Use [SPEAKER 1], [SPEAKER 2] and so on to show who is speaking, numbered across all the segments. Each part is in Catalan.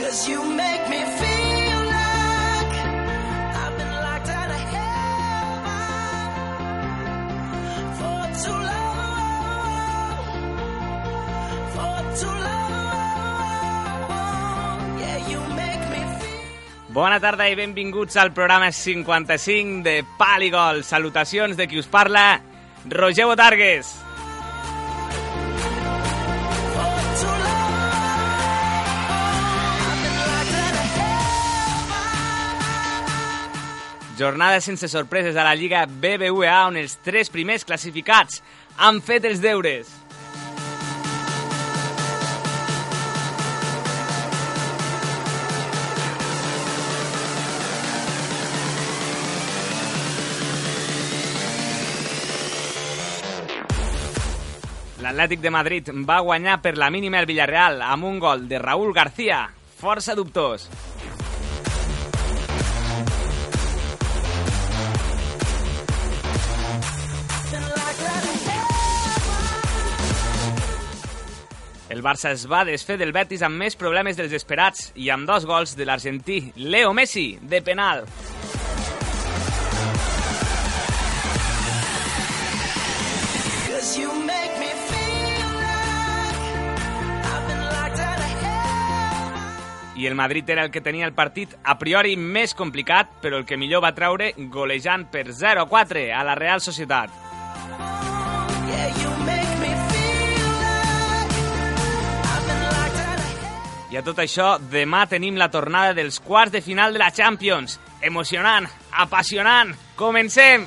[SPEAKER 1] Cause you make me feel like I've been locked out of heaven for too long. For too long. Yeah, you make me feel.
[SPEAKER 2] Bona tarda i benvinguts al programa 55 de Paligol. Salutacions de qui us parla, Roger Botargues. Jornada sense sorpreses a la Lliga BBVA on els tres primers classificats han fet els deures. L'Atlètic de Madrid va guanyar per la mínima el Villarreal amb un gol de Raúl García, força dubtós. El Barça es va desfer del Betis amb més problemes dels esperats i amb dos gols de l'argentí Leo Messi, de penal.
[SPEAKER 1] Cause you make me feel like I've been locked out of heaven.
[SPEAKER 2] I el Madrid era el que tenia el partit a priori més complicat, però el que millor va traure golejant per 0-4 a la Real Societat.
[SPEAKER 1] Yeah, you make me feel like I've been locked out of heaven.
[SPEAKER 2] I a tot això, demà tenim la tornada dels quarts de final de la Champions. Emocionant, apassionant, comencem!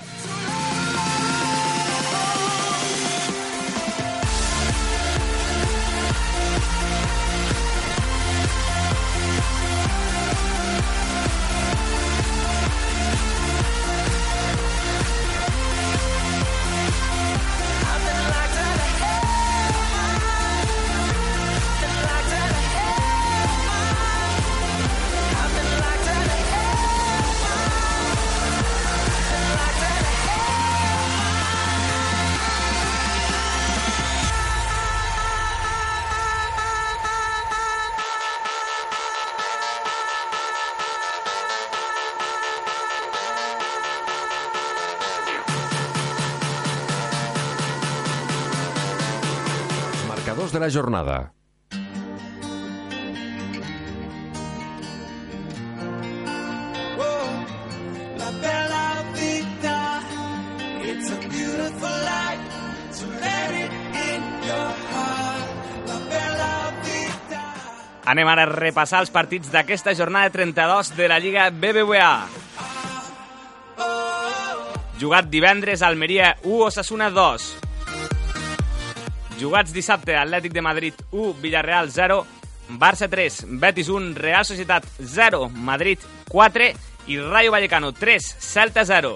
[SPEAKER 3] Els marcadors de la jornada.
[SPEAKER 1] La bella vita, it's a beautiful life, so let it in your heart. La bella vita.
[SPEAKER 2] Anem ara a repassar els partits d'aquesta jornada 32 de la Lliga BBVA. Jugat divendres, Almeria 1, Osasuna 2. Jugats dissabte, Atlètic de Madrid 1, Villarreal 0, Barça 3, Betis 1, Real Societat 0, Madrid 4 i Rayo Vallecano 3, Celta 0.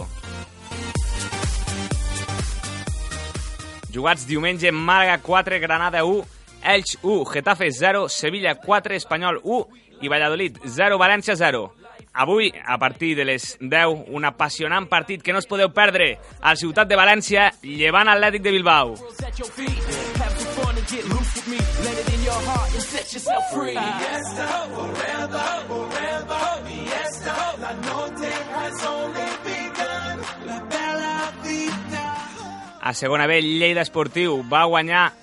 [SPEAKER 2] Jugats diumenge, Màlaga 4, Granada 1, Elx 1, Getafe 0, Sevilla 4, Espanyol 1 i Valladolid 0, València 0. Avui, a partir de les 10, un apassionant partit que no us podeu perdre al Ciutat de València, llevant Atlètic de Bilbao.
[SPEAKER 4] at your feet. Have some fun and get loose with me. Let it in your heart and set yourself free.
[SPEAKER 1] Fiesta, forever, forever, fiesta. La noche has only begun. La bella vita.
[SPEAKER 2] A segona B, Lleida Esportiu va guanyar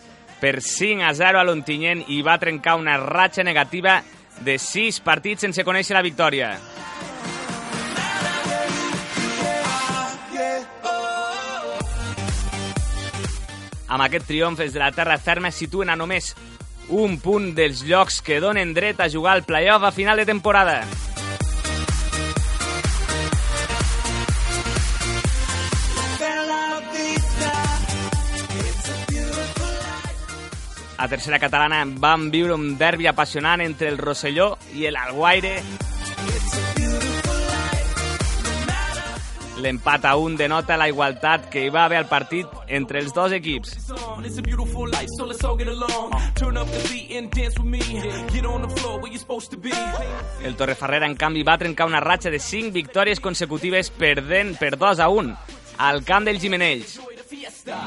[SPEAKER 2] per 5 a 0 a l'Ontinyent i va trencar una ratxa negativa de 6 partits sense conèixer la victòria. Amb aquest triomf, els de la terra ferma es situen a només un punt dels llocs que donen dret a jugar al playoff a final de temporada. A tercera catalana van viure un derbi apassionant entre el Rosselló i el Alguaire. L'empat a un denota la igualtat que hi va haver al partit entre els dos equips.
[SPEAKER 4] It's on. It's a beautiful life, so let's all get along. Turn up the beat and dance with me. Get on the floor where you're supposed to be.
[SPEAKER 2] El Torreferrera, en canvi, va trencar una ratxa de 5 victòries consecutives perdent per 2 a 1 al camp dels Gimenells.
[SPEAKER 4] Enjoy the fiesta.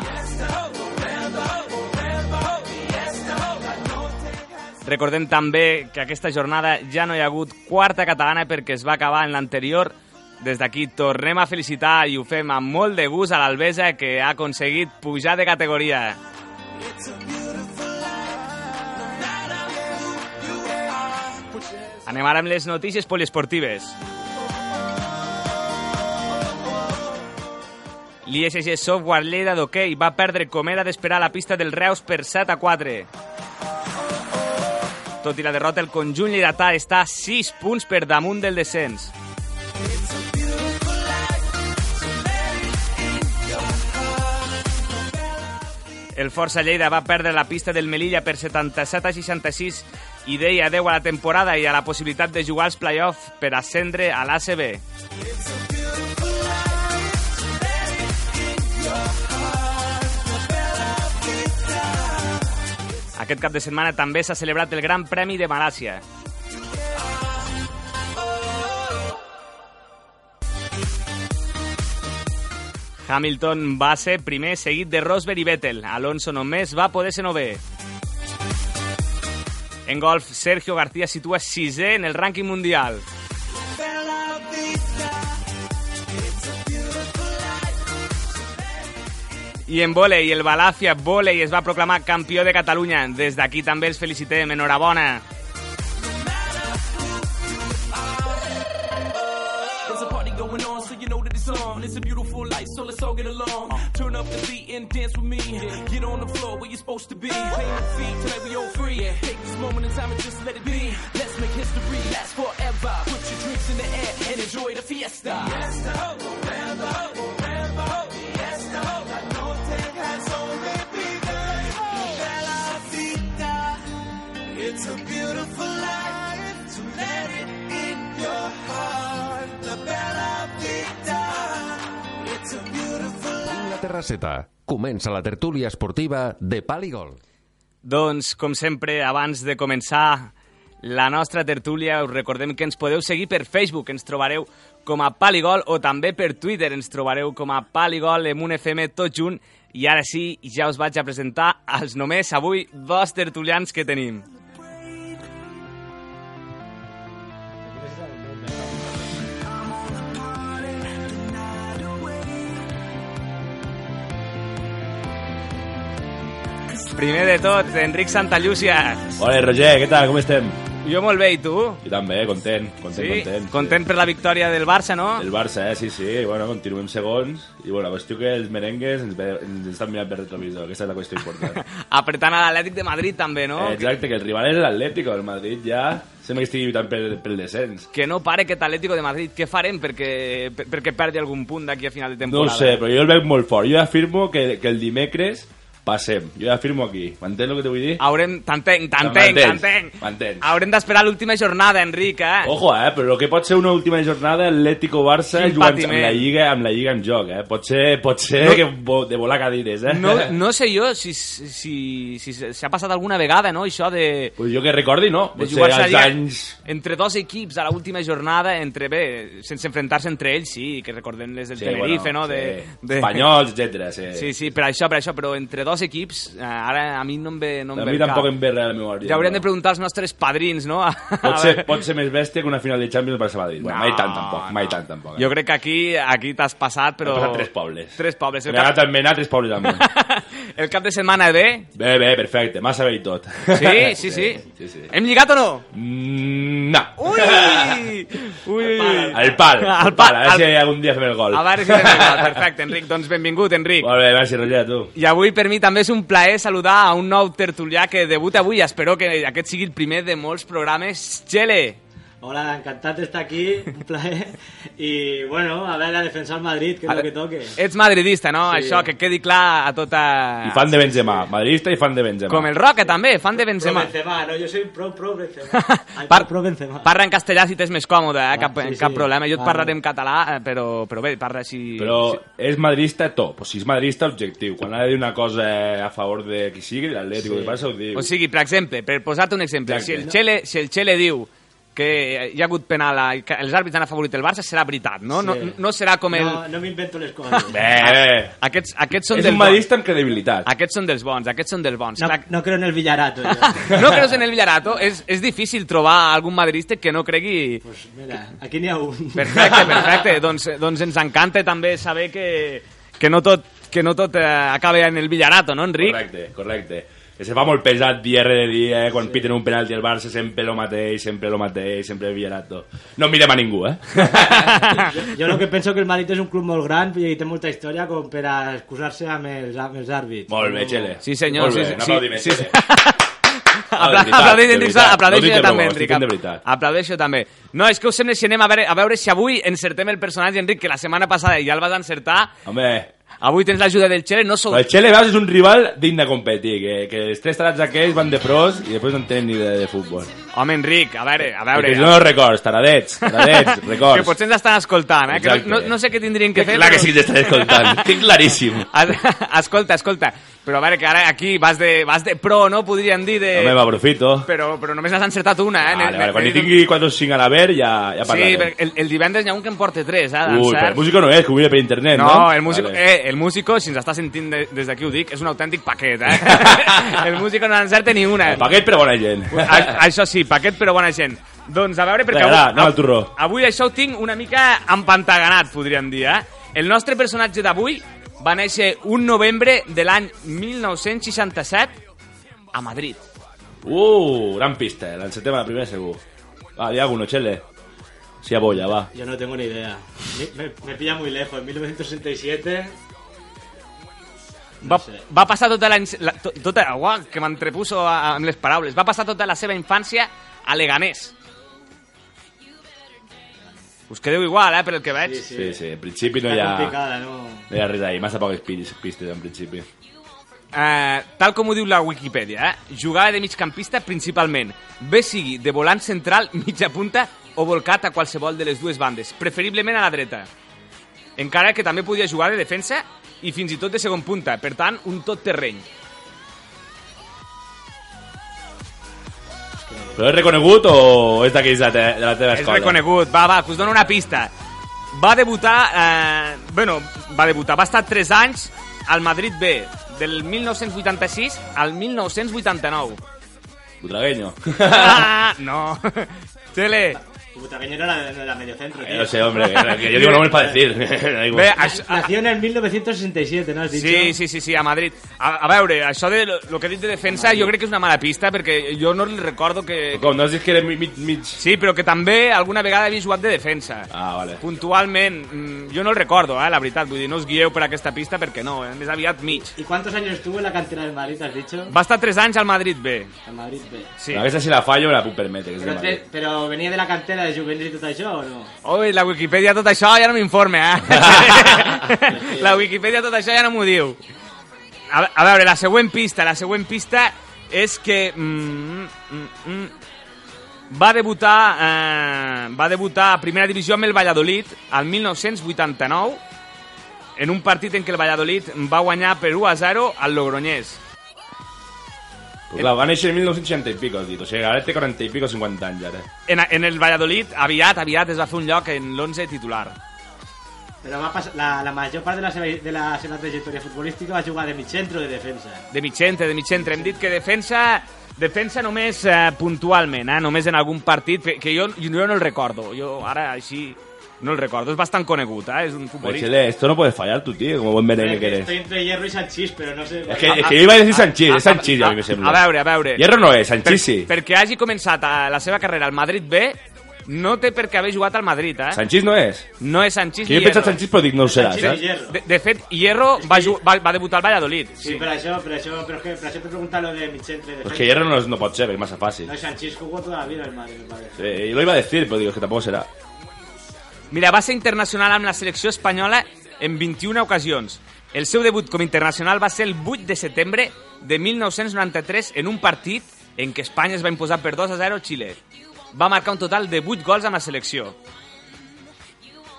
[SPEAKER 2] Recordem també que aquesta jornada ja no hi ha hagut quarta catalana perquè es va acabar en l'anterior. Des d'aquí tornem a felicitar i ho fem amb molt de gust a l'Albesa que ha aconseguit pujar de categoria. Anem ara amb les notícies poliesportives. L'ISG Software Lleida d'hoquei va perdre com era d'esperar la pista del Reus per 7 a 4. Tot i la derrota, el conjunt lleidatà està a 6 punts per damunt del descens. El Força Lleida va perdre la pista del Melilla per 77 a 66 i deia adeu a la temporada i a la possibilitat de jugar als play-off per ascendre a l'ACB. Aquest cap de setmana també s'ha celebrat el Gran Premi de Malàcia. Hamilton va ser primer seguit de Rosberg i Vettel. Alonso només va poder ser novè. En golf, Sergio García situa sisè en el rànquing mundial. I en vòlei, el Balàfia Vòlei es va proclamar campió de Catalunya. Des d'aquí també els felicitem. Enhorabona.
[SPEAKER 4] There's a party going on, so you know that it's on. It's a beautiful life, so let's all get along. Turn up the beat and dance with me. Get on the floor where you're supposed to be. Pay your feet, tonight we all free. Take this moment in time and just let it be. Let's make history last forever. Put your drinks in the air and enjoy the fiesta.
[SPEAKER 1] It's a beautiful life to let it in your heart. La Bella Vita. It's a beautiful life.
[SPEAKER 3] La Terrasseta. Comença la tertúlia esportiva de Pal i Gol.
[SPEAKER 2] Doncs, com sempre, abans de començar la nostra tertúlia, us recordem que ens podeu seguir per Facebook, ens trobareu com a Paligol, o també per Twitter, ens trobareu com a Paligol en un FM tot junt. I ara sí, ja us vaig a presentar els només avui dos tertulians que tenim. Primer de tot, Enric Santallucia.
[SPEAKER 5] Hola, Roger, què tal? Com estem?
[SPEAKER 2] Jo molt bé, i tu?
[SPEAKER 5] Jo també, content, content,
[SPEAKER 2] Sí?
[SPEAKER 5] content.
[SPEAKER 2] Content per la victòria del Barça, no?
[SPEAKER 5] El Barça, eh? Sí, sí. Bueno, continuem segons. I, bueno, la qüestió que els merengues ens, ve, ens estan mirant per retrovisor. Aquesta és la qüestió important.
[SPEAKER 2] Apretant a l'Atlètic de Madrid, també, no?
[SPEAKER 5] Eh, Exacte, que el rival és l'Atlético. El Madrid ja sembla que estigui lluitant pel, pel descens.
[SPEAKER 2] Que no pare aquest Atlético de Madrid. Què farem perquè, per- perquè perdi algun punt d'aquí a final de
[SPEAKER 5] No ho
[SPEAKER 2] temporada? Eh?
[SPEAKER 5] sé, però jo el veig molt fort. Jo ja afirmo que, que el dimecres passem. Jo ja afirmo aquí. M'entens el que te vull dir?
[SPEAKER 2] Haurem... T'entenc, t'entenc,
[SPEAKER 5] M'entens,
[SPEAKER 2] t'entenc.
[SPEAKER 5] m'entens.
[SPEAKER 2] Haurem d'esperar l'última jornada, Enric, eh?
[SPEAKER 5] Ojo, eh, però el que pot ser una última jornada Atlético-Barça
[SPEAKER 2] Quin
[SPEAKER 5] jugant amb
[SPEAKER 2] patiment.
[SPEAKER 5] la Lliga amb la Lliga en joc, eh? Pot ser, pot ser
[SPEAKER 2] No-
[SPEAKER 5] que vo- de volar cadires, eh?
[SPEAKER 2] No, no sé jo si, si, si s'ha passat alguna vegada, no?, això de...
[SPEAKER 5] Pues jo que recordi, no.
[SPEAKER 2] de
[SPEAKER 5] Potser als
[SPEAKER 2] Lliga
[SPEAKER 5] anys...
[SPEAKER 2] entre dos equips a l'última jornada, entre bé, sense enfrontar-se entre ells, sí, que recordem les del Tenerife, no? De,
[SPEAKER 5] sí.
[SPEAKER 2] de...
[SPEAKER 5] Espanyols, etc. Sí.
[SPEAKER 2] Sí, sí, per això, per això, però entre dos equips, eh, ara a mi no em ve, no em
[SPEAKER 5] a
[SPEAKER 2] ve
[SPEAKER 5] mi
[SPEAKER 2] el cap.
[SPEAKER 5] tampoc em ve res a la memòria.
[SPEAKER 2] Ja hauríem
[SPEAKER 5] no.
[SPEAKER 2] de preguntar als nostres padrins, no?
[SPEAKER 5] Pot ser, pot ser més bèstia que una final de Champions per Sabadell. No, mai tant, tampoc. Mai tant, tampoc. eh.
[SPEAKER 2] Jo crec que aquí aquí t'has passat, però...
[SPEAKER 5] He passat tres pobles.
[SPEAKER 2] Tres pobles. El
[SPEAKER 5] M'he anat,
[SPEAKER 2] cap,
[SPEAKER 5] m'he anat a tres pobles també.
[SPEAKER 2] el cap de setmana ve?
[SPEAKER 5] bé, bé, perfecte. M'ha sabut tot.
[SPEAKER 2] Sí, sí, sí.
[SPEAKER 5] sí, sí.
[SPEAKER 2] Hem lligat o no?
[SPEAKER 5] Mm, no.
[SPEAKER 2] Ui! Ui!
[SPEAKER 5] Al pal.
[SPEAKER 2] Al
[SPEAKER 5] pal.
[SPEAKER 2] pal.
[SPEAKER 5] A veure si
[SPEAKER 2] al-
[SPEAKER 5] algun dia fem el gol.
[SPEAKER 2] A veure si tenim gol. Perfecte, Enric. Doncs benvingut, Enric.
[SPEAKER 5] Molt bé, gràcies, Roger, a tu.
[SPEAKER 2] I avui per mi també és un plaer saludar a un nou tertulià que debuta avui. Espero que aquest sigui el primer de molts programes. Xele!
[SPEAKER 6] Hola, encantat d'estar aquí, un plaer. I, bueno, a veure, a defensar el Madrid, que és el que toque.
[SPEAKER 2] Ets madridista, no?
[SPEAKER 6] Sí.
[SPEAKER 2] Això, que quedi clar a tota...
[SPEAKER 5] I fan de Benzema. Madridista i fan de Benzema.
[SPEAKER 2] Com el Roca, també, fan de Benzema.
[SPEAKER 6] Pro Benzema, no, jo soy pro, pro Benzema. Ai,
[SPEAKER 2] Par-
[SPEAKER 6] pro Benzema.
[SPEAKER 2] Parla en castellà si t'és més còmode, eh? cap,
[SPEAKER 6] Ah, sí,
[SPEAKER 2] cap
[SPEAKER 6] sí.
[SPEAKER 2] problema. Jo et
[SPEAKER 6] Vale.
[SPEAKER 2] parlaré en català, eh, però, però bé, parla així...
[SPEAKER 5] Però és madridista top, o sigui, és madridista objectiu. Quan ha de dir una cosa a favor de qui sigui, l'Atlético sí. de Barça ho diu.
[SPEAKER 2] O sigui, per exemple, per posar-te un exemple,
[SPEAKER 5] Exacte.
[SPEAKER 2] si el Xele, si el Xele diu que hi ha hagut penal, eh, que els àrbits han afavorit el Barça, serà veritat, no? No, no serà com el...
[SPEAKER 6] No, no m'invento les coses.
[SPEAKER 5] Bé, bé.
[SPEAKER 2] Aquests, aquests són
[SPEAKER 5] És
[SPEAKER 2] dels
[SPEAKER 5] un madista amb credibilitat.
[SPEAKER 2] bons. Aquests són dels bons, aquests són dels bons.
[SPEAKER 6] No,
[SPEAKER 2] Clar,
[SPEAKER 6] no creo en el Villarato. jo.
[SPEAKER 2] no creus en el Villarato? És, és difícil trobar algun madridista que no cregui...
[SPEAKER 6] Pues mira, aquí n'hi ha un.
[SPEAKER 2] Perfecte, perfecte. doncs, doncs ens encanta també saber que, que no tot, que no tot eh, acaba en el Villarato, no, Enric?
[SPEAKER 5] Correcte, correcte. Que se fa molt pesat dia rere dia, eh? quan piten un penalti al Barça, sempre lo mateix, sempre lo mateix, sempre Villarato. No mirem a ningú, eh?
[SPEAKER 6] Jo el que penso que el Madrid és un club molt gran i té molta història com per a excusar-se amb els, amb els àrbits.
[SPEAKER 5] molt bé, Xele.
[SPEAKER 2] Oh. Sí, senyor,
[SPEAKER 5] Molt bé,
[SPEAKER 2] sí, sí,
[SPEAKER 5] un aplaudiment,
[SPEAKER 2] sí, sí.
[SPEAKER 5] Xele.
[SPEAKER 2] Apla-
[SPEAKER 5] Ah, de veritat,
[SPEAKER 2] aplaudeixo,
[SPEAKER 5] de
[SPEAKER 2] Enric, aplaudeixo
[SPEAKER 5] veritat. No dic
[SPEAKER 2] jo
[SPEAKER 5] de
[SPEAKER 2] també,
[SPEAKER 5] broma,
[SPEAKER 2] Enric.
[SPEAKER 5] estic fent de veritat.
[SPEAKER 2] Aplaudeixo també. No, és que us sembla si anem a veure, a veure si avui encertem el personatge, Enric, que la setmana passada ja el vas encertar.
[SPEAKER 5] Home,
[SPEAKER 2] Avui tens l'ajuda del Xere, no sou...
[SPEAKER 5] però el Xele, veus, és un rival digne de competir, que, que els tres tarats aquells van de pros i després no en tenen ni idea de futbol.
[SPEAKER 2] Home, Enric, a veure, a veure...
[SPEAKER 5] Perquè no records, taradets, taradets, records.
[SPEAKER 2] Que potser ens estan escoltant, eh? Que
[SPEAKER 5] Exacte.
[SPEAKER 2] no, no sé què tindrien que fer,
[SPEAKER 5] Clar que sí que t'estaré escoltant, tinc claríssim.
[SPEAKER 2] Es- Escolta, escolta, però a veure, que ara aquí vas de, vas de pro, no? Podríem dir de...
[SPEAKER 5] Home, m'aprofito.
[SPEAKER 2] però, però només n'has encertat una, eh? Ne-
[SPEAKER 5] Vale, vale, quan
[SPEAKER 2] ne-
[SPEAKER 5] hi tingui 4 o 5 a la ver ja, ja
[SPEAKER 2] Sí,
[SPEAKER 5] parlarem.
[SPEAKER 2] perquè el, el divendres n'hi ha un que en porta tres, eh?
[SPEAKER 5] Ui, però
[SPEAKER 2] d'encert.
[SPEAKER 5] el músico no és, que ho mira per internet, no?
[SPEAKER 2] No, el músico,
[SPEAKER 5] Vale.
[SPEAKER 2] eh, el músico, si ens està sentint de, des d'aquí ho dic, és un autèntic paquet, eh? el músico no n'encerta ni una.
[SPEAKER 5] El paquet per bona gent.
[SPEAKER 2] A, això sí, paquet però bona gent. Doncs a veure, perquè
[SPEAKER 5] Vinga, va, anem al turró.
[SPEAKER 2] avui això ho tinc una mica empantaganat, podríem dir, eh? El nostre personatge d'avui va néixer un novembre de l'any 1967 a Madrid.
[SPEAKER 5] Uh, gran pista, l'encetem a la primera segur. Va, di alguno, Chele. Sí, a bolla, va.
[SPEAKER 6] Jo no tengo ni idea. Me, me, me pilla muy lejos. En 1967...
[SPEAKER 2] Va,
[SPEAKER 6] No sé.
[SPEAKER 2] va passar tota la... la to- tota, uau, que m'entrepuso a- amb les paraules. Va passar tota la seva infància a Leganés. Us quedeu igual, eh, per el que veig.
[SPEAKER 6] Sí, sí.
[SPEAKER 5] Sí, sí, en principi no
[SPEAKER 6] Està
[SPEAKER 5] hi ha...
[SPEAKER 6] complicada, no?
[SPEAKER 5] No hi ha res ahí, massa poques pis- pistes en principi.
[SPEAKER 2] Eh, tal com ho diu la Wikipedia, eh, jugava de migcampista principalment, bé sigui de volant central, mitja punta o volcat a qualsevol de les dues bandes, preferiblement a la dreta. Encara que també podia jugar de defensa i fins i tot de segon punta, per tant, un tot terreny.
[SPEAKER 5] Però és reconegut o és d'aquells de, te, de la teva
[SPEAKER 2] És
[SPEAKER 5] escola?
[SPEAKER 2] reconegut, va, va, que us dono una pista. Va debutar, eh, bueno, va debutar, va estar 3 anys al Madrid B, del 1986 al 1989.
[SPEAKER 5] Butragueño.
[SPEAKER 2] Ah, no. Tele,
[SPEAKER 6] Butagueño no era, no era medio centro,
[SPEAKER 5] Eh, no sé, hombre, que, que yo digo nombres para decir. Da igual.
[SPEAKER 2] bé, això, ah,
[SPEAKER 6] Nació en el 1967, ¿no has dicho?
[SPEAKER 2] sí, sí, sí, sí, a Madrid. A, a veure, això de lo, lo que he dit de defensa jo crec que és una mala pista perquè jo no li recordo que...
[SPEAKER 5] Com, no has dit que eres mig... mig...
[SPEAKER 2] Sí, però que també alguna vegada havia jugat de defensa.
[SPEAKER 5] Ah, vale.
[SPEAKER 2] Puntualment, mm, jo no el recordo, eh, la veritat. Vull dir, no us guieu per aquesta pista perquè no, eh, més aviat mig.
[SPEAKER 6] ¿Y cuántos años estuvo en la cantera del Madrid, has dicho?
[SPEAKER 2] Va estar 3 anys al Madrid B.
[SPEAKER 6] En Madrid B.
[SPEAKER 2] Sí.
[SPEAKER 5] Sí. Aquesta si la fallo me la puc permetre, que és de
[SPEAKER 6] Pero,
[SPEAKER 5] Madrid.
[SPEAKER 6] tres- pero venía de la cantera de Juvenil y todo eso, ¿o no?
[SPEAKER 2] Ui, la Wikipedia tot això ja no m'informa, eh? la Wikipedia tot això ja no m'ho diu. A, ve- a veure, la següent pista, la següent pista és que... Mm, mm, mm, va debutar, eh, va debutar a primera divisió amb el Valladolid al 1989 en un partit en què el Valladolid va guanyar per 1 a 0 al Logroñés.
[SPEAKER 5] Pues clar, va néixer en 1960 i pico, has dit. O sigui, ara té 40 i este pico, 50 anys, ara.
[SPEAKER 2] En, en el Valladolid aviat, aviat es va fer un lloc en l'11 titular.
[SPEAKER 6] Pero va a pas- la, la mayor parte de la, seva- de la seva trayectoria futbolística va a jugar de mi centro de defensa.
[SPEAKER 2] De mig centre, de mig centre. Hem dit que defensa defensa només eh, puntualment, eh, només en algun partit, que, que jo, jo no el recordo. Jo ara així no el recordo. És bastant conegut, eh? és un
[SPEAKER 5] Pues,
[SPEAKER 2] futbolista.
[SPEAKER 5] Chele, esto no puedes fallar, tu, tío, como buen merengue que eres.
[SPEAKER 6] Estoy entre Hierro y Sanchís, pero no sé.
[SPEAKER 5] Es
[SPEAKER 2] Ah,
[SPEAKER 5] que, es que yo iba a decir Sanchís, es Sanchís, a, mi me sembla.
[SPEAKER 2] a veure, a veure.
[SPEAKER 5] Hierro no és, Sanchís sí.
[SPEAKER 2] Perquè hagi començat eh, la seva carrera al Madrid B, no té per què haver jugat al Madrid, eh?
[SPEAKER 5] Sanchís no és.
[SPEAKER 2] No és Sanchís
[SPEAKER 5] Que jo he
[SPEAKER 2] ni Hierro.
[SPEAKER 5] pensat eh? Sanchís, però dic, no ho serà,
[SPEAKER 6] Sanchís
[SPEAKER 5] saps?
[SPEAKER 6] i Hierro.
[SPEAKER 2] De, de fet, Hierro va, ju- va, va debutar al Valladolid.
[SPEAKER 6] Sí, pero eso, pero eso, pero es que, pero eso te pregunta lo de mi centro de defensa.
[SPEAKER 5] Pues que Hierro no, es- no pot ser, perquè és massa fàcil.
[SPEAKER 6] No, Sanchís jugó toda la vida en el Madrid, me parece.
[SPEAKER 5] Sí, jo lo iba a decir, però digo, és que tampoc serà.
[SPEAKER 2] Mira, va ser internacional amb la selecció espanyola en 21 ocasions. El seu debut com a internacional va ser el 8 de setembre de 1993 en un partit en què Espanya es va imposar per 2 a 0 a Xile. Va marcar un total de 8 gols amb la selecció.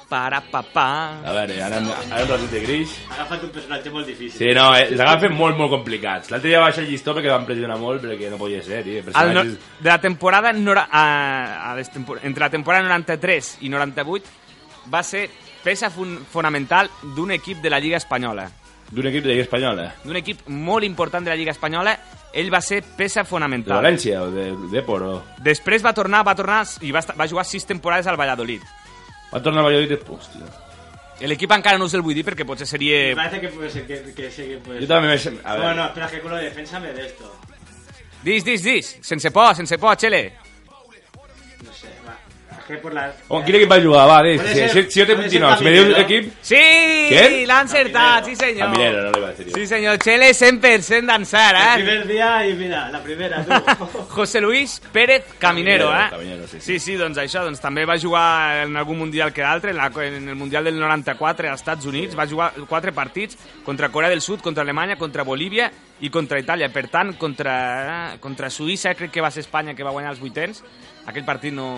[SPEAKER 2] para papà.
[SPEAKER 5] A eh, veure, ara, ara un ratit de gris.
[SPEAKER 6] Agafa't un personatge molt difícil.
[SPEAKER 5] Sí, no, eh, s'acaben fent molt, molt complicats. L'altre dia va baixar el llistó perquè van pressionar molt, perquè no podia ser, tio. Em
[SPEAKER 2] Al no,
[SPEAKER 5] Personatges...
[SPEAKER 2] de la temporada nora, a, a les tempor entre la temporada 93 i 98 va ser peça fun fonamental d'un equip de la Lliga Espanyola.
[SPEAKER 5] D'un equip de Lliga Espanyola.
[SPEAKER 2] D'un equip molt important de la Lliga Espanyola, ell va ser peça
[SPEAKER 5] De
[SPEAKER 2] fonamental.
[SPEAKER 5] València o de Depor o...
[SPEAKER 2] Després va tornar, va tornar i va, estar- va jugar sis temporades al Valladolid.
[SPEAKER 5] Va tornar a Valladolid i... Hòstia.
[SPEAKER 2] L'equip encara no us el vull dir perquè potser
[SPEAKER 6] Me
[SPEAKER 2] seria...
[SPEAKER 6] parece que puede ser que, que sí que puede
[SPEAKER 5] Jo
[SPEAKER 6] ser.
[SPEAKER 5] també m'he... A veure...
[SPEAKER 6] Bueno, espera, que culo de defensa me de esto.
[SPEAKER 2] Dis, dis, dis, sense por, sense por, Chele.
[SPEAKER 6] No sé, va. Es que por la...
[SPEAKER 5] On, quin equip va jugar? Va, deix,
[SPEAKER 6] Puede
[SPEAKER 5] si,
[SPEAKER 6] ser-
[SPEAKER 5] si, si jo te
[SPEAKER 6] puede ser
[SPEAKER 5] continuo. Si me dius
[SPEAKER 6] Caminero.
[SPEAKER 5] equip...
[SPEAKER 2] Sí,
[SPEAKER 5] Què?
[SPEAKER 2] l'ha encertat, sí
[SPEAKER 5] A
[SPEAKER 2] senyor.
[SPEAKER 5] Minero, no li va dir.
[SPEAKER 2] Sí senyor, Chele 100% d'ençar,
[SPEAKER 6] El
[SPEAKER 2] eh?
[SPEAKER 6] primer día y mira, la primera, tú.
[SPEAKER 2] José Luis Pérez Caminero,
[SPEAKER 5] Caminero,
[SPEAKER 2] eh?
[SPEAKER 5] Caminero, sí, sí.
[SPEAKER 2] sí, sí, doncs això, doncs també va jugar en algun mundial que d'altre, en, la, en el mundial del 94 als Estats Units, va jugar quatre partits contra Corea del Sud, contra Alemanya, contra Bolívia i contra Itàlia. Per tant, contra, eh, contra Suïssa, crec que va ser Espanya que va guanyar els vuitens, aquell partit no,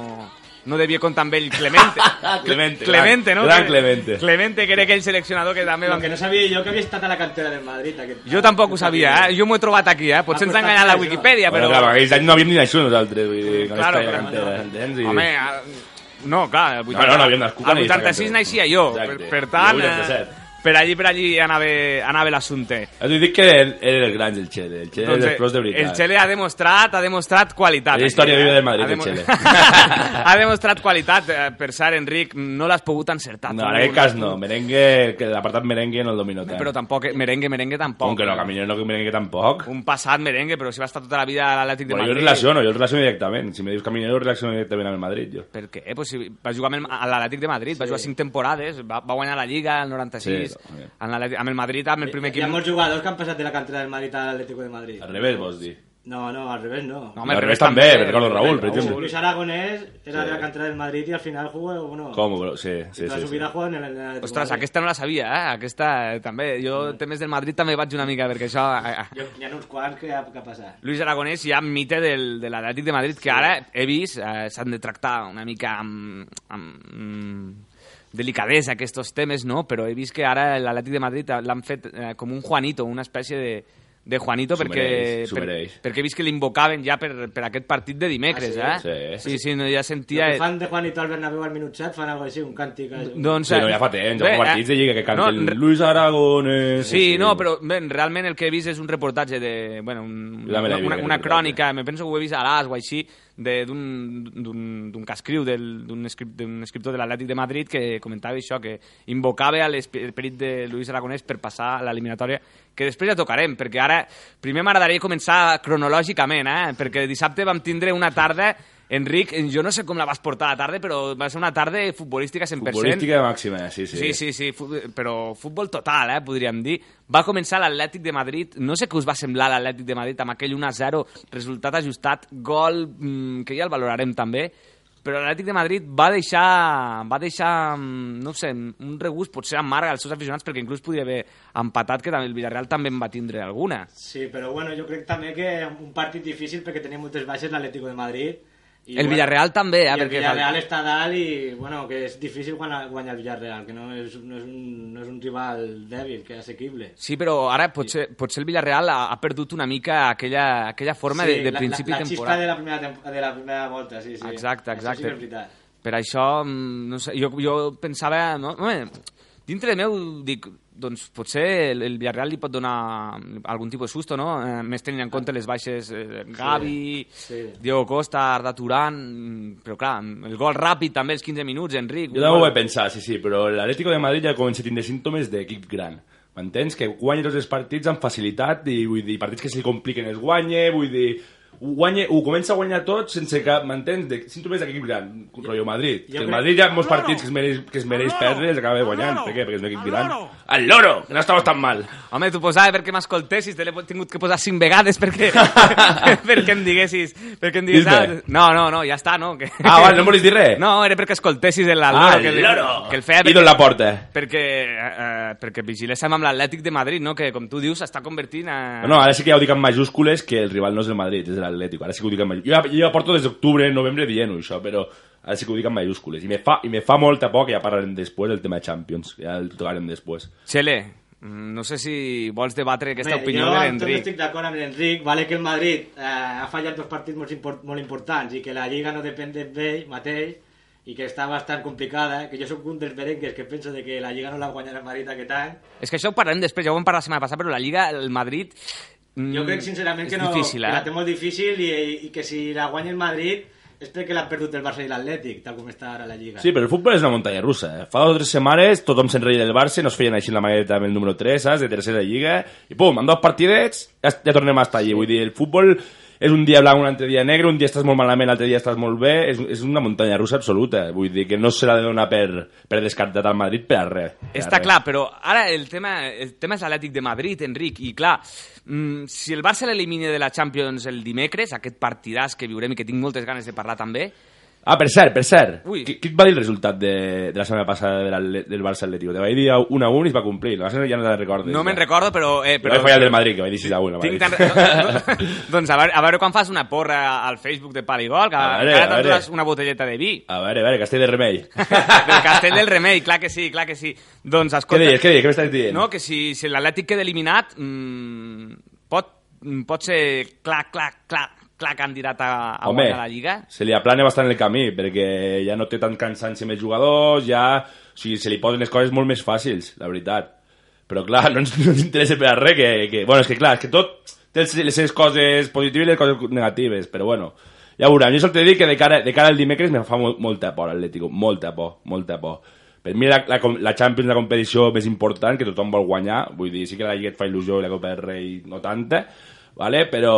[SPEAKER 2] no devia comptar amb ell Clemente.
[SPEAKER 5] Clemente,
[SPEAKER 2] Clemente,
[SPEAKER 5] gran-
[SPEAKER 2] no?
[SPEAKER 5] gran Clemente.
[SPEAKER 2] Clemente, que era aquell seleccionador que també va...
[SPEAKER 6] Lo que no sabía yo que había estado a la cantera del Madrid. Aquel...
[SPEAKER 2] Jo tampoc ho sabia, eh? Jo m'ho he trobat aquí, eh? Potser ens ha enganyat la Wikipedia,
[SPEAKER 5] Bueno,
[SPEAKER 2] però...
[SPEAKER 5] clar, aquells anys no havíem ni nascut nosaltres, vull dir, quan
[SPEAKER 2] Claro,
[SPEAKER 5] estava
[SPEAKER 2] però-
[SPEAKER 5] la cantera, entens? I-
[SPEAKER 2] Home, a- no, clar, el 80,
[SPEAKER 5] no, no havíem nascut
[SPEAKER 2] el
[SPEAKER 5] ni
[SPEAKER 2] 86
[SPEAKER 5] aquesta
[SPEAKER 2] naixia jo, per,
[SPEAKER 5] Exacte.
[SPEAKER 2] per tant,
[SPEAKER 5] Jo el 87.
[SPEAKER 2] eh, per allí, per allí anava, anava l'assumpte.
[SPEAKER 5] Has de dir Ah, que era era el gran, el Chele. El Chele
[SPEAKER 2] Doncs,
[SPEAKER 5] era
[SPEAKER 2] eh,
[SPEAKER 5] el pros de veritat.
[SPEAKER 2] el Chele ha demostrat, ha demostrat qualitat.
[SPEAKER 5] És la història
[SPEAKER 2] Aquí, eh?
[SPEAKER 5] viva del Madrid,
[SPEAKER 2] Ha
[SPEAKER 5] el
[SPEAKER 2] demo-
[SPEAKER 5] Chele.
[SPEAKER 2] ha demostrat qualitat. eh, Per cert, Enric, no l'has pogut encertar.
[SPEAKER 5] No,
[SPEAKER 2] tu.
[SPEAKER 5] en aquest cas no. Merengue, que l'apartat merengue no el domino tant.
[SPEAKER 2] Però tampoc, merengue, merengue tampoc.
[SPEAKER 5] Com que no, Caminero no que merengue tampoc.
[SPEAKER 2] Un passat merengue, però si va estar tota la vida a l'Atlètic de
[SPEAKER 5] Bueno, jo el
[SPEAKER 2] Madrid.
[SPEAKER 5] relaciono, jo el relaciono directament. Si me dius Caminero, el relaciono directament amb el Madrid, jo.
[SPEAKER 2] Per què? eh, Pues si va jugar amb el- a l'Atlètic de Madrid, va jugar cinc temporades, va, va guanyar la Lliga el 96,
[SPEAKER 5] Sí, sí.
[SPEAKER 2] en l'Atlètic- amb el Madrid, amb el primer
[SPEAKER 6] Eh, Hi
[SPEAKER 2] equip...
[SPEAKER 6] ha molts jugadors que han passat de la cantera del Madrid al Atlético de Madrid.
[SPEAKER 5] Al revés, vols dir.
[SPEAKER 6] No, no, al revés no.
[SPEAKER 2] No,
[SPEAKER 5] Al revés també, recordo Raúl, per exemple.
[SPEAKER 6] Luis Aragonés era de la cantera del Madrid y al final jugó, bueno,
[SPEAKER 5] Com, però? Sí, sí,
[SPEAKER 6] toda
[SPEAKER 5] sí.
[SPEAKER 6] su
[SPEAKER 5] sí.
[SPEAKER 6] vida jugó en el... en el Atlético
[SPEAKER 2] Ostres,
[SPEAKER 6] de Madrid.
[SPEAKER 2] aquesta no la sabia, eh? Aquesta eh, també. Jo, temes del Madrid, també vaig una mica, perquè això... eh, eh,
[SPEAKER 6] Jo, hi ha uns quants que ha, que ha passat.
[SPEAKER 2] Luis Aragonès ja mite del, de l'Atlètic de Madrid, que ara he vist, eh, s'han de tractar una mica amb, amb, amb delicadesa aquests temes, no? Però he vist que ara l'Atlètic de Madrid l'han fet eh, com un Juanito, una espècie de, de Juanito
[SPEAKER 5] S'ho
[SPEAKER 2] perquè,
[SPEAKER 5] mereix, s'ho
[SPEAKER 2] per,
[SPEAKER 5] mereix.
[SPEAKER 2] perquè he vist que l'invocaven ja per, per aquest partit de dimecres,
[SPEAKER 6] Ah,
[SPEAKER 5] sí?
[SPEAKER 2] eh?
[SPEAKER 5] Sí.
[SPEAKER 2] sí, sí, no, ja sentia...
[SPEAKER 6] Los que fan de Juanito al Bernabéu al minut set fan algo així, un càntic.
[SPEAKER 2] Doncs,
[SPEAKER 5] Sí, eh. no,
[SPEAKER 2] eh,
[SPEAKER 5] ja fa temps,
[SPEAKER 2] bé,
[SPEAKER 5] els partits
[SPEAKER 2] eh,
[SPEAKER 5] de Lliga que
[SPEAKER 2] no,
[SPEAKER 5] canten
[SPEAKER 2] re-
[SPEAKER 5] Luis Aragones...
[SPEAKER 2] Sí, no, però ben, realment el que he vist és un reportatge de... Bueno, un,
[SPEAKER 5] La meva
[SPEAKER 2] una, una,
[SPEAKER 5] vida,
[SPEAKER 2] una
[SPEAKER 5] reportatge.
[SPEAKER 2] crònica, me penso que ho he vist a l'AS o així, de- d'un d'un- d'un que escriu, del- d'un escrip- d'un escriptor de l'Atlètic de Madrid que comentava això, que invocava a l'esperit de Luis Aragonès per passar a l'eliminatòria, que després ja tocarem, perquè ara primer m'agradaria començar cronològicament, eh? perquè dissabte vam tindre una tarda Enric, jo no sé com la vas portar la tarda, però va ser una tarda futbolística 100%.
[SPEAKER 5] Futbolística màxima, sí, sí.
[SPEAKER 2] Sí, sí, sí, fut- però futbol total, eh, podríem dir. Va començar l'Atlètic de Madrid, no sé què us va semblar l'Atlètic de Madrid amb aquell 1-0, resultat ajustat, gol, mm, que ja el valorarem també, però l'Atlètic de Madrid va deixar, va deixar, mm, no ho sé, un regust potser amarg als seus aficionats perquè inclús podria haver empatat, que també el Villarreal també en va tindre alguna.
[SPEAKER 6] Sí, però bueno, jo crec també que un partit difícil perquè tenia moltes baixes l'Atlético de Madrid. I,
[SPEAKER 2] El Villarreal també, eh,
[SPEAKER 6] I el
[SPEAKER 2] perquè
[SPEAKER 6] Villarreal
[SPEAKER 2] fal-
[SPEAKER 6] està dalt i, bueno, que és difícil guanyar, guanyar el Villarreal, que no és, no és, un, no és un rival dèbil, que és assequible.
[SPEAKER 2] Sí, però ara potser, potser el Villarreal ha, ha perdut una mica aquella, aquella forma de, de
[SPEAKER 6] la,
[SPEAKER 2] principi
[SPEAKER 6] la, la
[SPEAKER 2] temporada.
[SPEAKER 6] xispa de la primera, tempo- de la primera volta, sí, sí.
[SPEAKER 2] Exacte, exacte.
[SPEAKER 6] Això sí que és veritat.
[SPEAKER 2] Per això, mm, no sé, jo, jo pensava... No? Home, dintre meu, dic, doncs potser el, el Villarreal li pot donar mm, algun tipus de susto, no? Eh, més tenint en compte les baixes eh, Gavi, sí,
[SPEAKER 6] sí.
[SPEAKER 2] sí. Diego Costa, Arda Turan... mm, Però clar, el gol ràpid també, els 15 minuts, Enric...
[SPEAKER 5] Jo també ho vaig pensar, sí, sí, però l'Atlético de Madrid ja comença a tindre símptomes d'equip gran. M'entens? Que guanya tots els partits amb facilitat i vull dir, partits que se li compliquen els guanya, vull dir... Ho, guanya, ho comença a guanyar tot sense cap, m'entens? De, símptomes d'equip gran, rotllo Madrid.
[SPEAKER 6] Jo
[SPEAKER 5] que el
[SPEAKER 6] crec-
[SPEAKER 5] Madrid ja molts partits que es mereix, que es mereix perdre els acaba guanyant. Per què? Perquè és un equip gran. Al loro! Que no estava tan mal.
[SPEAKER 2] Home, t'ho posava perquè m'escoltessis, te l'he tingut que posar cinc vegades perquè, perquè em diguessis... Perquè em diguessis
[SPEAKER 5] Dis-me.
[SPEAKER 2] ah, no, no, no, ja està, no? Que...
[SPEAKER 5] Ah, vale, no em volies dir res?
[SPEAKER 2] No, era perquè escoltessis el Loro.
[SPEAKER 5] Ah,
[SPEAKER 2] que,
[SPEAKER 5] el loro!
[SPEAKER 2] que el feia
[SPEAKER 5] I d'on la porta?
[SPEAKER 2] perquè, eh, perquè vigiléssim amb l'Atlètic de Madrid, no? que com tu dius s'està convertint a...
[SPEAKER 5] No, no, ara sí que ja ho dic en majúscules que el rival no és el Madrid, és l'Atlético. Ara sí que ho dic en majúscules. Jo, ja- jo ja porto des d'octubre, novembre dient-ho, això, però ara sí que ho dic en majúscules. I me fa, i me fa molta por, que ja parlarem després, el tema Champions. Ja el tocarem després.
[SPEAKER 2] Xele, mm, no sé si vols debatre aquesta
[SPEAKER 6] Bé,
[SPEAKER 2] opinió
[SPEAKER 6] jo
[SPEAKER 2] de
[SPEAKER 6] en tot
[SPEAKER 2] l'Enric.
[SPEAKER 6] estic d'acord amb l'Enric, vale que el Madrid eh, ha fallat dos partits molt, import, molt importants i que la Lliga no depèn d'ell mateix i que està bastant complicada, eh, que jo sóc un dels berengues que penso de que la Lliga no l'ha guanyat el Madrid aquest any.
[SPEAKER 2] És que això ho parlarem després, ja ho vam parlar la setmana passada, però la Lliga, el Madrid... mm,
[SPEAKER 6] Jo crec sincerament que,
[SPEAKER 2] és
[SPEAKER 6] no,
[SPEAKER 2] difícil,
[SPEAKER 6] que la té
[SPEAKER 2] eh?
[SPEAKER 6] molt difícil i, i que si la guanya el Madrid és perquè l'han perdut el Barça i l'Atlètic, tal com està ara la Lliga.
[SPEAKER 5] Sí, però el futbol és una muntanya russa. Eh? Fa dues o tres setmanes tothom se'n reia del Barça, no es feien així la maqueta amb el número 3, saps? De tercera lliga, i pum, amb dos partidets ja, ja tornem a estar allí. Vull dir, el futbol és un dia blanc, un altre dia negre, un dia estàs molt malament, l'altre dia estàs molt bé, és, és una muntanya russa absoluta. Vull dir que no s'ha de donar per, per descartat al Madrid per a res. Per a
[SPEAKER 2] Està
[SPEAKER 5] res.
[SPEAKER 2] clar, però ara el tema, el tema és l'Atlètic de Madrid, Enric, i clar, mm, si el Barça l'elimina de la Champions el dimecres, aquest partidàs que viurem i que tinc moltes ganes de parlar també,
[SPEAKER 5] Ah, per cert, per cert.
[SPEAKER 2] Ui.
[SPEAKER 5] Qui, qui et va dir el resultat de, de la setmana passada de l'Atle- del Barça Atlético? Te vaig dir 1 a 1 i es va complir. La ja no te'n recordes.
[SPEAKER 2] no
[SPEAKER 5] ja.
[SPEAKER 2] me'n recordo, però... Eh, però
[SPEAKER 5] Però... Vaig fallar el del Madrid, que vaig dir 6 a 1 al
[SPEAKER 2] Tinc
[SPEAKER 5] Madrid.
[SPEAKER 2] tan... no, no, doncs a veure, a veure quan fas una porra al Facebook de Paligol, que
[SPEAKER 5] A veure,
[SPEAKER 2] encara
[SPEAKER 5] a veure.
[SPEAKER 2] t'enduràs una botelleta de vi.
[SPEAKER 5] A veure, a veure, Castell de Remei.
[SPEAKER 2] del Castell del Remei, clar que sí, clar que sí. Doncs
[SPEAKER 5] què
[SPEAKER 2] escolta...
[SPEAKER 5] deies, què deies, què m'estàs dient?
[SPEAKER 2] No, que si, si l'Atlètic queda eliminat, mmm, pot, mm, pot ser clar, clar, clar, clar candidat a, a
[SPEAKER 5] Home,
[SPEAKER 2] guanyar la Lliga?
[SPEAKER 5] se li aplana bastant el camí, perquè ja no té tant cansanci amb els jugadors, ja... O sigui, se li posen les coses molt més fàcils, la veritat. Però clar, no ens, no ens interessa per a res, que, que... Bueno, és que clar, és que tot té les- les seves coses positives i les coses negatives, però bueno... Ja veurem, jo sol t'he de dir que de cara, de cara al dimecres me fa molt, molta por l'Atlético, molta por, molta por. Per mi la, la, com- la Champions és la competició més important, que tothom vol guanyar, vull dir, sí que la Lliga et fa il·lusió i la Copa del Rei no tanta, vale? però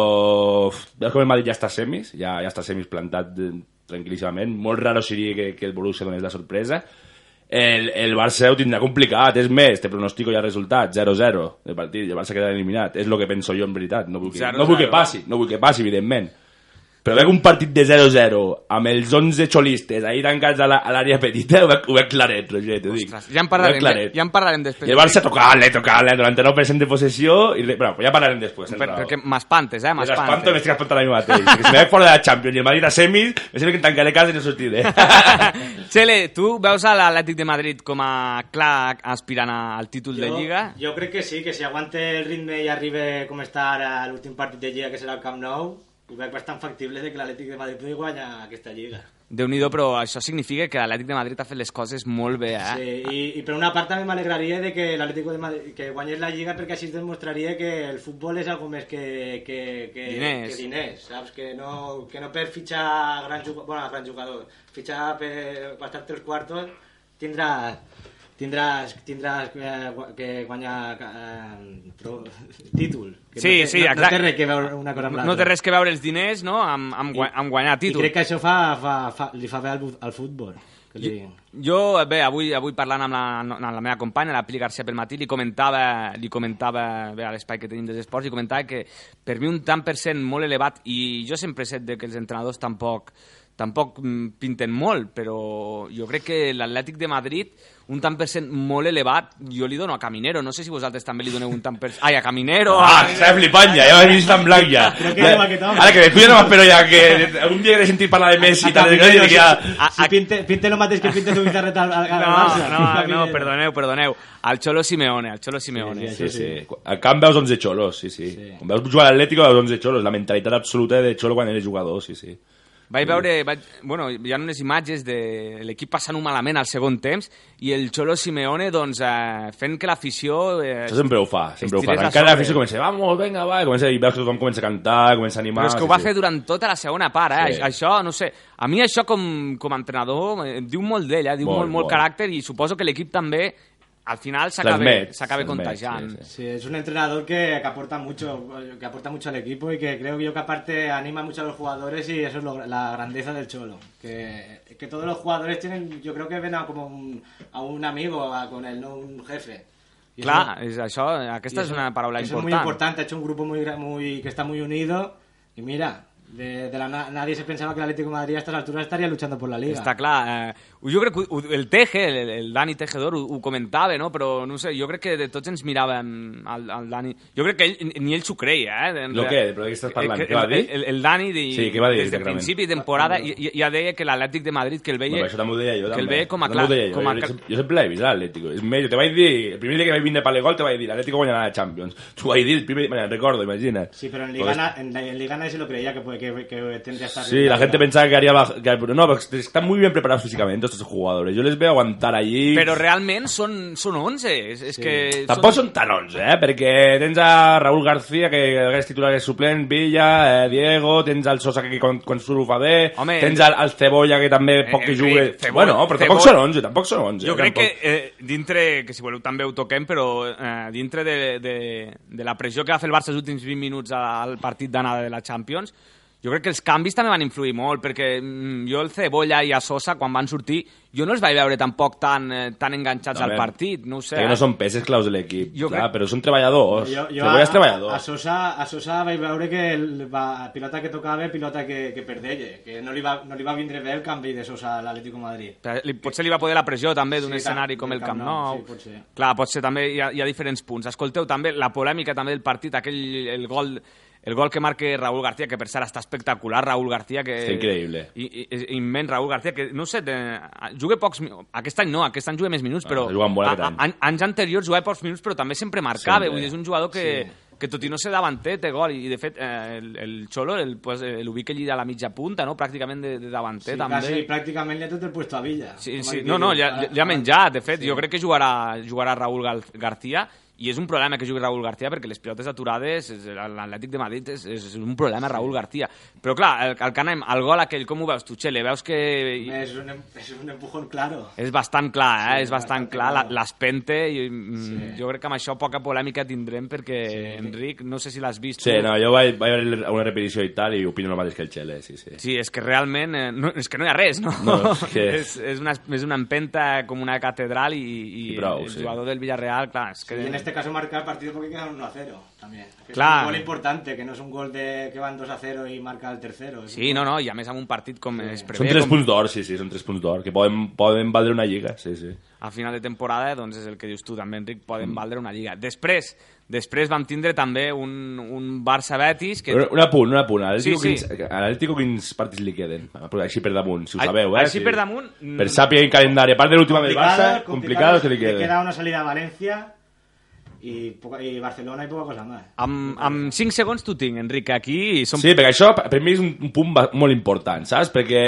[SPEAKER 5] uf, veus com el Madrid ja està a semis, ja, ja està a semis plantat eh, tranquil·líssimament, molt raro seria que, que el Borussia donés la sorpresa, el, el Barça ho tindrà complicat, és més, te pronostico ja el resultat, 0-0 de partit, i el Barça quedarà eliminat, és el que penso jo en veritat, no vull que,
[SPEAKER 2] 0-0.
[SPEAKER 5] no vull que passi, no vull que passi, evidentment. Però veig un partit de 0-0 amb els 11 xolistes ahí tancats a la- a l'àrea petita, ho veig, ho veig claret, Roger, t'ho dic.
[SPEAKER 2] Ostres, ja en
[SPEAKER 5] Ho
[SPEAKER 2] parlarem,
[SPEAKER 5] veig claret.
[SPEAKER 2] ja, ja en parlarem després.
[SPEAKER 5] I el Barça tocant-le, tocant-le, 99% de possessió, i re, però ja parlarem després. tens
[SPEAKER 2] Per,
[SPEAKER 5] raó.
[SPEAKER 2] perquè m'espantes, eh?
[SPEAKER 5] Me l'espanto,
[SPEAKER 2] M'espantes.
[SPEAKER 5] m'estic espantant a mi mateix. Perquè si me veig fora de la Champions i el Madrid a semis, em sembla que em tancaré a casa i no sortiré.
[SPEAKER 2] Txele, tu veus a l'Atlètic de Madrid com a clar aspirant al títol de Lliga?
[SPEAKER 6] Jo crec que sí, que si aguante el ritme i arriba com està ara l'últim partit de Lliga, que serà el Camp Nou, ho veig bastant factible de que l'Atlètic de Madrid pugui guanyar aquesta Lliga.
[SPEAKER 2] déu nhi però això significa que l'Atlètic de Madrid ha fet les coses molt bé, eh?
[SPEAKER 6] Sí, i, i per una part també m'alegraria de que l'Atlético de Madrid que guanyés la Lliga perquè així demostraria que el futbol és algo més que, que, que,
[SPEAKER 2] Diners.
[SPEAKER 6] que diners saps? Que no, que no per fitxar grans, jug- bueno, grans jugadors, fitxar per gastar-te els quartos tindràs tindràs, tindràs eh, gu- que guanyar eh, tro- títol. Que
[SPEAKER 2] Sí,
[SPEAKER 6] no té,
[SPEAKER 2] sí,
[SPEAKER 6] no, no
[SPEAKER 2] exacte.
[SPEAKER 6] té res que veure una cosa amb l'altra.
[SPEAKER 2] No té res que veure els diners, no?, amb, amb, gua- amb guanyar
[SPEAKER 6] I
[SPEAKER 2] títol.
[SPEAKER 6] crec que això fa, fa, fa, li fa bé al, bu- al futbol. Que li...
[SPEAKER 2] Jo, bé, avui, avui parlant amb la, amb la meva companya, la Pili Garcia pel matí, li comentava, li comentava bé, a l'espai que tenim dels esports, li comentava que per mi un tant per cent molt elevat, i jo sempre he set de que els entrenadors tampoc, tampoc mm, pinten molt, però jo crec que l'Atlètic de Madrid, un tant per cent molt elevat, jo li dono a Caminero, no sé si vosaltres també li doneu un tant per cent... Ai, a Caminero!
[SPEAKER 5] Ah,
[SPEAKER 2] a-
[SPEAKER 5] estava flipant ja, ja m'he vist en blanc ja.
[SPEAKER 6] Creo que no va quedar.
[SPEAKER 5] Ara que després ja no m'espero ja que algun dia que sentir parlar de Messi i tal, i tal, i ja...
[SPEAKER 2] A-
[SPEAKER 6] Si
[SPEAKER 2] a-
[SPEAKER 6] pinte, pinte lo mateix que pinte tu guitarret al, al, al Barça.
[SPEAKER 2] Ah, No, no, no, perdoneu, perdoneu. Al Cholo Simeone, al Cholo Simeone.
[SPEAKER 5] Sí, sí. Al camp veus 11 xolos, sí, sí. Quan veus jugar a l'Atlético veus 11 xolos, la mentalitat absoluta de xolo quan eres jugador, sí, sí.
[SPEAKER 2] Vaig veure, vaig, bueno, hi ha unes imatges de l'equip passant-ho malament al segon temps i el Xolo Simeone doncs, eh, fent que l'afició... Eh,
[SPEAKER 5] Això sempre ho fa, sempre ho fa.
[SPEAKER 2] Estires a
[SPEAKER 5] Encara
[SPEAKER 2] sobre.
[SPEAKER 5] l'afició comença, vamos, venga, va, i comença, i veus que tothom comença a cantar, comença a animar...
[SPEAKER 2] però és que ho
[SPEAKER 5] sí,
[SPEAKER 2] va
[SPEAKER 5] sí.
[SPEAKER 2] fer durant tota la segona part, eh?
[SPEAKER 5] Sí.
[SPEAKER 2] Sí. Això, no sé, a mi això com, com a entrenador eh, em diu molt d'ell, eh? Diu molt,
[SPEAKER 5] Molt,
[SPEAKER 2] molt, molt
[SPEAKER 5] molt.
[SPEAKER 2] caràcter i suposo que l'equip també al final s'acaba
[SPEAKER 5] Transmet,
[SPEAKER 2] s'acaba
[SPEAKER 5] transmet,
[SPEAKER 2] contagiant.
[SPEAKER 5] sí, sí.
[SPEAKER 6] Sí, es un entrenador que, que aporta mucho, que aporta mucho al equipo y que creo yo que aparte anima mucho a los jugadores y eso es lo- la grandeza del Cholo. Que, que todos los jugadores tienen, yo creo que ven a como un, a un amigo a- con él, no un jefe. Y eso-
[SPEAKER 2] Clar, és això,
[SPEAKER 6] y
[SPEAKER 2] aquesta és
[SPEAKER 6] eso-
[SPEAKER 2] una paraula
[SPEAKER 6] eso
[SPEAKER 2] important.
[SPEAKER 6] Es muy importante, ha hecho un grupo muy, gra- muy que está muy unido y mira, De, de la na- nadie se pensaba que el Atlético de Madrid a estas alturas estaría luchando por la Liga.
[SPEAKER 2] Està clar. Eh, jo crec que ho- el Teje, el, el Dani Tejedor, ho, ho comentava, no? però no ho sé, jo crec que de tots ens miràvem al, al Dani. Jo crec que ell, ni ell s'ho creia. Eh? En
[SPEAKER 5] Lo
[SPEAKER 2] real-
[SPEAKER 5] que, però de què estàs parlant?
[SPEAKER 2] Eh, que
[SPEAKER 5] Què va
[SPEAKER 2] el,
[SPEAKER 5] dir?
[SPEAKER 2] El, el Dani de,
[SPEAKER 5] Sí, què va dir
[SPEAKER 2] des de
[SPEAKER 5] exactament?
[SPEAKER 2] principi de temporada i- i- ja deia que l'Atlètic de Madrid que el veia...
[SPEAKER 5] Bueno, això també ho deia jo,
[SPEAKER 2] que
[SPEAKER 5] també.
[SPEAKER 2] el veia com a
[SPEAKER 5] També ho
[SPEAKER 2] clar-
[SPEAKER 5] deia jo.
[SPEAKER 2] com a
[SPEAKER 5] Jo
[SPEAKER 2] clar-
[SPEAKER 5] sempre- jo sempre l'he vist, l'Atlético. És més, jo te vaig dir, el primer dia que vaig vindre per l'Egol te vaig dir, l'Atlético guanyarà la Champions. T'ho vaig dir el primer dia, me'n recordo, imagina't.
[SPEAKER 6] Sí, pero en
[SPEAKER 5] Pues-
[SPEAKER 6] Liga, na- en, la- en Liga nadie se lo creía que, puede- que, que tendría hasta
[SPEAKER 5] Sí, la gente pensaba que haría baja- que- pero no, porque están muy bien preparados físicamente estos jugadores. Yo les veo aguantar allí.
[SPEAKER 2] Però realment són, són 11. És, és que...
[SPEAKER 5] Tampoc són tan 11, eh? Perquè tens a Raúl García, que és titular és suplent, Villa, eh, Diego, tens al Sosa, que quan, quan surt ho fa bé,
[SPEAKER 2] Home,
[SPEAKER 5] tens al, al Cebolla, que també poc que
[SPEAKER 2] Enric,
[SPEAKER 5] juga...
[SPEAKER 2] Cebolla-
[SPEAKER 5] bueno, però tampoc
[SPEAKER 2] Cebolla-
[SPEAKER 5] són 11, tampoc són 11.
[SPEAKER 2] Jo
[SPEAKER 5] eh,
[SPEAKER 2] crec que
[SPEAKER 5] tampoc.
[SPEAKER 2] eh, dintre, que si voleu també ho toquem, però eh, dintre de, de, de la pressió que va fer el Barça els últims 20 minuts a- al partit d'anada de la Champions, jo crec que els canvis també van influir molt, perquè mm, jo el Cebolla i a Sosa, quan van sortir, jo no els vaig veure tampoc tan, eh, tan enganxats
[SPEAKER 5] Home,
[SPEAKER 2] al partit, no ho sé.
[SPEAKER 5] Que
[SPEAKER 2] eh?
[SPEAKER 5] no són peces claus de l'equip,
[SPEAKER 2] Jo
[SPEAKER 5] clar,
[SPEAKER 2] crec-
[SPEAKER 5] però són treballadors.
[SPEAKER 6] Jo, jo
[SPEAKER 5] Cebolla és
[SPEAKER 6] a, a
[SPEAKER 5] treballador.
[SPEAKER 6] Sosa, a Sosa vaig veure que el, va, pilota que tocava, pilota que, que perdella, que no li, va, no li va vindre bé el canvi de Sosa a l'Atlético de Madrid.
[SPEAKER 2] Però li- Potser li va poder la pressió també d'un
[SPEAKER 6] Sí,
[SPEAKER 2] escenari
[SPEAKER 6] tant,
[SPEAKER 2] com
[SPEAKER 6] del
[SPEAKER 2] el Camp Nou.
[SPEAKER 6] sí, pot ser.
[SPEAKER 2] Clar, potser també hi ha, hi ha diferents punts. Escolteu també la polèmica també del partit, aquell el gol el gol que marca Raúl García, que per cert està espectacular, Raúl García, que...
[SPEAKER 5] Està increïble.
[SPEAKER 2] I, i, és immens, Raúl García, que no ho sé, de, juga pocs... mi- Aquest any no, aquest any juga més minuts, però...
[SPEAKER 5] ha jugat molt aquest
[SPEAKER 2] a- a-
[SPEAKER 5] any.
[SPEAKER 2] an- anys anteriors jugava pocs minuts, però també sempre marcava.
[SPEAKER 5] Sempre.
[SPEAKER 2] Vull dir, és un jugador que, que tot i no ser davanter, té gol. I, de fet, eh, el, el Xolo el, pues, eh, l'ubica allí a la mitja punta, no? pràcticament de, de davanter,
[SPEAKER 6] Sí,
[SPEAKER 2] també.
[SPEAKER 6] quasi pràcticament li ha tot el puesto a Villa.
[SPEAKER 2] Sí,
[SPEAKER 6] com
[SPEAKER 2] sí.
[SPEAKER 6] el
[SPEAKER 2] No, no,
[SPEAKER 6] vídeo.
[SPEAKER 2] ja, ja- ja ha menjat. De fet, jo crec que jugarà, jugarà Raúl Gal García i és un problema que jugui Raúl García perquè les pilotes aturades, és- l'Atlètic de Madrid és, és un problema Raúl García. Però clar, el, el que anem, el gol aquell, com ho veus tu, Txele? Veus que
[SPEAKER 6] Es un, em- es un empujón claro.
[SPEAKER 2] és bastant clar, eh?
[SPEAKER 6] Sí,
[SPEAKER 2] és bastant
[SPEAKER 6] bastant
[SPEAKER 2] clar, la-
[SPEAKER 6] clar.
[SPEAKER 2] l'espente i mm,
[SPEAKER 6] Sí.
[SPEAKER 2] jo crec que amb això poca polèmica tindrem perquè, Enric, no sé si l'has vist
[SPEAKER 5] Sí,
[SPEAKER 2] tu.
[SPEAKER 5] no, jo vaig, vaig veure una repetició i tal, i opino el mateix que el Xele, sí, sí.
[SPEAKER 2] Sí, és que realment... Eh, no, és que no hi ha res, no?
[SPEAKER 5] No, és que-
[SPEAKER 2] és, és, una, és una empenta com una catedral i, i,
[SPEAKER 5] I prou,
[SPEAKER 2] el
[SPEAKER 5] sí.
[SPEAKER 2] jugador del Villarreal, clar, és
[SPEAKER 6] Sí,
[SPEAKER 2] que...
[SPEAKER 6] y en este caso marca el partido porque queda 1 a 0 también. Que
[SPEAKER 2] Claro.
[SPEAKER 6] Es un gol importante, que no es un gol de que van 2 a 0 y marca el tercero. Es
[SPEAKER 2] Sí, no, no, i a més amb un partit com es
[SPEAKER 5] Són
[SPEAKER 2] prevé,
[SPEAKER 5] tres
[SPEAKER 2] com
[SPEAKER 5] punts d'or, sí, sí, són tres punts d'or, que poden, poden valdre una lliga, sí, sí.
[SPEAKER 2] a final de temporada, doncs és el que dius tu també, Enric,
[SPEAKER 5] Mm.
[SPEAKER 2] poden valdre una lliga. Després, després vam tindre també un, un Barça-Betis que...
[SPEAKER 5] Un, un apunt, un apunt. A l'Atlético,
[SPEAKER 2] Sí,
[SPEAKER 5] sí,
[SPEAKER 2] sí.
[SPEAKER 5] sí. quins, a l'Atlético quins partits li queden? Però així per damunt, si ho
[SPEAKER 2] A-
[SPEAKER 5] sabeu, eh?
[SPEAKER 2] així
[SPEAKER 5] Sí.
[SPEAKER 2] per damunt, mm.
[SPEAKER 5] Per sàpiga en calendari. A part de l'última del Barça, complicados que li
[SPEAKER 6] queda.
[SPEAKER 5] queden.
[SPEAKER 6] una salida a Valencia y, poca- y Barcelona y poca cosa más.
[SPEAKER 2] Amb, amb 5 segons tu tinc, Enric, aquí som...
[SPEAKER 5] Sí, perquè això per mi és un, un punt ba- molt important, saps? Perquè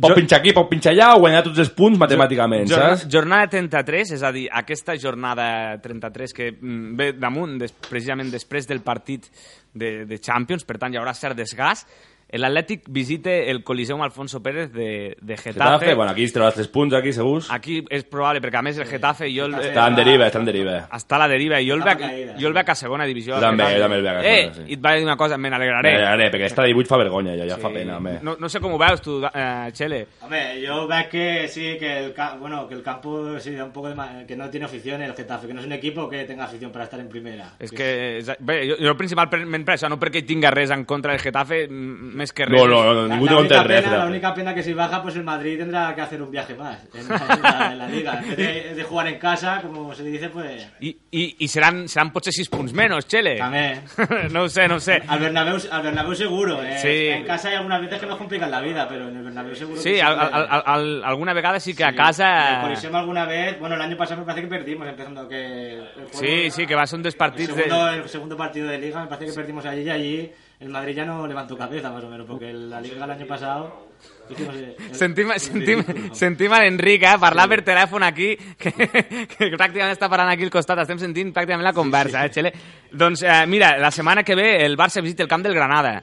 [SPEAKER 5] pot
[SPEAKER 2] Jo-
[SPEAKER 5] pinxar aquí, pot pinxar allà, guanyar tots els punts matemàticament,
[SPEAKER 2] Jorna-
[SPEAKER 5] saps?
[SPEAKER 2] Jornada 33, és a dir, aquesta jornada 33 que mm, ve damunt, des, precisament després del partit de, de Champions, per tant hi haurà cert desgast, l'Atlètic visita el Coliseum Alfonso Pérez de, de Getafe.
[SPEAKER 5] Getafe, bueno, aquí es treu els tres punts, aquí, segurs.
[SPEAKER 2] Aquí és probable, perquè a més el Getafe jo el,
[SPEAKER 6] Getafe.
[SPEAKER 5] Està en deriva, està en deriva.
[SPEAKER 2] està a la deriva. eh? Jo el,
[SPEAKER 6] Està
[SPEAKER 2] veig,
[SPEAKER 6] per caïda.
[SPEAKER 2] jo el veig a segona divisió.
[SPEAKER 5] Jo també,
[SPEAKER 2] Getafe.
[SPEAKER 5] jo també el veig a
[SPEAKER 2] Eh,
[SPEAKER 5] segona, sí.
[SPEAKER 2] i et vaig dir una cosa, me n'alegraré. Eh,
[SPEAKER 5] Ara, ara, perquè està 18 fa vergonya, ja, ja fa pena, home.
[SPEAKER 2] no, no sé com ho veus tu, eh, Txele.
[SPEAKER 6] Hombre, yo veo que sí, que el, ca- bueno, que el campo sí, da un poco de ma- que no tiene afición el Getafe, que no es un equipo que tenga afición para estar en primera.
[SPEAKER 2] És que, és, bé, jo, jo principalment per això, no perquè hi tinga res en contra del Getafe, m- més que res.
[SPEAKER 5] No, no, no,
[SPEAKER 6] La-
[SPEAKER 5] ningú té
[SPEAKER 6] la, única
[SPEAKER 5] contra res.
[SPEAKER 6] pena, la
[SPEAKER 5] Getafe.
[SPEAKER 6] única pena que si baja, pues el Madrid tendrá que hacer un viaje más en, en la, en la liga. En vez de, de jugar en casa, como se dice, pues
[SPEAKER 2] I, i, i seran, seran potser 6 punts menys, Txele.
[SPEAKER 6] también.
[SPEAKER 2] no ho sé, no ho sé.
[SPEAKER 6] Al Bernabéu, al Bernabéu seguro. eh.
[SPEAKER 2] Sí.
[SPEAKER 6] En casa hay algunas veces que nos complican la vida, pero en el Bernabéu seguro que
[SPEAKER 2] Sí, al, al, al, al- alguna vegada sí que a casa...
[SPEAKER 6] En el Coliseum alguna vez, bueno, el año pasado me parece que perdimos, empezando que... el juego-
[SPEAKER 2] Sí, sí, que va ser un dels
[SPEAKER 6] El
[SPEAKER 2] partits de...
[SPEAKER 6] segundo, el segundo partido de Liga, me parece que perdimos allí y allí el Madrid ya no levantó cabeza, más o menos, porque la Liga el año pasado... hicimos, eh, el-
[SPEAKER 2] Sentim,
[SPEAKER 6] el
[SPEAKER 2] sentim,
[SPEAKER 6] ridículo.
[SPEAKER 2] sentim a l'Enric eh, parlar per telèfon aquí, que, que pràcticament està parlant aquí al costat, estem sentint pràcticament la conversa, eh, Txele? Doncs eh, mira, la setmana que ve el Barça visita el camp del Granada.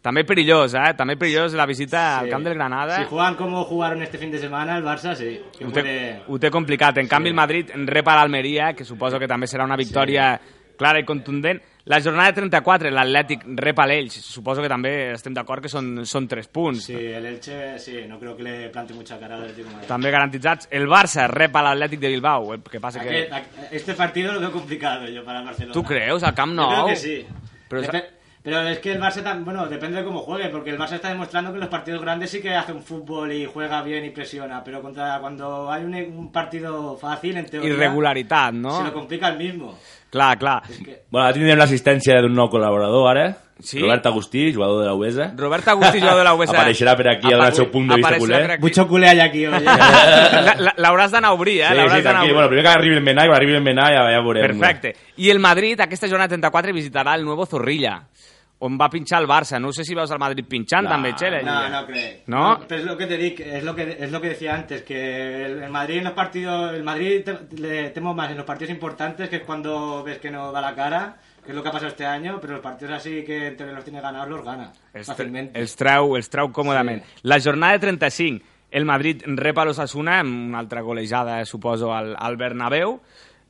[SPEAKER 2] També perillós, eh? També perillós la visita al
[SPEAKER 6] Sí.
[SPEAKER 2] camp del Granada.
[SPEAKER 6] Si juegan como jugaron este fin de semana, el Barça sí. que
[SPEAKER 2] ho, té,
[SPEAKER 6] puede-
[SPEAKER 2] ho té complicat. En canvi, el Madrid rep a l'Almeria, que suposo que també serà una victòria clara i contundent. La jornada 34, l'Atlètic rep a l'Elx. Suposo que també estem d'acord que són, són 3 punts.
[SPEAKER 6] Sí, el Elche, sí, no creo que le plante mucha cara al Atlético de Madrid.
[SPEAKER 2] També garantitzats. El Barça rep a l'Atlètic de Bilbao. El que passa que...
[SPEAKER 6] Aquest- Este partido lo veo complicado yo para el Barcelona.
[SPEAKER 2] Tu creus? Al Camp
[SPEAKER 6] Yo
[SPEAKER 2] Nou?
[SPEAKER 6] creo que sí.
[SPEAKER 2] Però
[SPEAKER 6] Depe- Pero es que el Barça, tam- bueno, depende de cómo juegue, porque el Barça está demostrando que en los partidos grandes sí que hace un fútbol y juega bien y presiona, pero contra cuando hay un, un partido fácil, en teoría,
[SPEAKER 2] Irregularitat,
[SPEAKER 6] se lo
[SPEAKER 2] no?
[SPEAKER 6] complica el mismo.
[SPEAKER 2] Clar, clar.
[SPEAKER 6] Es que-
[SPEAKER 5] Bueno, ara tindrem l'assistència d'un nou col·laborador, ara.
[SPEAKER 2] Sí.
[SPEAKER 5] Robert Agustí, jugador de la UESA.
[SPEAKER 2] Robert Agustí, jugador de la UESA.
[SPEAKER 5] Apareixerà per aquí, al
[SPEAKER 2] Apa-
[SPEAKER 5] seu punt de vista
[SPEAKER 2] apareixerà
[SPEAKER 5] culer.
[SPEAKER 2] per aquí.
[SPEAKER 6] Mucho culé hay aquí, ¿eh? oye.
[SPEAKER 2] La- la- L'hauràs d'anar a obrir, eh?
[SPEAKER 5] Sí,
[SPEAKER 2] L'hauràs d'anar a
[SPEAKER 5] sí, tranquil.
[SPEAKER 2] obrir.
[SPEAKER 5] Bueno, primer que arribi el Menà, i quan arribi el Menà ja, ja veurem.
[SPEAKER 2] Perfecte. I el Madrid, aquesta jornada 34, visitarà el nuevo Zorrilla, on va pinxar el Barça. No sé si veus el Madrid pinxant,
[SPEAKER 5] No,
[SPEAKER 2] també, Txell.
[SPEAKER 6] No, no creo.
[SPEAKER 2] ¿No?
[SPEAKER 6] Pero es lo que te di- es lo que es lo que decía antes, que el, el Madrid en los partidos, el Madrid te- le temo más en los partidos importantes, que es cuando ves que no da la cara, que es lo que ha pasado este año, pero los partidos así que en teoría los tiene ganados los gana
[SPEAKER 2] Els,
[SPEAKER 6] fácilmente.
[SPEAKER 2] els, trau, els trau còmodament. Sí. La jornada 35, el Madrid rep a l'Ossassuna, amb una altra golejada, suposo, al, al Bernabéu.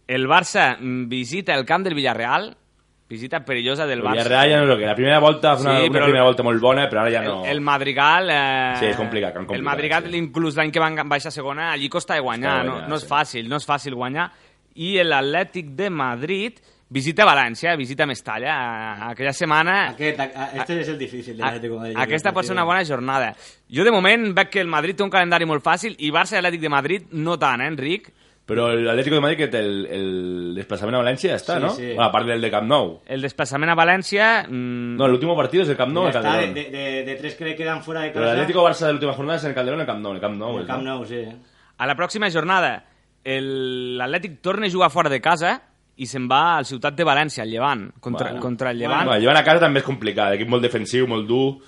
[SPEAKER 2] El Barça mm, visita el camp del Villarreal, visita perillosa del
[SPEAKER 5] El
[SPEAKER 2] Barça.
[SPEAKER 5] Villarreal ja no és el que... La primera volta va fer una,
[SPEAKER 2] Sí,
[SPEAKER 5] sí,
[SPEAKER 2] però
[SPEAKER 5] una
[SPEAKER 2] el-
[SPEAKER 5] primera volta molt bona, però ara ja no...
[SPEAKER 2] El, el Madrigal... Eh,
[SPEAKER 5] Sí, és complicat, com
[SPEAKER 2] El
[SPEAKER 5] complicat,
[SPEAKER 2] Madrigal,
[SPEAKER 5] sí.
[SPEAKER 2] inclús l'any que van baixar a segona, allí costa de guanyar,
[SPEAKER 5] Costa de
[SPEAKER 2] no,
[SPEAKER 5] guanyar,
[SPEAKER 2] no és
[SPEAKER 5] sí.
[SPEAKER 2] fàcil, no és fàcil guanyar. I l'Atlètic de Madrid visita València, visita Mestalla. eh, Aquella setmana...
[SPEAKER 6] Aquest- a- a- este es el difícil del
[SPEAKER 2] a-
[SPEAKER 6] Atlético de Madrid.
[SPEAKER 2] Aquesta
[SPEAKER 6] Yo
[SPEAKER 2] pot ser
[SPEAKER 6] creo.
[SPEAKER 2] una bona jornada. Jo, de moment, veig que el Madrid té un calendari molt fàcil i Barça i Atlètic de Madrid no tant, eh, Enric?
[SPEAKER 5] Però l'Atlético de Madrid, que té el, el desplaçament a València, ja està,
[SPEAKER 6] Sí,
[SPEAKER 5] no?
[SPEAKER 6] sí.
[SPEAKER 5] Bueno, a part del de Camp Nou.
[SPEAKER 2] El desplaçament a València... Mm,
[SPEAKER 5] No, l'últim partit és el Camp Nou,
[SPEAKER 6] Ya
[SPEAKER 5] el
[SPEAKER 6] está,
[SPEAKER 5] Calderón.
[SPEAKER 6] de, de- de tres que le quedan fuera de
[SPEAKER 5] Però
[SPEAKER 6] casa.
[SPEAKER 5] l'Atlético Barça de l'última jornada és en el Calderón, el Camp Nou. El Camp Nou,
[SPEAKER 6] el
[SPEAKER 5] és,
[SPEAKER 6] Camp
[SPEAKER 5] no?
[SPEAKER 6] Nou, sí.
[SPEAKER 2] A la pròxima jornada, el- l'Atlètic torna a jugar fora de casa i se'n va al Ciutat de València, al Llevant, contra,
[SPEAKER 5] Bueno.
[SPEAKER 2] contra el Llevant.
[SPEAKER 5] Bueno, llevant a casa també és complicat. Equip molt defensiu, molt dur.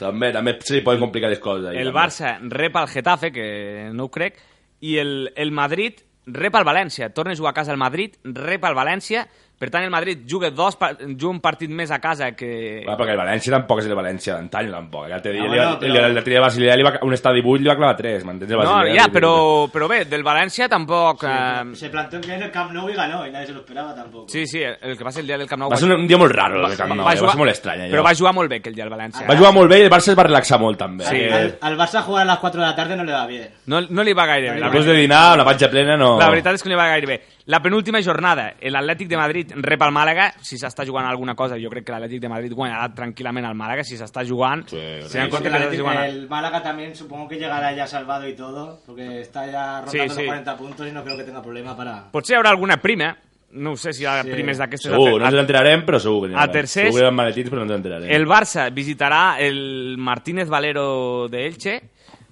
[SPEAKER 5] També, també se li poden complicar les coses. ahí,
[SPEAKER 2] el
[SPEAKER 5] també.
[SPEAKER 2] Barça rep al Getafe, que no ho crec, i el, el Madrid rep al València. Torna a jugar a casa al Madrid, rep al València. Per tant, el Madrid juga, dos, par- juga un partit més a casa que...
[SPEAKER 5] Va, perquè el València tampoc és el València d'antany, tampoc. L'altre dia,
[SPEAKER 6] Ah,
[SPEAKER 5] ah,
[SPEAKER 6] bueno,
[SPEAKER 5] bueno,
[SPEAKER 6] però-
[SPEAKER 5] el, l'altre dia Basilea li va, un estadi buit li va clavar 3, m'entens? El
[SPEAKER 2] No,
[SPEAKER 5] Basilea
[SPEAKER 2] ja,
[SPEAKER 5] li-
[SPEAKER 2] però, però bé, del València tampoc... eh,
[SPEAKER 6] Se plantó bien el Camp Nou y ganó, y nadie se lo esperaba tampoco.
[SPEAKER 2] Sí, sí, el, el que va ser el dia del Camp Nou...
[SPEAKER 5] Va ser un, un dia molt raro, el Camp Nou, eh? va,
[SPEAKER 2] jugar-
[SPEAKER 5] ser molt estrany. allò.
[SPEAKER 2] Però va jugar molt bé aquell dia el València. eh?
[SPEAKER 5] va jugar molt bé i el Barça es va relaxar molt, també. Eh,
[SPEAKER 6] Al- Al, al Barça jugar a las 4 de la tarde no le va bien.
[SPEAKER 2] No, no li va gaire bé.
[SPEAKER 5] La
[SPEAKER 2] la
[SPEAKER 5] de dinar, amb la panxa plena, no...
[SPEAKER 2] La veritat és que no li va gaire bé. La penúltima jornada, l'Atlètic de Madrid rep al Màlaga. Si s'està jugant alguna cosa, jo crec que l'Atlètic de Madrid guanyarà tranquil·lament al Màlaga. Si s'està jugant...
[SPEAKER 5] Sí,
[SPEAKER 2] se en
[SPEAKER 6] Es que
[SPEAKER 2] compte que
[SPEAKER 6] el,
[SPEAKER 2] s'està
[SPEAKER 6] Atlético-
[SPEAKER 2] jugant...
[SPEAKER 6] el Málaga también supongo que llegará ya salvado y todo, porque está ya rondando
[SPEAKER 2] Sí,
[SPEAKER 6] los
[SPEAKER 2] sí.
[SPEAKER 6] 40 puntos y no creo que tenga problema para...
[SPEAKER 2] Potser hi haurà alguna prima. No ho sé si hi ha
[SPEAKER 6] Sí.
[SPEAKER 2] primes d'aquestes.
[SPEAKER 5] Segur, no
[SPEAKER 2] a-
[SPEAKER 5] ens l'enterarem, però segur que n'hi haurà.
[SPEAKER 2] A tercers-
[SPEAKER 5] Segur que hi haurà maletins, però no ens l'enterarem.
[SPEAKER 2] El Barça visitarà el Martínez Valero de Elche.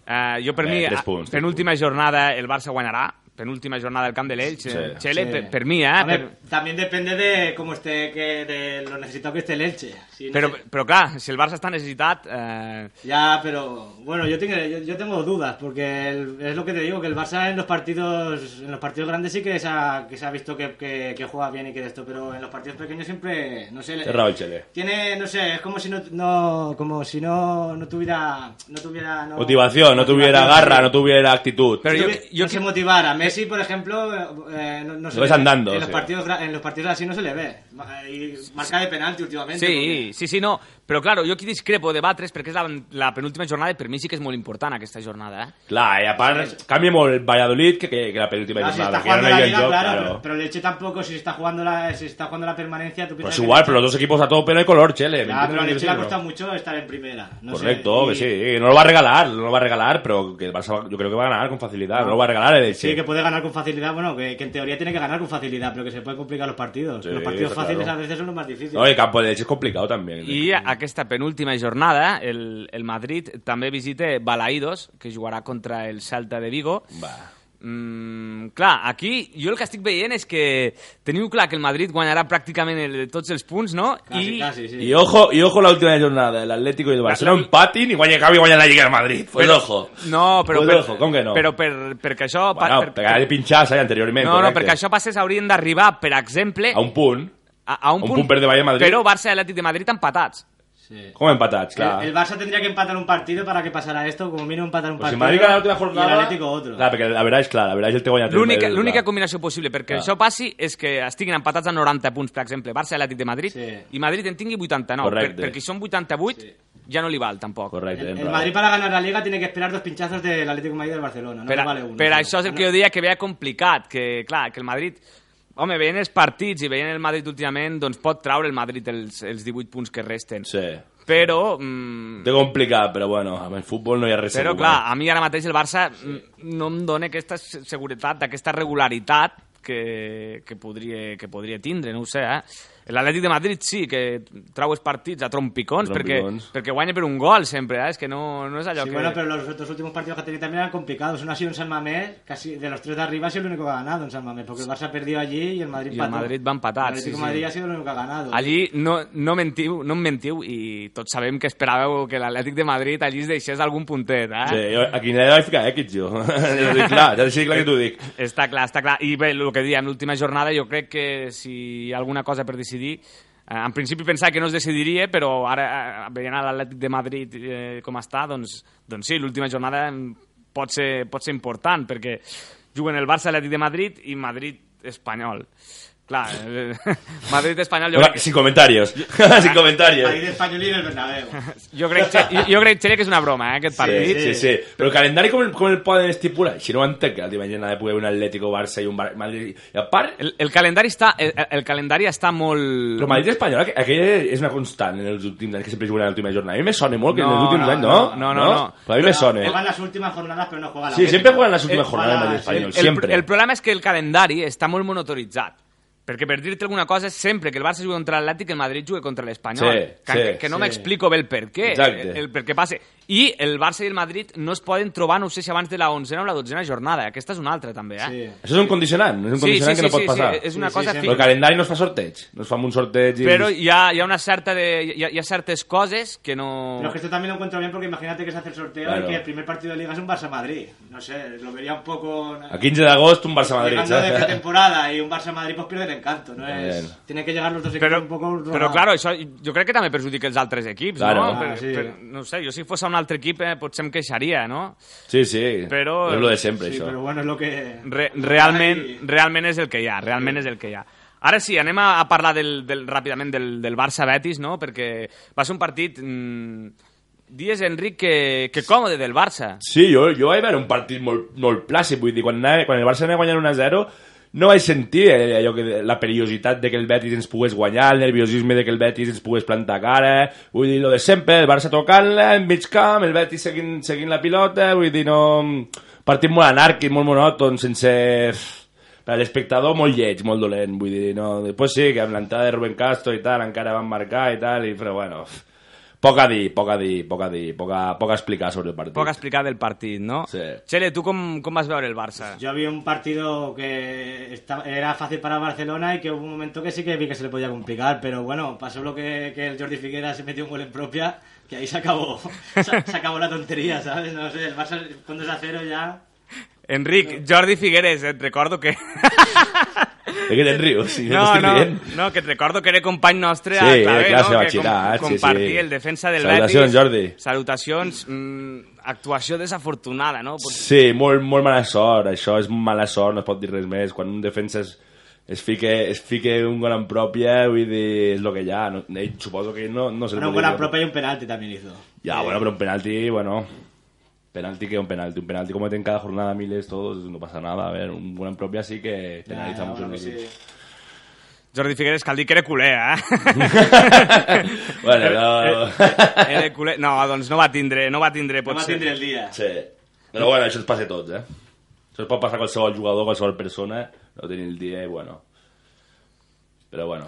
[SPEAKER 2] Eh, jo, per
[SPEAKER 5] Bé,
[SPEAKER 2] mi,
[SPEAKER 5] tres
[SPEAKER 2] a-
[SPEAKER 5] punts, tres
[SPEAKER 2] penúltima jornada el Barça guanyarà. Penúltima jornada al camp de l'Elche.
[SPEAKER 5] Sí.
[SPEAKER 2] Chele,
[SPEAKER 6] Sí.
[SPEAKER 2] per, per mi, eh?
[SPEAKER 6] A
[SPEAKER 2] Per,
[SPEAKER 6] ver, También depende de cómo esté, que de lo necesitado que esté el Elche. Si no
[SPEAKER 2] però,
[SPEAKER 6] sé-
[SPEAKER 2] però, clar, si el Barça està necessitat... Eh,
[SPEAKER 6] Ya, pero bueno, yo tengo, yo, yo tengo dudas, porque el- es lo que te digo, que el Barça en los partidos en los partidos grandes sí que se ha, que se ha visto que, que- que juega bien y que de esto, pero en los partidos pequeños siempre, no sé... le-
[SPEAKER 5] Té raó el Xele.
[SPEAKER 6] Tiene, no sé, es como si no, no como si no, no tuviera... No tuviera no-
[SPEAKER 5] Motivación, no tuviera
[SPEAKER 6] motivación,
[SPEAKER 5] garra,
[SPEAKER 6] sí.
[SPEAKER 5] no tuviera actitud.
[SPEAKER 2] Pero yo-
[SPEAKER 6] no se motivara. Messi, por ejemplo, eh, no, no se
[SPEAKER 5] Lo ves
[SPEAKER 6] le ve.
[SPEAKER 5] andando,
[SPEAKER 6] En los,
[SPEAKER 5] sí.
[SPEAKER 6] partidos, gra- en los partidos así no se le ve. Ma- Y marca de penalti últimamente.
[SPEAKER 2] Sí, sí, sí, no. Però, claro, jo aquí discrepo de Batres perquè és la, la penúltima jornada i per mi sí que és molt important aquesta jornada, eh?
[SPEAKER 5] Clar, i a part, canvia molt el Valladolid que, que, que la penúltima
[SPEAKER 6] Claro, si
[SPEAKER 5] jornada.
[SPEAKER 6] Ah, está
[SPEAKER 5] que ja
[SPEAKER 6] jugando
[SPEAKER 5] no hi
[SPEAKER 6] la
[SPEAKER 5] ha
[SPEAKER 6] liga,
[SPEAKER 5] lloc,
[SPEAKER 6] claro,
[SPEAKER 5] claro.
[SPEAKER 6] Pero, pero el Elche tampoco, si está jugando la, si está jugando la permanencia, tú
[SPEAKER 5] Pero
[SPEAKER 6] piensas
[SPEAKER 5] es
[SPEAKER 6] que
[SPEAKER 5] Pues
[SPEAKER 6] el
[SPEAKER 5] igual,
[SPEAKER 6] Elche-
[SPEAKER 5] pero los dos equipos a todo pelo de color, Chele.
[SPEAKER 6] Ya, pero al Elche le ha costado mucho estar en primera. No sé,
[SPEAKER 5] Correcto,
[SPEAKER 6] y-
[SPEAKER 5] que sí, que no lo va a regalar, no lo va a regalar, pero que el Barça va- yo creo que va a ganar con facilidad, no lo va a regalar el Elche.
[SPEAKER 6] Sí, que puede ganar con facilidad, bueno, que, que en teoría tiene que ganar con facilidad, pero que se pueden complicar los partidos.
[SPEAKER 5] Sí,
[SPEAKER 6] los partidos
[SPEAKER 5] está
[SPEAKER 6] fáciles
[SPEAKER 5] claro.
[SPEAKER 6] a veces son los más difíciles.
[SPEAKER 5] No, el campo del Elche es complicado también.
[SPEAKER 2] I aquesta penúltima jornada el, el Madrid també visita Balaïdos, que jugarà contra el Salta de Vigo.
[SPEAKER 5] Va.
[SPEAKER 2] Mm, clar, aquí jo el que estic veient és que teniu clar que el Madrid guanyarà pràcticament el, tots els punts, no?
[SPEAKER 6] Casi, casi, sí.
[SPEAKER 5] Y ojo, y ojo la última jornada, el Atlético y el Barcelona empaten y guaña Cabi guaña la Liga de Madrid. Pues ojo.
[SPEAKER 2] No, però...
[SPEAKER 5] Pues
[SPEAKER 2] per,
[SPEAKER 5] ojo, com que no?
[SPEAKER 2] Però per, perquè això... pa-
[SPEAKER 5] Bueno,
[SPEAKER 2] per-
[SPEAKER 5] pegar de pinchas ahí anteriormente.
[SPEAKER 2] no, no,
[SPEAKER 5] correcte.
[SPEAKER 2] perquè això passés haurien d'arribar, per exemple,
[SPEAKER 5] A un punt.
[SPEAKER 2] a, a un,
[SPEAKER 5] un punt per davall de Madrid.
[SPEAKER 2] Però Barça i Atlètic de Madrid empatats.
[SPEAKER 6] Sí.
[SPEAKER 5] Com empatats, clar.
[SPEAKER 6] El, el Barça tendría que empatar un partido para que pasara esto, como mínimo empatar un
[SPEAKER 5] Pues si
[SPEAKER 6] partido.
[SPEAKER 5] Madrid gana l'última
[SPEAKER 6] Y el
[SPEAKER 5] jornada...
[SPEAKER 6] Atlético otro.
[SPEAKER 5] Clar, perquè la veuràs, clar, la veuràs el teu guanyat.
[SPEAKER 2] L'única
[SPEAKER 5] el-
[SPEAKER 2] l'única
[SPEAKER 5] clar.
[SPEAKER 2] combinació possible perquè
[SPEAKER 5] Clar.
[SPEAKER 2] això passi és que estiguin empatats a 90 punts, per exemple, Barça i Atlètic de Madrid,
[SPEAKER 6] Sí.
[SPEAKER 2] i Madrid en tingui 89,
[SPEAKER 5] Correcte.
[SPEAKER 2] per, perquè si són 88 ja no li val tampoc.
[SPEAKER 5] Correcte.
[SPEAKER 6] El, el
[SPEAKER 5] tens raó.
[SPEAKER 6] Madrid para ganar la Liga tiene que esperar dos pinchazos del Atlético de Madrid y del Barcelona. No
[SPEAKER 2] per,
[SPEAKER 6] le
[SPEAKER 2] a,
[SPEAKER 6] vale uno.
[SPEAKER 2] per
[SPEAKER 6] solo.
[SPEAKER 2] això és el que jo deia que veia complicat, que clar, que el Madrid Home, veient els partits i veient el Madrid últimament, doncs pot traure el Madrid els, els 18 punts que resten.
[SPEAKER 5] Sí.
[SPEAKER 2] Però, mm,
[SPEAKER 5] Té complicat, però bueno, amb el futbol no hi ha res
[SPEAKER 2] però
[SPEAKER 5] segur,
[SPEAKER 2] clar, a mi ara mateix el Barça mm, no em dona aquesta se- seguretat, aquesta regularitat que, que, podria, que podria tindre, no ho sé, eh? L'Atlètic de Madrid sí, que trau els partits a trompicons,
[SPEAKER 5] Trompicons.
[SPEAKER 2] Perquè, perquè guanya per un gol sempre, eh? és que no, no és allò
[SPEAKER 6] Sí,
[SPEAKER 2] que...
[SPEAKER 6] bueno, pero los dos últimos partidos que ha tenido también eran complicados. Uno ha sido en San Mamés, casi de los tres de arriba ha sido el único que ha ganado en San Mamés, porque el Barça perdió allí y el Madrid
[SPEAKER 2] Y el
[SPEAKER 6] empató.
[SPEAKER 2] Madrid va a empatar,
[SPEAKER 6] El Atlético
[SPEAKER 2] sí, sí.
[SPEAKER 6] de Madrid ha sido el único que ha ganado.
[SPEAKER 2] Allí no, no mentiu, no em mentiu i tots sabem que esperàveu que l'Atlètic de Madrid allí es deixés algun puntet, eh?
[SPEAKER 5] Sí, jo, a quina edad vaig ficar X, jo. jo ho dic clar, ja sí, clar que t'ho dic.
[SPEAKER 2] Està clar, està clar. I bé, el que diem, l'última jornada jo crec que si hi ha alguna cosa per decidir... eh, En principi pensava que no es decidiria, però ara eh, veient l'Atlètic de Madrid eh, com està, doncs, doncs sí, l'última jornada mm, pot ser, pot ser important, perquè juguen el Barça-Atlètic de Madrid i Madrid-Espanyol. Clar, eh, Madrid-Espanyol jo crec que...
[SPEAKER 5] Sin comentarios. Sin comentarios.
[SPEAKER 6] Madrid español y el Bernabéu.
[SPEAKER 2] Jo crec, jo, jo crec Txere, que és una broma, eh, aquest
[SPEAKER 5] Sí,
[SPEAKER 2] partit.
[SPEAKER 5] sí, sí. Però el calendari com el, com el poden estipular? Si no ho entenc, que el diumenge n'ha de poder haver un Atlético, Barça i un Bar Madrid. I a part,
[SPEAKER 2] El, el, calendari està, el, el calendari està molt...
[SPEAKER 5] Però Madrid espanyol, aqu- aquella és una constant en els últims anys, que sempre juguen a l'última jornada. A mi me sona molt que en
[SPEAKER 2] No,
[SPEAKER 5] els últims
[SPEAKER 2] no,
[SPEAKER 5] anys, no?
[SPEAKER 2] no, no, no.
[SPEAKER 5] Però a mi me sona.
[SPEAKER 6] Juegan las últimas jornadas, pero no juegan Eh, la
[SPEAKER 5] eh. Sí, sempre
[SPEAKER 6] Atlético.
[SPEAKER 5] juguen les últimes
[SPEAKER 2] El-
[SPEAKER 5] jornades
[SPEAKER 6] el-
[SPEAKER 5] Madrid espanyol,
[SPEAKER 2] el,
[SPEAKER 5] sempre.
[SPEAKER 2] El problema és que el calendari està molt monotoritzat. Perquè per dir-te alguna cosa, sempre que el Barça juga contra l'Atlètic, el Madrid juga contra l'Espanyol.
[SPEAKER 5] Sí,
[SPEAKER 2] que,
[SPEAKER 5] sí,
[SPEAKER 2] que, que no
[SPEAKER 5] sí.
[SPEAKER 2] m'explico bé el per què.
[SPEAKER 5] Exacte.
[SPEAKER 2] El, el per què passa. I el Barça i el Madrid no es poden trobar, no ho sé si abans de la onzena o la dotzena jornada. Aquesta és una altra, també, eh?
[SPEAKER 6] Sí.
[SPEAKER 5] Això és un condicionant, és
[SPEAKER 2] sí,
[SPEAKER 5] un
[SPEAKER 2] sí,
[SPEAKER 5] condicionant que no
[SPEAKER 2] sí,
[SPEAKER 5] pot
[SPEAKER 2] sí,
[SPEAKER 5] passar.
[SPEAKER 2] sí, és una
[SPEAKER 6] Sí, sí,
[SPEAKER 2] cosa
[SPEAKER 6] sempre.
[SPEAKER 5] Però el
[SPEAKER 2] fija.
[SPEAKER 5] calendari no es fa sorteig. No es fa amb un sorteig i...
[SPEAKER 2] Però hi ha, hi ha una certa de... Hi ha, hi ha certes coses que no...
[SPEAKER 6] Pero es que esto también lo encuentro bien porque imagínate que se hace el sorteo
[SPEAKER 5] Claro.
[SPEAKER 6] y que el primer partido de Liga es un Barça-Madrid. No sé, lo vería un poco...
[SPEAKER 5] A 15 d'agost, un Barça-Madrid,
[SPEAKER 6] Llegando de
[SPEAKER 5] saps?
[SPEAKER 6] pretemporada y un Barça-Madrid pues pierde el encanto, ¿no?
[SPEAKER 5] También.
[SPEAKER 6] Es, tiene que llegar los dos equipos
[SPEAKER 2] però,
[SPEAKER 6] un poco...
[SPEAKER 2] però
[SPEAKER 6] rodados.
[SPEAKER 2] claro, això jo crec que també perjudica els altres equips,
[SPEAKER 5] Claro.
[SPEAKER 2] no?
[SPEAKER 5] Ah,
[SPEAKER 2] Per,
[SPEAKER 6] sí.
[SPEAKER 2] per, no ho sé, jo si fos un altre equip eh, potser em queixaria, no?
[SPEAKER 5] Sí, sí.
[SPEAKER 2] Però-
[SPEAKER 5] És lo de sempre,
[SPEAKER 6] Sí,
[SPEAKER 5] això.
[SPEAKER 6] pero bueno, es lo que...
[SPEAKER 2] Re realment,
[SPEAKER 6] Ahí-
[SPEAKER 2] realment és el que hi ha, realment és el que hi ha. Ara sí, anem a, a parlar del, del, ràpidament del, del Barça-Betis, no? Perquè va ser un partit... Mmm, dies, Enric, que, que còmode del Barça.
[SPEAKER 5] Sí, jo, jo vaig veure un partit molt, molt plàcid, vull dir, quan, anava, quan el Barça anava guanyant 1-0, no vaig sentir eh, allò que, la perillositat de que el Betis ens pogués guanyar, el nerviosisme de que el Betis ens pogués plantar cara, eh. vull dir, lo de sempre, el Barça tocant-la, en mig camp, el Betis seguint, seguint la pilota, vull dir, no... Partit molt anàrquic, molt monòton, sense... Per a l'espectador molt lleig, molt dolent, vull dir, no... Després sí, que amb l'entrada de Rubén Castro i tal, encara van marcar i tal, i, però bueno... Poc a dir, poc a dir, poc a dir, poc a, poc a explicar sobre el partit.
[SPEAKER 2] Poc a explicar del partit, no?
[SPEAKER 5] Sí.
[SPEAKER 2] Txele, tu com, com vas veure el Barça?
[SPEAKER 6] Yo vi un partido que esta- era fácil para Barcelona y que hubo un momento que sí que vi que se le podía complicar, pero bueno, pasó lo que, que el Jordi Figueras se metió un gol en propia, que ahí se acabó, se, se acabó la tontería, ¿sabes? No sé, el Barça cuando es a cero ya...
[SPEAKER 2] Enric, Jordi Figueres, et recordo que...
[SPEAKER 5] Es que te río, sí,
[SPEAKER 2] No,
[SPEAKER 5] estoy
[SPEAKER 2] no,
[SPEAKER 5] bien.
[SPEAKER 2] no, que et recordo que era company nostre
[SPEAKER 5] Sí, eh,
[SPEAKER 2] a Clavé,
[SPEAKER 5] clar, se
[SPEAKER 2] no?
[SPEAKER 5] va
[SPEAKER 2] que
[SPEAKER 5] girar, sí,
[SPEAKER 2] compartir
[SPEAKER 5] sí.
[SPEAKER 2] el defensa del
[SPEAKER 5] Salutacions,
[SPEAKER 2] Betis.
[SPEAKER 5] Jordi.
[SPEAKER 2] Salutacions, mm, actuació desafortunada, no? Pot-
[SPEAKER 5] Sí, molt, molt mala sort, això és mala sort, no es pot dir res més. Quan un defensa es, es, fique, es fique un gol en pròpia, vull dir, és lo que hi ha. No, ell, suposo que no, no se
[SPEAKER 6] Bueno, un
[SPEAKER 5] pot
[SPEAKER 6] gol
[SPEAKER 5] dir
[SPEAKER 6] a
[SPEAKER 5] que-
[SPEAKER 6] propia y un penalti también hizo.
[SPEAKER 5] Ja, bueno, però un penalti, bueno... Penalti que un penalti, un penalti cometen cada jornada miles todos, no pasa nada, a ver, un gol en propia sí que penaliza
[SPEAKER 6] Ya,
[SPEAKER 5] mucho
[SPEAKER 6] bueno,
[SPEAKER 5] el
[SPEAKER 6] sí.
[SPEAKER 5] equipo.
[SPEAKER 2] Pues Jordi Figueres, cal dir que era culer, eh?
[SPEAKER 5] Bueno,
[SPEAKER 6] Eh,
[SPEAKER 5] no...
[SPEAKER 2] era culer. No, doncs no va tindre, no va tindre,
[SPEAKER 6] No va a
[SPEAKER 2] potser.
[SPEAKER 6] tindre el día.
[SPEAKER 5] Sí. Però bueno, això ens passa a tots, eh? Això ens pot passar a qualsevol jugador, a qualsevol persona, no tenir el dia i bueno... Però bueno.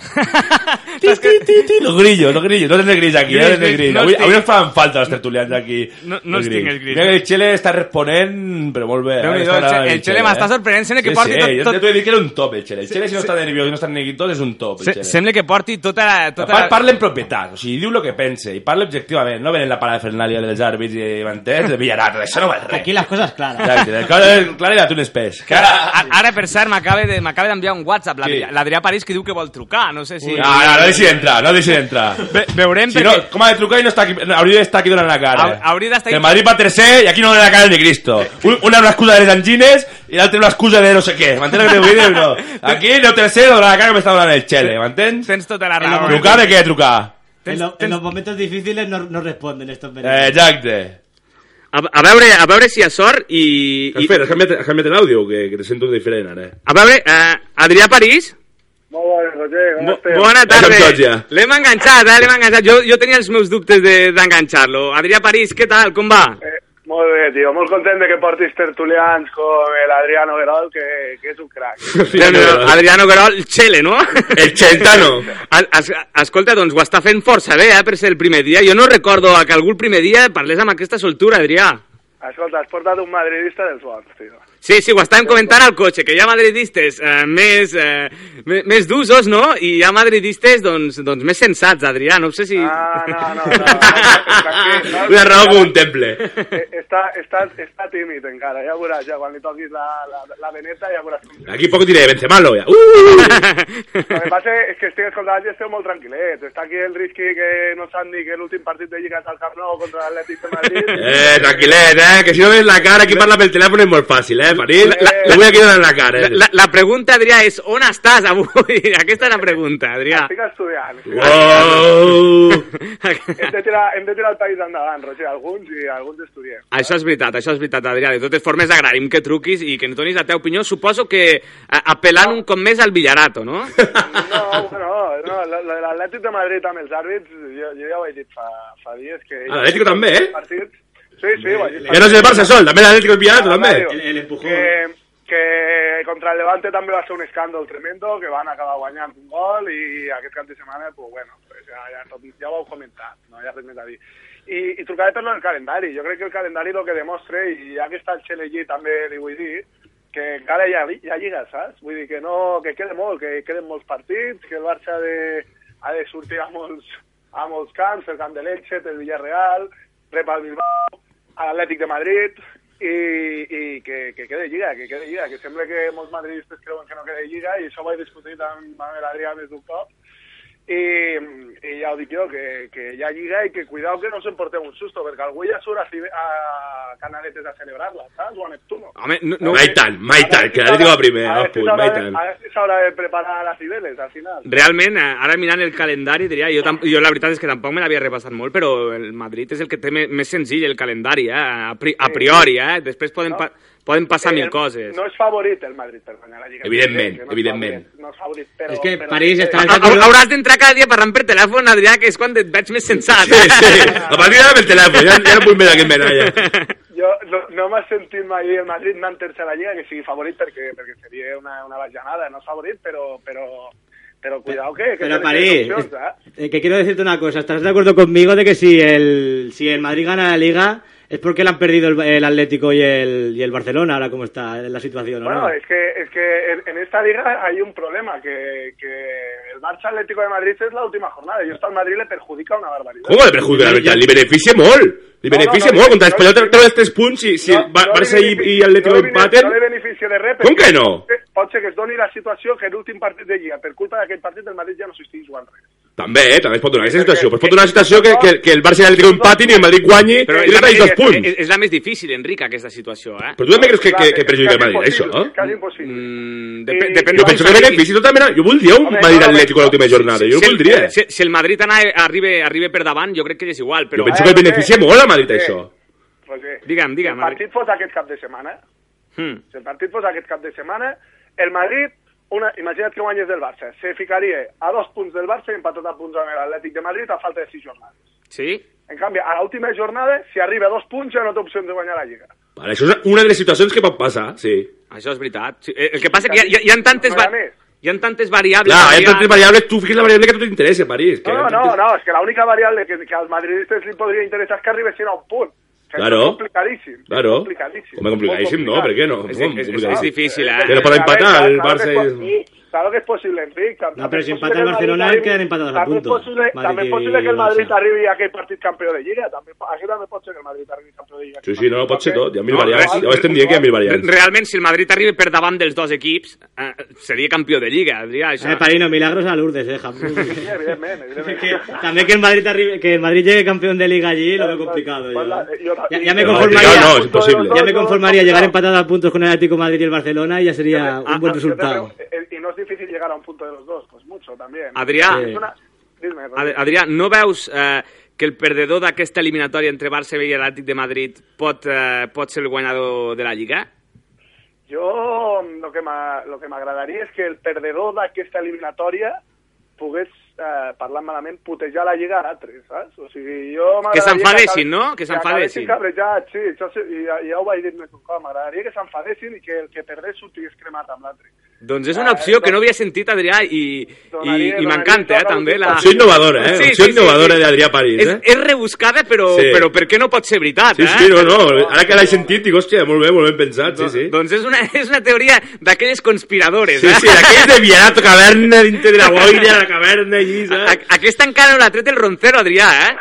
[SPEAKER 5] ti, ti, ti, ti, los grillos, los grillos. No tens grills aquí, eh, no
[SPEAKER 2] Grills,
[SPEAKER 5] tens
[SPEAKER 2] grills,
[SPEAKER 5] grills.
[SPEAKER 2] no
[SPEAKER 5] Avui,
[SPEAKER 2] els
[SPEAKER 5] avui
[SPEAKER 2] tinc.
[SPEAKER 5] ens fan falta els tertulians aquí.
[SPEAKER 2] No- no els tinc, els grills.
[SPEAKER 5] Mira que el Xele està responent, però molt bé. eh?
[SPEAKER 2] Déu-n'hi-do,
[SPEAKER 5] Està
[SPEAKER 2] el Che-
[SPEAKER 5] agradant
[SPEAKER 2] el Chele m'està sorprenent, sembla que porti
[SPEAKER 5] eh? sí,
[SPEAKER 2] tot-
[SPEAKER 5] Sí,
[SPEAKER 2] tot-
[SPEAKER 5] jo t'he dit que era un top, el Xele. El Xele, si no està nerviós i no està neguitós, és un top, el
[SPEAKER 2] Se
[SPEAKER 5] Xele.
[SPEAKER 2] sembla que porti tota la...
[SPEAKER 5] A
[SPEAKER 2] Tota
[SPEAKER 5] part,
[SPEAKER 2] la...
[SPEAKER 5] parla en propietat, o sigui, diu el que pense, i parla objectivament, no venen la parafernàlia dels àrbits i mantets de Villarata, això no val res.
[SPEAKER 6] Aquí las cosas claras.
[SPEAKER 5] Exacte, del
[SPEAKER 2] eh,
[SPEAKER 5] clar, clar era tu n'espès. Que ara...
[SPEAKER 2] Ara, ara, per cert, m'acaba de- m'acaba d'enviar un WhatsApp l'Adrià-
[SPEAKER 5] Sí.
[SPEAKER 2] l'Adrià París que diu que vol trucar, no sé si...
[SPEAKER 5] No, no, no deixi d'entrar, no deixi d'entrar.
[SPEAKER 2] Ve- veurem
[SPEAKER 5] Si no,
[SPEAKER 2] perquè-
[SPEAKER 5] com ha de trucar i no està aquí, no, hauria d'estar aquí donant la cara.
[SPEAKER 2] Hau- hauria d'estar aquí-
[SPEAKER 5] El Madrid va tercer i aquí no dona la cara ni Cristo. Un, una una excusa de les angines i l'altra una excusa de no sé què. M'entens el que t'ho diré o no? Aquí no tercer dona la cara que m'està donant el Xele, m'entens?
[SPEAKER 2] Tens tota la
[SPEAKER 6] En
[SPEAKER 2] raó.
[SPEAKER 6] el moment-
[SPEAKER 5] Trucar de què trucar?
[SPEAKER 6] En,
[SPEAKER 2] Tens-
[SPEAKER 6] lo- en
[SPEAKER 2] tens-
[SPEAKER 6] los momentos difíciles no, no responden estos
[SPEAKER 5] Eh,
[SPEAKER 6] venenos.
[SPEAKER 5] Exacte.
[SPEAKER 2] A, a, veure, a veure si hi ha sort i...
[SPEAKER 5] Espera, has canviat, has canviat l'àudio o què? Que te sento diferent ara.
[SPEAKER 2] A veure, eh, a, Adrià París?
[SPEAKER 7] Molt bé, Roger, com
[SPEAKER 5] Bo-
[SPEAKER 7] esteu?
[SPEAKER 2] Bona
[SPEAKER 5] Era un jutge.
[SPEAKER 2] tarda. L'hem enganxat, eh? L'hem enganxat. Jo, jo tenia els meus dubtes de- d'enganxar-lo. De, Adrià París, què tal? Com va?
[SPEAKER 7] Eh, molt bé, tio, molt content de que portis tertulians com l'Adrià Noguerol, que, que és un crac.
[SPEAKER 5] Sí,
[SPEAKER 2] Déu-n'hi-do.
[SPEAKER 5] senyora.
[SPEAKER 2] Adriano Garol, Chele, no?
[SPEAKER 5] El Chentano.
[SPEAKER 2] Es- es- Escolta, doncs ho està fent força bé, eh, per ser el primer dia. Jo no recordo que algú el primer dia parlés amb aquesta soltura, Adrià.
[SPEAKER 7] Escolta, has portat un madridista dels bons, tio.
[SPEAKER 2] Sí, sí, ho estàvem comentant al cotxe, que hi ha madridistes eh, més, eh, me- més d'usos, no? I hi ha madridistes, doncs, doncs més sensats, Adrià, no sé si...
[SPEAKER 7] Ah, no, no, no, tranquil, no.
[SPEAKER 5] Una raó com un temple.
[SPEAKER 7] Eh, Està, està, està tímid encara, ja veuràs, ja quan li toquis la, la, la veneta ja veuràs com serà.
[SPEAKER 5] Aquí poc diré, Benzema lo ya. Uh!
[SPEAKER 7] El que passa és que estic escoltant i esteu molt tranquil·lets. Està aquí el Risky que no sap ni que l'últim partit de Lliga és al Camp Nou contra l'Atlètic de Madrid.
[SPEAKER 5] Eh, tranquilet, eh, que si no ves la cara, aquí parla pel telèfon és molt fàcil, eh, París.
[SPEAKER 7] La- la-
[SPEAKER 5] Te voy a quitar la cara.
[SPEAKER 2] La,
[SPEAKER 5] Eh?
[SPEAKER 2] la, la pregunta, Adrià, és on estàs avui? Aquesta és la pregunta, Adrià.
[SPEAKER 7] Estic estudiant.
[SPEAKER 5] Wow.
[SPEAKER 7] Hem de, tirar, hem de tirar el país endavant, Roger, alguns i alguns estudiem.
[SPEAKER 2] Això és veritat, això és veritat, Adrià. De totes formes, agraïm que truquis i que ens donis la teva opinió. Suposo que eh, apel·lant un cop més al Villarato, no?
[SPEAKER 7] No, bueno, no, lo, lo de l'Atlètic de Madrid amb els àrbits, jo, jo ja ho he dit fa, fa dies que...
[SPEAKER 5] Ah, l'Atlético també, eh?
[SPEAKER 7] Partits, sí, sí, ho he dit.
[SPEAKER 5] Que no és el Barça sol, també l'Atlético del Pilar, també.
[SPEAKER 6] El- el empujón.
[SPEAKER 7] Que, que contra el Levante també va ser un escàndol tremendo, que van acabar guanyant un gol i aquest cap de setmana, pues, bueno, pues, ja, ja, tot, ja ho heu comentat, no hi ha res més a dir. I, i trucaré per lo del calendari. Jo crec que el calendari el que demostra, i ja que està el Xelegi també li vull dir, que encara hi ha, hi ha lliga, saps? Vull dir que no, que queda molt, que queden molts partits, que el Barça ha de, ha de sortir a molts, a molts camps, el camp de l'Elche, el Villarreal, rep al Bilbao, a l'Atlètic de Madrid i, i que, que quede lliga, que quede lliga, que sembla que molts madridistes creuen que no quede lliga i això ho he discutit amb, amb l'Adrià més d'un cop i, i ja ho dic jo, que, que hi ha lliga i que cuidao que no us emporteu un susto perquè algú ja surt a, Cibe- a Canaletes a celebrar-la, saps? O a Neptuno.
[SPEAKER 2] Home, no, no,
[SPEAKER 5] Maitan, Maitan, que l'Atlético va primer,
[SPEAKER 7] A
[SPEAKER 5] ah,
[SPEAKER 7] ver si
[SPEAKER 5] punt,
[SPEAKER 7] s'haurà de-
[SPEAKER 5] Maitan.
[SPEAKER 7] a ver si s'haurà de preparar las Cibeles al final.
[SPEAKER 2] realment, eh, ara mirant el calendari, diria, jo, tam- jo la veritat és que tampoc me l'havia repassat molt, però el Madrid és el que té me- més senzill el calendari, eh? a, pri a priori, eh? després poden, pa poden passar mil
[SPEAKER 7] Eh,
[SPEAKER 2] coses.
[SPEAKER 7] No és favorit el Madrid per guanyar la Lliga.
[SPEAKER 5] Evidentment,
[SPEAKER 7] Sí, que no és
[SPEAKER 5] evidentment.
[SPEAKER 7] favorit, No és favorit, però...
[SPEAKER 6] Es que
[SPEAKER 7] però-
[SPEAKER 6] París está-
[SPEAKER 2] Ha- ha- Hauràs d'entrar cada dia parlant per telèfon, Adrià, que és quan et veig més sensat.
[SPEAKER 5] Sí, sí. A partir d'ara amb el telèfon, ja, ja no puc mirar aquest medalla.
[SPEAKER 7] Jo no, no m'ha sentit mai el Madrid anant tercer a la Lliga que sigui favorit perquè, perquè seria una, una bajanada, no és favorit, però... però... Però cuidado que... que
[SPEAKER 6] Pero
[SPEAKER 7] tenen
[SPEAKER 6] París,
[SPEAKER 7] opcions, eh?
[SPEAKER 6] eh, que quiero decirte una cosa. ¿Estás de acuerdo conmigo de que si el, si el Madrid gana la Liga es porque le han perdido el, el Atlético y el, y el Barcelona ahora como está la situación, ¿o
[SPEAKER 7] Bueno,
[SPEAKER 6] no?
[SPEAKER 7] es que, es que en, en esta liga hay un problema, que, que el Barça Atlético de Madrid es la última jornada y esto al Madrid le perjudica una barbaridad.
[SPEAKER 5] Com que le perjudica la veritat? Li beneficia molt. Li
[SPEAKER 7] No,
[SPEAKER 5] beneficia
[SPEAKER 7] no, no,
[SPEAKER 5] molt. Contra
[SPEAKER 7] no,
[SPEAKER 5] l'Espanyol
[SPEAKER 7] no,
[SPEAKER 5] treu treu els tres punts i si el Bar-
[SPEAKER 7] li
[SPEAKER 5] Barça i,
[SPEAKER 7] benefici-
[SPEAKER 5] i Atlético
[SPEAKER 7] no li bene-
[SPEAKER 5] empaten...
[SPEAKER 7] No li beneficia de res.
[SPEAKER 5] Com
[SPEAKER 7] perquè
[SPEAKER 5] que no?
[SPEAKER 7] Pot ser que es doni la situació que l'últim partit de Lliga, per culpa d'aquell partit, el Madrid ja no s'estigui jugant res.
[SPEAKER 5] També, eh? També es pot donar aquesta
[SPEAKER 7] Perquè-
[SPEAKER 5] situació. Però es pot donar una situació que, que, que el Barça i l'Atlético empatin i el Madrid guanyi
[SPEAKER 2] Però
[SPEAKER 5] i li traguis dos punts.
[SPEAKER 2] És, és la més difícil, Enric, aquesta situació, eh?
[SPEAKER 5] Però tu també creus que, que,
[SPEAKER 7] Clar,
[SPEAKER 5] que perjudica el
[SPEAKER 7] quasi
[SPEAKER 5] Madrid, això?
[SPEAKER 7] impossible,
[SPEAKER 5] eh?
[SPEAKER 7] Quasi impossible.
[SPEAKER 2] Mm,
[SPEAKER 7] I-
[SPEAKER 2] depèn, depèn
[SPEAKER 5] Jo
[SPEAKER 2] com
[SPEAKER 5] penso que
[SPEAKER 2] s'arribi.
[SPEAKER 5] benefici totalment... Jo voldria un
[SPEAKER 7] Home,
[SPEAKER 5] Madrid
[SPEAKER 7] no, no,
[SPEAKER 5] Atlético a l'última jornada. Jo ho
[SPEAKER 2] si,
[SPEAKER 5] voldria.
[SPEAKER 2] el, si, si el Madrid anar, arriba, arriba per davant, jo crec que és igual, però... eh?
[SPEAKER 5] Jo penso que el beneficia molt a Madrid, això.
[SPEAKER 7] Roger,
[SPEAKER 2] Digue'm, digue'm,
[SPEAKER 7] El partit fos aquest cap de setmana,
[SPEAKER 2] Hmm.
[SPEAKER 7] si el partit fos aquest cap de setmana, el Madrid, una, imagina't que guanyes del Barça, se ficaria a dos punts del Barça i empatat a punts amb l'Atlètic de Madrid a falta de sis jornades.
[SPEAKER 2] Sí?
[SPEAKER 7] En canvi, a l'última jornada, si arriba a dos punts, ja no té opcions de guanyar la Lliga.
[SPEAKER 5] Vale, això és una- una de les situacions que pot passar, sí.
[SPEAKER 2] Això és veritat. Sí, eh, El que passa que hi ha, hi ha tantes...
[SPEAKER 7] No hi ha
[SPEAKER 2] Va...
[SPEAKER 7] més.
[SPEAKER 2] Hi ha tantes variables...
[SPEAKER 5] Clar, hi ha
[SPEAKER 2] Adrià.
[SPEAKER 5] tantes variables, tu fiques la variable que a tu t'interessa, París. Que
[SPEAKER 7] No, no, no, no, és que l'única variable que, que als madridistes li podria interessar és que arribessin a un punt. Que
[SPEAKER 5] Claro.
[SPEAKER 7] això És complicadíssim. és
[SPEAKER 5] Claro.
[SPEAKER 7] Complicadíssim.
[SPEAKER 5] Home, complicadíssim,
[SPEAKER 7] Molt
[SPEAKER 5] no? Per què no?
[SPEAKER 2] És,
[SPEAKER 5] Com
[SPEAKER 2] és, és, és
[SPEAKER 5] complicadíssim?
[SPEAKER 2] difícil,
[SPEAKER 7] Eh,
[SPEAKER 5] Que no
[SPEAKER 2] eh?
[SPEAKER 5] pot
[SPEAKER 7] a
[SPEAKER 5] empatar,
[SPEAKER 7] veure,
[SPEAKER 5] el
[SPEAKER 7] claro
[SPEAKER 5] Barça
[SPEAKER 7] que
[SPEAKER 5] és-
[SPEAKER 7] sí, Claro que és possible, Enric. Tam-
[SPEAKER 6] No, però si
[SPEAKER 7] també és
[SPEAKER 6] empata
[SPEAKER 7] possible
[SPEAKER 6] el
[SPEAKER 7] que
[SPEAKER 6] Barcelona,
[SPEAKER 7] Madrid
[SPEAKER 6] queden
[SPEAKER 7] arribi-
[SPEAKER 6] empatados a
[SPEAKER 7] també és
[SPEAKER 6] puntos.
[SPEAKER 7] possible-
[SPEAKER 6] Madrid
[SPEAKER 7] També és
[SPEAKER 6] i
[SPEAKER 7] possible que el
[SPEAKER 6] Barça.
[SPEAKER 7] Madrid arribi a aquell partit campió de Lliga. També, aquí també pot ser que el Madrid arribi campió de Lliga.
[SPEAKER 5] Sí, sí, no, pot ser tot. Hi ha mil
[SPEAKER 2] No,
[SPEAKER 5] variables.
[SPEAKER 2] res,
[SPEAKER 5] Ja ho estem dient que hi ha mil variables.
[SPEAKER 2] Realment, si el Madrid arriba per davant dels dos equips, eh, seria campió de Lliga, Adrià, això.
[SPEAKER 6] Eh, Parino, milagros a Lourdes, eh, Japón.
[SPEAKER 7] Sí, evidentment, evidentment.
[SPEAKER 6] Que- también que el, Madrid arribe- que el Madrid llegue campeón de liga allí lo veo complicado. yo. ¿eh?
[SPEAKER 7] Pues la- yo la-
[SPEAKER 6] Ya, ya me
[SPEAKER 5] No,
[SPEAKER 6] conformaría,
[SPEAKER 5] complicado no, es imposible.
[SPEAKER 6] ya me conformaría llegar
[SPEAKER 7] Complicado.
[SPEAKER 6] empatado a puntos con el Atlético de Madrid y el Barcelona y ya sería un buen
[SPEAKER 7] Yo te
[SPEAKER 6] resultado.
[SPEAKER 7] pregunto, eh, Y no es difícil llegar a un punto de los dos, pues mucho también.
[SPEAKER 2] Adrià,
[SPEAKER 7] Es una- Dime, Rodri.
[SPEAKER 2] Ad- Adrià, no veus eh, que el perdedor d'aquesta eliminatòria entre Barça i Atlètic de Madrid pot, eh, pot ser el guanyador de la Lliga?
[SPEAKER 7] Jo el que m'a- lo que m'agradaria és que el perdedor d'aquesta eliminatòria pogués, eh, parlant malament, putejar la lliga a d'altres, saps? O sigui, jo m'agradaria...
[SPEAKER 2] s'enfadessin,
[SPEAKER 7] acab-
[SPEAKER 2] no? Que s'enfadessin.
[SPEAKER 7] Que acabessin cabrejats, sí, això sí, i ja, ja ho vaig dir més un cop, m'agradaria que s'enfadessin i que el que perdés sortís cremat amb l'altre.
[SPEAKER 2] Doncs és una opció que no havia sentit, Adrià, i, i,
[SPEAKER 7] Donaria-
[SPEAKER 2] i m'encanta, eh,
[SPEAKER 7] donaria
[SPEAKER 2] també. La...
[SPEAKER 5] Opció innovadora, eh?
[SPEAKER 2] Sí,
[SPEAKER 5] Opció
[SPEAKER 2] sí, sí,
[SPEAKER 5] innovadora
[SPEAKER 2] sí.
[SPEAKER 5] de Adrià París,
[SPEAKER 2] És,
[SPEAKER 5] eh?
[SPEAKER 2] és rebuscada, però,
[SPEAKER 5] Sí.
[SPEAKER 2] però per què no pot ser veritat,
[SPEAKER 5] Sí,
[SPEAKER 2] eh?
[SPEAKER 5] sí, no, no, ara que l'he sentit dic, hòstia, molt bé, molt ben pensat, sí, sí.
[SPEAKER 2] Doncs és una, és una teoria d'aquelles conspiradores,
[SPEAKER 5] Sí,
[SPEAKER 2] eh?
[SPEAKER 5] sí, d'aquells de viarat caverna, dintre de la boira, la caverna, allí,
[SPEAKER 2] A,
[SPEAKER 5] saps?
[SPEAKER 2] aquesta encara no l'ha tret el Roncero, Adrià, eh?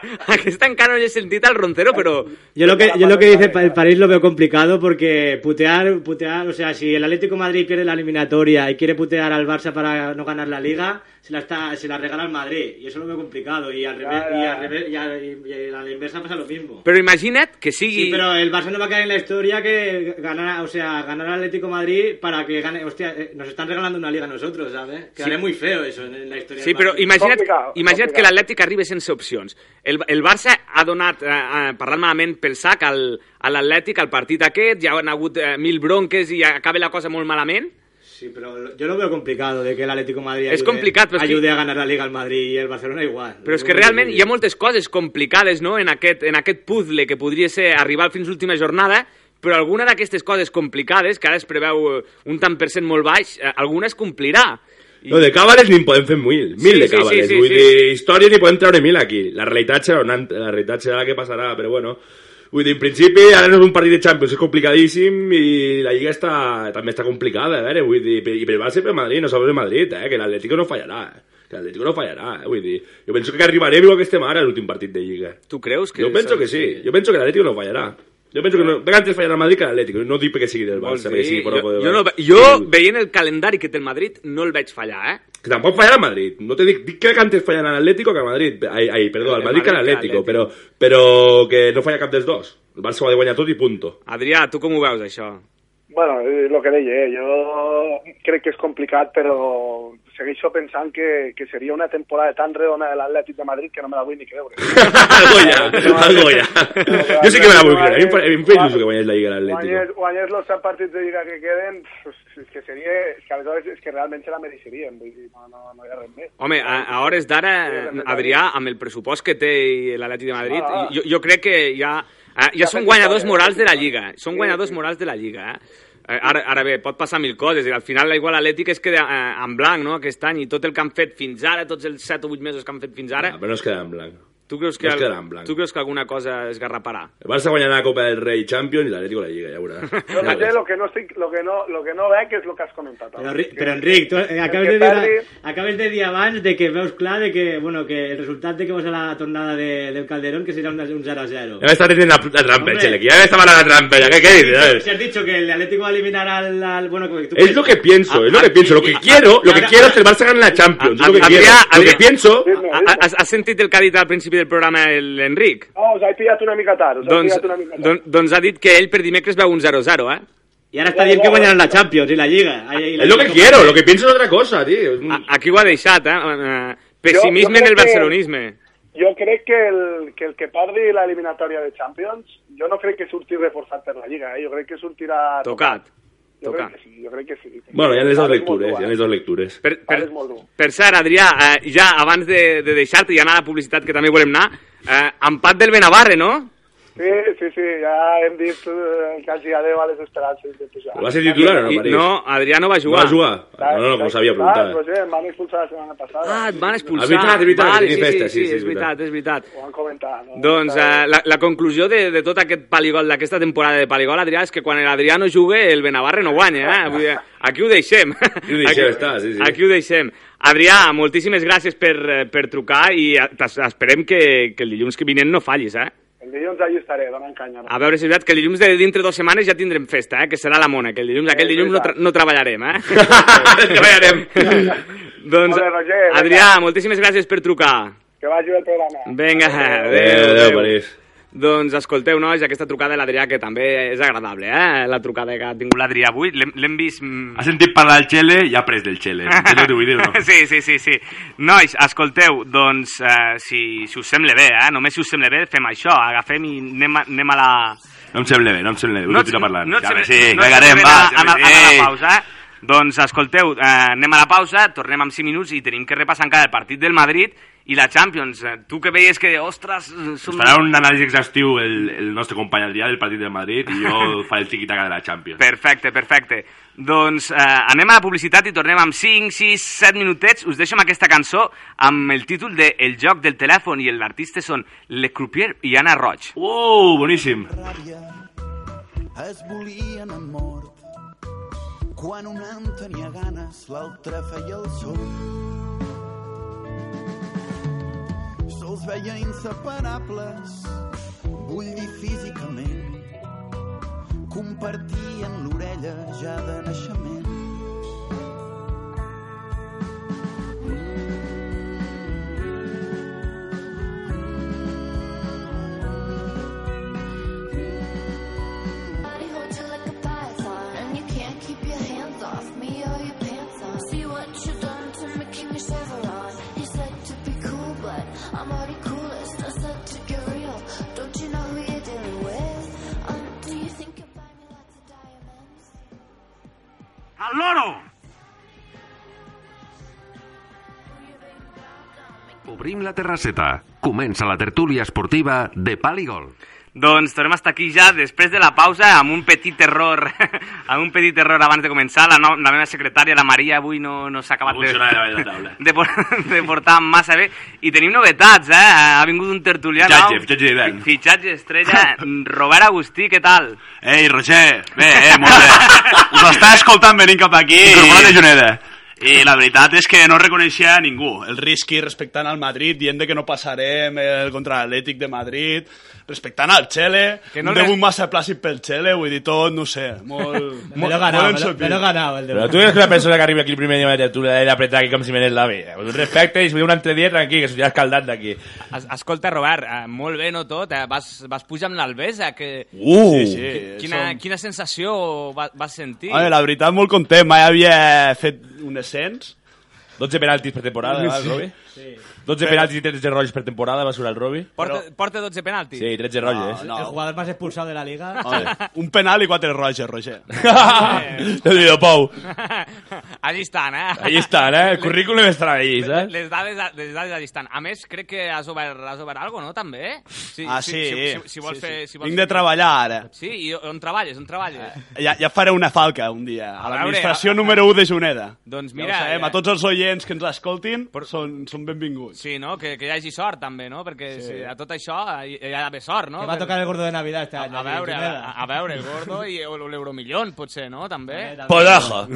[SPEAKER 2] Aquesta encara no l'he sentit al Roncero, pero...
[SPEAKER 6] Yo lo que, yo lo que dice pa- el París lo veo complicado porque putear, putear, o sea, si el Atlético de Madrid quiere la eliminatoria y quiere putear al Barça para no ganar la liga, se la, está, se la regala al Madrid. Y eso lo veo complicado. Y al revés, y al revés- y al- y a la inversa pasa lo mismo.
[SPEAKER 2] Pero imagina't que sigui...
[SPEAKER 6] Sí, pero el Barça no va a caer en la historia que ganara, o sea, ganar al Atlético de Madrid para que gane. Hostia, eh, nos están regalando una liga a nosotros, ¿sabes? Quedaría muy feo eso en la historia.
[SPEAKER 2] Sí,
[SPEAKER 6] del
[SPEAKER 2] però
[SPEAKER 6] Madrid.
[SPEAKER 2] imagina't,
[SPEAKER 7] Complicado,
[SPEAKER 2] imagina't
[SPEAKER 7] complicado.
[SPEAKER 2] que l'Atlètic arribi sense opcions. El, el Barça ha donat, eh, eh, parlant malament pel sac, al, a l'Atlètic, al partit aquest, ja han hagut eh, mil bronques i acaba la cosa molt malament.
[SPEAKER 6] Sí, pero yo lo veo complicado de que el Atlético de Madrid
[SPEAKER 2] Es complicado, pero es que-
[SPEAKER 6] ayude a ganar la Liga al Madrid y el Barcelona igual.
[SPEAKER 2] Però és que realment hi ha moltes coses complicades no? en, aquest, en aquest puzzle que podria ser arribar fins l'última jornada, però alguna d'aquestes coses complicades, que ara es preveu eh, un tant per cent molt baix, eh, alguna es complirà. I-
[SPEAKER 5] No, de càbales n'hi en podem fer mil, mil
[SPEAKER 2] Sí,
[SPEAKER 5] de
[SPEAKER 2] sí,
[SPEAKER 5] càbales.
[SPEAKER 2] sí, sí,
[SPEAKER 5] Vull
[SPEAKER 2] sí.
[SPEAKER 5] dir, històries n'hi podem treure mil aquí. La realitat serà, una, altra, la realitat serà la que passarà, però bueno... Vull dir, en principi, ara no és un partit de Champions, és complicadíssim i la Lliga està, també està complicada, a veure, vull dir, i per Barça i per Madrid, no sabeu de Madrid, eh, que l'Atlético no fallarà, eh, que l'Atlético no fallarà, eh, vull dir, jo penso que arribarem igual que estem ara a l'últim partit de Lliga.
[SPEAKER 2] Tu creus que...
[SPEAKER 5] Jo penso que sí, jo penso que l'Atlético no fallarà. Jo penso que no, que antes fallarà el Madrid que l'Atlético, no dic perquè sigui del
[SPEAKER 2] Vols
[SPEAKER 5] Barça, perquè
[SPEAKER 2] dir?
[SPEAKER 5] sigui per
[SPEAKER 2] jo, jo, no, ve- jo veient el calendari que té el Madrid, no el veig fallar, eh?
[SPEAKER 5] Que tampoc fallarà el Madrid. No te dic, dic que antes fallarà l'Atlético que el Madrid. Ai, ai perdó, el
[SPEAKER 2] El
[SPEAKER 5] Madrid que
[SPEAKER 2] Madrid que
[SPEAKER 5] l'Atlético,
[SPEAKER 2] l'Atlético.
[SPEAKER 5] però, però que no falla cap dels dos. El Barça ho ha de guanyar tot i punto.
[SPEAKER 2] Adrià, tu com ho veus, això?
[SPEAKER 7] Bueno, és el que deia, eh, jo crec que és complicat, però segueixo pensant que, que seria una temporada tan redona de l'Atlètic de Madrid que no me la vull ni creure.
[SPEAKER 5] algo ja, algo ja. jo sí que me la vull creure. A mi em fa- a mi em fa il·lusió que guanyés la Lliga
[SPEAKER 7] Guanyés,
[SPEAKER 5] l'Atlético.
[SPEAKER 7] guanyés los 7 partits de Lliga que queden, pff, és que seria, és que, aleshores, és que realment se la mereixerien, vull dir, no, no, no hi ha res més.
[SPEAKER 2] Home, a, a hores d'ara, eh, Adrià, amb el pressupost que té l'Atlètic de Madrid, jo, jo crec que ja, eh, Ah, ja són guanyadors morals de la Lliga. eh? Són guanyadors morals de la Lliga, eh? Eh, Ara, ara bé, pot passar mil coses. i Al final, la igual Atlètic es queda eh, en blanc, no?, aquest any. I tot el que han fet fins ara, tots els 7 o 8 mesos que han fet fins ara,
[SPEAKER 5] Ah, però no es quedarà en blanc.
[SPEAKER 2] tu creus que,
[SPEAKER 5] no es
[SPEAKER 2] el-
[SPEAKER 5] quedarà en blanc.
[SPEAKER 2] tu creus que alguna cosa es garraparà?
[SPEAKER 5] El Barça guanyarà la Copa del Rei Champions i l'Atlético la Lliga, ja veuràs.
[SPEAKER 7] Jo
[SPEAKER 5] Ja
[SPEAKER 7] no sé,
[SPEAKER 5] veuràs.
[SPEAKER 7] lo que no, estic, lo que no, lo que no veig és lo que has comentat.
[SPEAKER 6] Pero,
[SPEAKER 7] abans,
[SPEAKER 6] Ri-
[SPEAKER 7] que-
[SPEAKER 6] pero Enric, tú, eh,
[SPEAKER 7] que
[SPEAKER 6] acabes, de
[SPEAKER 7] el que
[SPEAKER 6] dir,
[SPEAKER 7] perdi-
[SPEAKER 6] acabes de dir abans de que veus clar de que, bueno, que el resultat de que vas a la tornada de, del Calderón que serà un, un 0 a 0.
[SPEAKER 5] Ja m'està tenint la, la trampa,
[SPEAKER 6] Hombre.
[SPEAKER 5] el Xelequi. Ja m'estava la trampa, ja. Què, què dices?
[SPEAKER 6] Si has dicho que el Atlético va a eliminar al... al- bueno, que tú-
[SPEAKER 5] Es lo que pienso, es lo que pienso. Lo que quiero, lo que quiero es que el Barça gane la Champions. Es lo que
[SPEAKER 2] Adrià,
[SPEAKER 5] quiero. Lo que
[SPEAKER 2] Adrià.
[SPEAKER 5] pienso.
[SPEAKER 6] Ah,
[SPEAKER 7] Dime,
[SPEAKER 2] Ha-
[SPEAKER 7] dime.
[SPEAKER 2] ha- Has, has sentit el que ha dit al principi del programa el- l'Enric?
[SPEAKER 7] No, us he pillat una mica tard, us he
[SPEAKER 2] Doncs,
[SPEAKER 7] pillat una mica tard.
[SPEAKER 2] don, doncs ha dit que ell per dimecres veu un 0-0, eh?
[SPEAKER 6] Y ahora está bien que guañaron la Champions y la Liga. Ahí- ahí la
[SPEAKER 5] Es lo que
[SPEAKER 6] Liga-
[SPEAKER 5] quiero, lo que pienso es otra cosa, tío. Mm.
[SPEAKER 2] A- Aquí ho ha deixat, eh? Eh, Pessimisme
[SPEAKER 7] Mm. Jo- jo
[SPEAKER 2] en el
[SPEAKER 7] crec que-
[SPEAKER 2] barcelonisme.
[SPEAKER 7] Jo crec que el que, el que perdi l'eliminatòria de Champions, jo no crec que surti reforçat per la Lliga, eh? jo crec que sortirà
[SPEAKER 2] Tocat.
[SPEAKER 7] Jo crec
[SPEAKER 2] Tocat.
[SPEAKER 7] que sí, jo crec que sí.
[SPEAKER 5] Bueno, ya en
[SPEAKER 2] ah,
[SPEAKER 5] esas
[SPEAKER 7] Ara és molt
[SPEAKER 5] lecturas,
[SPEAKER 7] dur,
[SPEAKER 5] ya
[SPEAKER 7] eh?
[SPEAKER 5] en esas lecturas.
[SPEAKER 2] Per, per,
[SPEAKER 7] Ara és molt dur.
[SPEAKER 2] per cert, Adrià, eh, ja abans de, de deixar-te i anar a la publicitat, que també volem anar, eh, empat del Benavarre, no?
[SPEAKER 7] Sí, sí, sí, ja hem dit eh, quasi adeu a les esperances de pujar.
[SPEAKER 5] ¿Va a ser titular o no,
[SPEAKER 2] I,
[SPEAKER 5] París?
[SPEAKER 2] no, Adrià no va
[SPEAKER 5] ¿No
[SPEAKER 2] jugar.
[SPEAKER 5] va a jugar? Ah, No, no, como sabía preguntar.
[SPEAKER 2] pues
[SPEAKER 7] No sé, m'han expulsat la setmana passada.
[SPEAKER 2] Ah, et van expulsar.
[SPEAKER 5] És veritat, és veritat,
[SPEAKER 2] Vale,
[SPEAKER 5] que
[SPEAKER 2] sí,
[SPEAKER 5] tenia
[SPEAKER 2] sí,
[SPEAKER 5] festa,
[SPEAKER 2] sí,
[SPEAKER 5] sí, sí,
[SPEAKER 2] és
[SPEAKER 5] és veritat.
[SPEAKER 2] veritat, és veritat.
[SPEAKER 7] Ho han comentat. No?
[SPEAKER 2] Doncs eh, la, la conclusió de, de tot aquest paligol, d'aquesta temporada de paligol, Adrià, és que quan l'Adrià no jugue, el Benavarre no guanya, eh? Vull dir, aquí ho deixem. Aquí
[SPEAKER 5] ho deixem, està, sí, sí.
[SPEAKER 2] Aquí ho deixem. Adrià, moltíssimes gràcies per, eh, per trucar i eh, t'es- esperem que, que el dilluns que vinent no fallis, eh?
[SPEAKER 7] El dilluns allà estaré, donant canya.
[SPEAKER 2] A veure si és veritat que el dilluns de dintre dues setmanes ja tindrem festa, eh? Que serà la mona, que el dilluns, aquell
[SPEAKER 7] Eh,
[SPEAKER 2] dilluns no,
[SPEAKER 7] veritat.
[SPEAKER 2] tra no treballarem, eh?
[SPEAKER 5] Treballarem.
[SPEAKER 2] doncs,
[SPEAKER 7] Molt bé, Roger,
[SPEAKER 2] Adrià, moltíssimes gràcies per trucar.
[SPEAKER 7] Que vagi bé el programa.
[SPEAKER 2] Vinga,
[SPEAKER 8] Ah,
[SPEAKER 2] adéu.
[SPEAKER 5] Adéu, adéu, Eh, París.
[SPEAKER 2] Doncs escolteu, nois, aquesta trucada de l'Adrià, que també és agradable, eh? La trucada que ha tingut l'Adrià avui, l'hem l'hem vist... mm,
[SPEAKER 5] Ha sentido para el Chele y ha pres del Chele. Entens lo que vull dir, no?
[SPEAKER 8] Ah,
[SPEAKER 2] Sí, sí, sí, sí. Nois, escolteu, doncs, eh, si, si us sembla bé, eh? Només si us sembla bé, fem això, agafem i anem a, anem a la...
[SPEAKER 8] No em sembla bé, no em sembla bé, vull
[SPEAKER 2] No
[SPEAKER 8] continuar
[SPEAKER 2] et-
[SPEAKER 8] parlant.
[SPEAKER 2] no et
[SPEAKER 8] Ja ve,
[SPEAKER 2] sembla-
[SPEAKER 8] sí,
[SPEAKER 2] no et
[SPEAKER 8] cagarem,
[SPEAKER 2] sembla
[SPEAKER 8] va,
[SPEAKER 2] bé anar-
[SPEAKER 8] ja ve,
[SPEAKER 2] anar- anar a
[SPEAKER 8] sí.
[SPEAKER 2] la pausa. Doncs escolteu, eh, anem a la pausa, tornem amb 5 minuts i tenim que repassar encara el partit del Madrid i la Champions. Eh, Tu que veies que, ostres, eh, som...
[SPEAKER 8] Ens farà un anàlisi exhaustiu el, el nostre company Adrià del partit del Madrid i jo faré el tiquitaca de la Champions.
[SPEAKER 2] Perfecte, perfecte. Doncs eh, anem a la publicitat i tornem amb 5, 6, 7 minutets. Us deixo amb aquesta cançó amb el títol de El joc del telèfon i l'artista són Le Croupier i Anna Roig.
[SPEAKER 8] Uou, boníssim.
[SPEAKER 1] ràbia es volien en mort. Quan un en tenia ganes, l'altre feia el sol. Sols veia inseparables, bullir físicament. Compartien l'orella ja de naixement.
[SPEAKER 9] Body holds you like a python, and you can't keep your hands off me or your pants on. See what you done to me, Kimmy Chevron. You said to be cool, but I'm already coolest. I said to get real. Don't you know who you're dealing with? Um, do you think you'll buy me lots of diamonds?
[SPEAKER 2] Al loro!
[SPEAKER 3] Obrim la terrasseta. Comença la tertúlia esportiva de Paligol.
[SPEAKER 2] Doncs tornem a estar aquí ja després de la pausa amb un petit error amb un petit error abans de començar la, no, la meva secretària, la Maria, avui no, no s'ha acabat
[SPEAKER 8] No funciona la vela taula.
[SPEAKER 2] de, por, de portar massa bé i tenim novetats, eh? ha vingut un tertulià
[SPEAKER 8] Fitxatge,
[SPEAKER 2] nou.
[SPEAKER 8] fitxatge d'hivern.
[SPEAKER 2] fitxatge estrella, Robert Agustí, què tal?
[SPEAKER 8] Ei, Roger, bé, eh, molt bé. Us està escoltant venint cap aquí. Incorporat de Juneda. I la veritat és que no reconeixia a ningú.
[SPEAKER 10] el risqui respectant al Madrid, dient de que no passarem el contra l'Atlètic de Madrid, respectant al Chele,
[SPEAKER 2] Que
[SPEAKER 10] que
[SPEAKER 2] no
[SPEAKER 10] no un
[SPEAKER 2] li-
[SPEAKER 10] debut massa plàcid pel Chele, vull dir tot, no ho sé, molt...
[SPEAKER 6] Me lo he ganado, me lo,
[SPEAKER 10] ensopit.
[SPEAKER 6] me lo he ganado el
[SPEAKER 5] Pero
[SPEAKER 6] debut.
[SPEAKER 5] tú eres una persona que arriba aquí el primer día de la tertulia de la preta aquí com si me la vida. Con respecte, y si ve un entre 10, tranquil, que s'ho escaldant d'aquí.
[SPEAKER 2] Es, escolta, Robert, eh, molt bé, no tot, eh? vas, vas pujar amb l'Albesa, que...
[SPEAKER 5] Uh!
[SPEAKER 10] Sí, sí,
[SPEAKER 2] Quina,
[SPEAKER 10] som-
[SPEAKER 2] quina sensació va, vas sentir?
[SPEAKER 10] A veure, la veritat, molt content, mai havia fet un ascens,
[SPEAKER 5] 12 penaltis per temporada, va, el Robi? Sí. 12 penaltis i 13 rojos per temporada, va sobre el Robi?
[SPEAKER 2] porta, porta 12 penaltis.
[SPEAKER 5] Sí, 13 rojos.
[SPEAKER 6] El jugador más expulsado de la liga.
[SPEAKER 10] un penal i quatre roges, Roger.
[SPEAKER 5] Déu n'hi do, Pau.
[SPEAKER 2] Allí estan, eh?
[SPEAKER 5] Allí estan, eh? El currículum estarà allí, saps?
[SPEAKER 2] Les dades, les dades allí estan. A més, crec que has obert, has obert alguna no, també? Sí,
[SPEAKER 10] Ah, sí,
[SPEAKER 2] Si, si, si, si vols
[SPEAKER 10] sí,
[SPEAKER 2] fer...
[SPEAKER 10] sí.
[SPEAKER 2] Si vols
[SPEAKER 10] Vinc de
[SPEAKER 2] fer-
[SPEAKER 10] treballar, ara.
[SPEAKER 2] Sí, i on treballes, on treballes?
[SPEAKER 10] Ja, ja faré una falca un dia, a
[SPEAKER 2] veure,
[SPEAKER 10] l'administració
[SPEAKER 2] a-
[SPEAKER 10] número 1 de Juneda.
[SPEAKER 2] Doncs
[SPEAKER 10] ja
[SPEAKER 2] mira,
[SPEAKER 10] ho sabem,
[SPEAKER 2] eh,
[SPEAKER 10] a tots els oients que ens escoltin, són, són benvinguts.
[SPEAKER 2] Sí, no? Que, que hi hagi sort, també, no? Perquè sí. a tot això hi, hi ha d'haver sort, no?
[SPEAKER 6] Que va a tocar el gordo de Navidad este
[SPEAKER 2] A,
[SPEAKER 6] año.
[SPEAKER 2] a,
[SPEAKER 6] aquí,
[SPEAKER 2] veure,
[SPEAKER 6] Pineda.
[SPEAKER 2] a, a veure, el gordo i o l'euromillón, potser, no? També.
[SPEAKER 6] Pineda,
[SPEAKER 5] Podajo.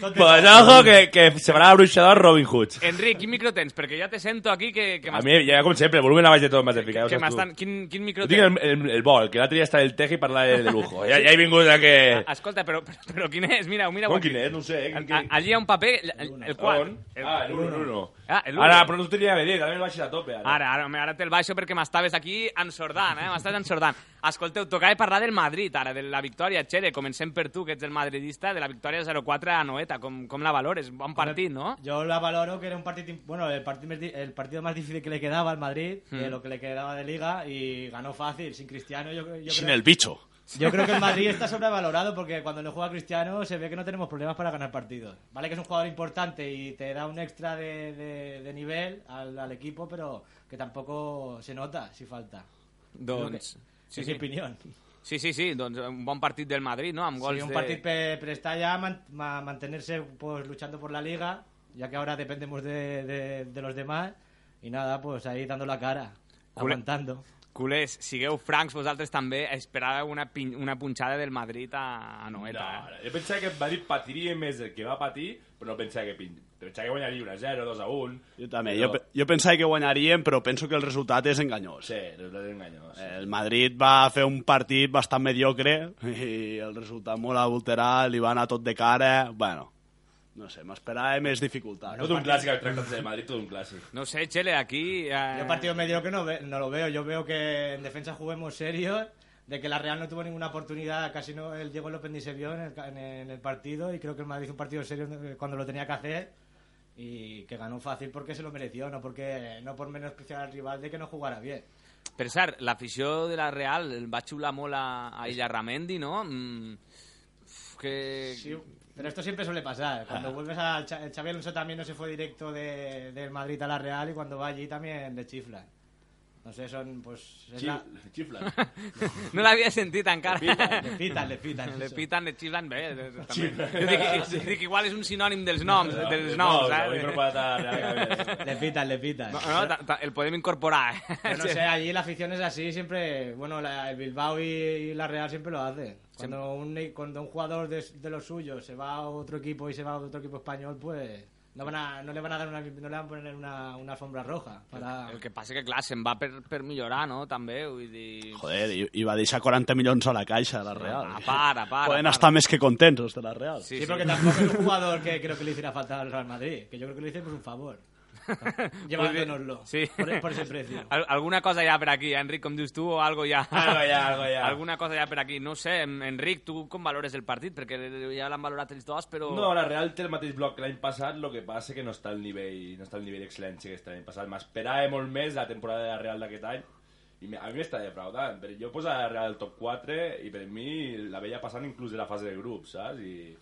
[SPEAKER 6] Tot de-
[SPEAKER 5] Podajo que, que se farà bruixador Robin Hood.
[SPEAKER 2] Enric, quin micro tens? Perquè ja te sento aquí que, que
[SPEAKER 5] A
[SPEAKER 2] m'has-
[SPEAKER 5] mi, ja com sempre, el volumen a baix de tot m'has de ficar. ja ho
[SPEAKER 2] que
[SPEAKER 5] saps tu.
[SPEAKER 2] m'estan... Quin, quin micro
[SPEAKER 5] Jo tinc el,
[SPEAKER 2] tens?
[SPEAKER 5] el, el vol, que l'altre dia estava el teje i parlava de, de lujo. Ja, ja he vingut a que...
[SPEAKER 2] Escolta, però, però, però quin és? Mira, mira
[SPEAKER 5] Com quin és? No ho sé. Quin,
[SPEAKER 2] A, allí hi ha un paper, el, el, el quart.
[SPEAKER 5] On? Ah, el 1, 1.
[SPEAKER 2] Ah, el uno.
[SPEAKER 5] Ara, però no t'ho tenia a dir, també el baixes a tope. Ara.
[SPEAKER 2] Ara, ara, home, ara te'l baixo perquè m'estaves aquí ensordant, eh? M'estaves ensordant. Escolteu, tocava parlar del Madrid, ara, de la victòria. Txere, comencem per tu, que ets el madridista, de la victòria 0-4 a Noeta. Com, com la valores? Bon partit, no?
[SPEAKER 6] Yo la valoro que era un partido, bueno, el partido, más di- el partido más difícil que le quedaba al Madrid,
[SPEAKER 2] Hmm.
[SPEAKER 6] de lo que le quedaba de liga, y ganó fácil, sin Cristiano. Yo, yo
[SPEAKER 10] Sin
[SPEAKER 6] creo,
[SPEAKER 10] el bicho.
[SPEAKER 6] yo creo que el Madrid está sobrevalorado porque cuando no juega Cristiano se ve que no tenemos problemas para ganar partidos. Vale que es un jugador importante y te da un extra de, de- de nivel al, al equipo, pero que tampoco se nota si falta.
[SPEAKER 2] Doncs...
[SPEAKER 6] Sí,
[SPEAKER 2] Sí,
[SPEAKER 6] es mi
[SPEAKER 2] sí,
[SPEAKER 6] opinión.
[SPEAKER 2] sí, sí, sí, doncs un bon partit del Madrid, no? Amb gols
[SPEAKER 6] Sí, un
[SPEAKER 2] de...
[SPEAKER 6] partido pe- pero está ya man- ma- mantenerse pues luchando por la liga, ya que ahora dependemos de, de- de los demás y nada, pues ahí dando la cara,
[SPEAKER 2] Cule-
[SPEAKER 6] aguantando.
[SPEAKER 2] Culers, sigueu francs vosaltres també, esperava una, pin... una punxada del Madrid a, a Noeta,
[SPEAKER 5] No,
[SPEAKER 2] eh?
[SPEAKER 5] no, jo pensava que el Madrid patiria més del que va patir, però no pensava que, pin... pensava que guanyaria 1 a 0, 2 a 1.
[SPEAKER 10] Jo també,
[SPEAKER 5] Però-
[SPEAKER 10] jo, pe- jo pensava que guanyaríem, però penso que el resultat és enganyós.
[SPEAKER 5] Sí, resultat enganyós.
[SPEAKER 10] El Madrid va fer un partit bastant mediocre i el resultat molt adulterat, li va anar tot de cara... Bueno, no sé, m'esperava més dificultat.
[SPEAKER 5] Tot un clàssic, el tractat de Madrid, tot un clàssic.
[SPEAKER 2] No ho sé, Txele, aquí... Eh...
[SPEAKER 6] Yo partido medio que no, ve- no lo veo, yo veo que en defensa juguemos serios, de que la Real no tuvo ninguna oportunidad, casi no, el Diego López ni se vio en el, ca- en el- en el partido y creo que el Madrid hizo un partido serio eh, cuando lo tenía que hacer y que ganó fácil porque se lo mereció, no porque no por menospreciar al rival de que no jugara bien.
[SPEAKER 2] Per cert, l'afició de la Real el va xular molt a, a Illarramendi, no? Mm, uf, que...
[SPEAKER 6] Sí, pero esto siempre suele pasar.
[SPEAKER 2] Ah.
[SPEAKER 6] Cuando vuelves al Cha- el Xavi Alonso también no se fue directo de, del Madrid a la Real y cuando va allí también le chiflan. No sé, son pues... es la-
[SPEAKER 5] Chifla.
[SPEAKER 2] No l'havia sentit encara.
[SPEAKER 6] Le pitan, le pitan.
[SPEAKER 2] Le
[SPEAKER 6] eso.
[SPEAKER 2] pitan, le xiflen, bé, eh, també. Jo dic, jo dic, igual és un sinònim dels noms, dels noms, saps?
[SPEAKER 6] Le pitan, le pitan.
[SPEAKER 2] No, no, ta- ta- el podem incorporar, eh?
[SPEAKER 6] Yo no sé, allí la afición es así, siempre, bueno, la- el Bilbao y, y la Real siempre lo hacen. Cuando un, cuando un jugador de, de los suyos se va a otro equipo y se va a otro equipo español, pues no, van a- no le van a dar una, no le van a poner una, una alfombra roja. Para...
[SPEAKER 2] El que passa que, clar, se'n va per, per millorar, no?, també, vull dir...
[SPEAKER 10] Joder, i, i va deixar 40 milions a la caixa de la Real.
[SPEAKER 2] A part, a part.
[SPEAKER 10] Poden
[SPEAKER 2] a part.
[SPEAKER 10] estar més que contents els de la Real.
[SPEAKER 6] Sí, porque tampoco es un jugador que creo que le hiciera falta al Real Madrid, que yo creo que le hice por un favor. Llevándonoslo.
[SPEAKER 2] Sí.
[SPEAKER 6] Por, e, por ese precio.
[SPEAKER 2] Al- alguna cosa ya por aquí, Enric, com dius tu, o algo ya.
[SPEAKER 5] Algo ya, algo ya.
[SPEAKER 2] Alguna cosa ya por aquí. No sé, en- Enric, tu com valores el partit? Perquè ja l'han valorat els dos, però...
[SPEAKER 5] No, la Real té el mateix bloc que l'any passat, el que passa que no està al nivell, no està al nivell d'excel·lència que està l'any passat. M'esperava molt més la temporada de la Real d'aquest any i me- a mi m'està defraudant, però jo poso la Real al top 4 i per mi la veia passant inclús de la fase de grup, saps? I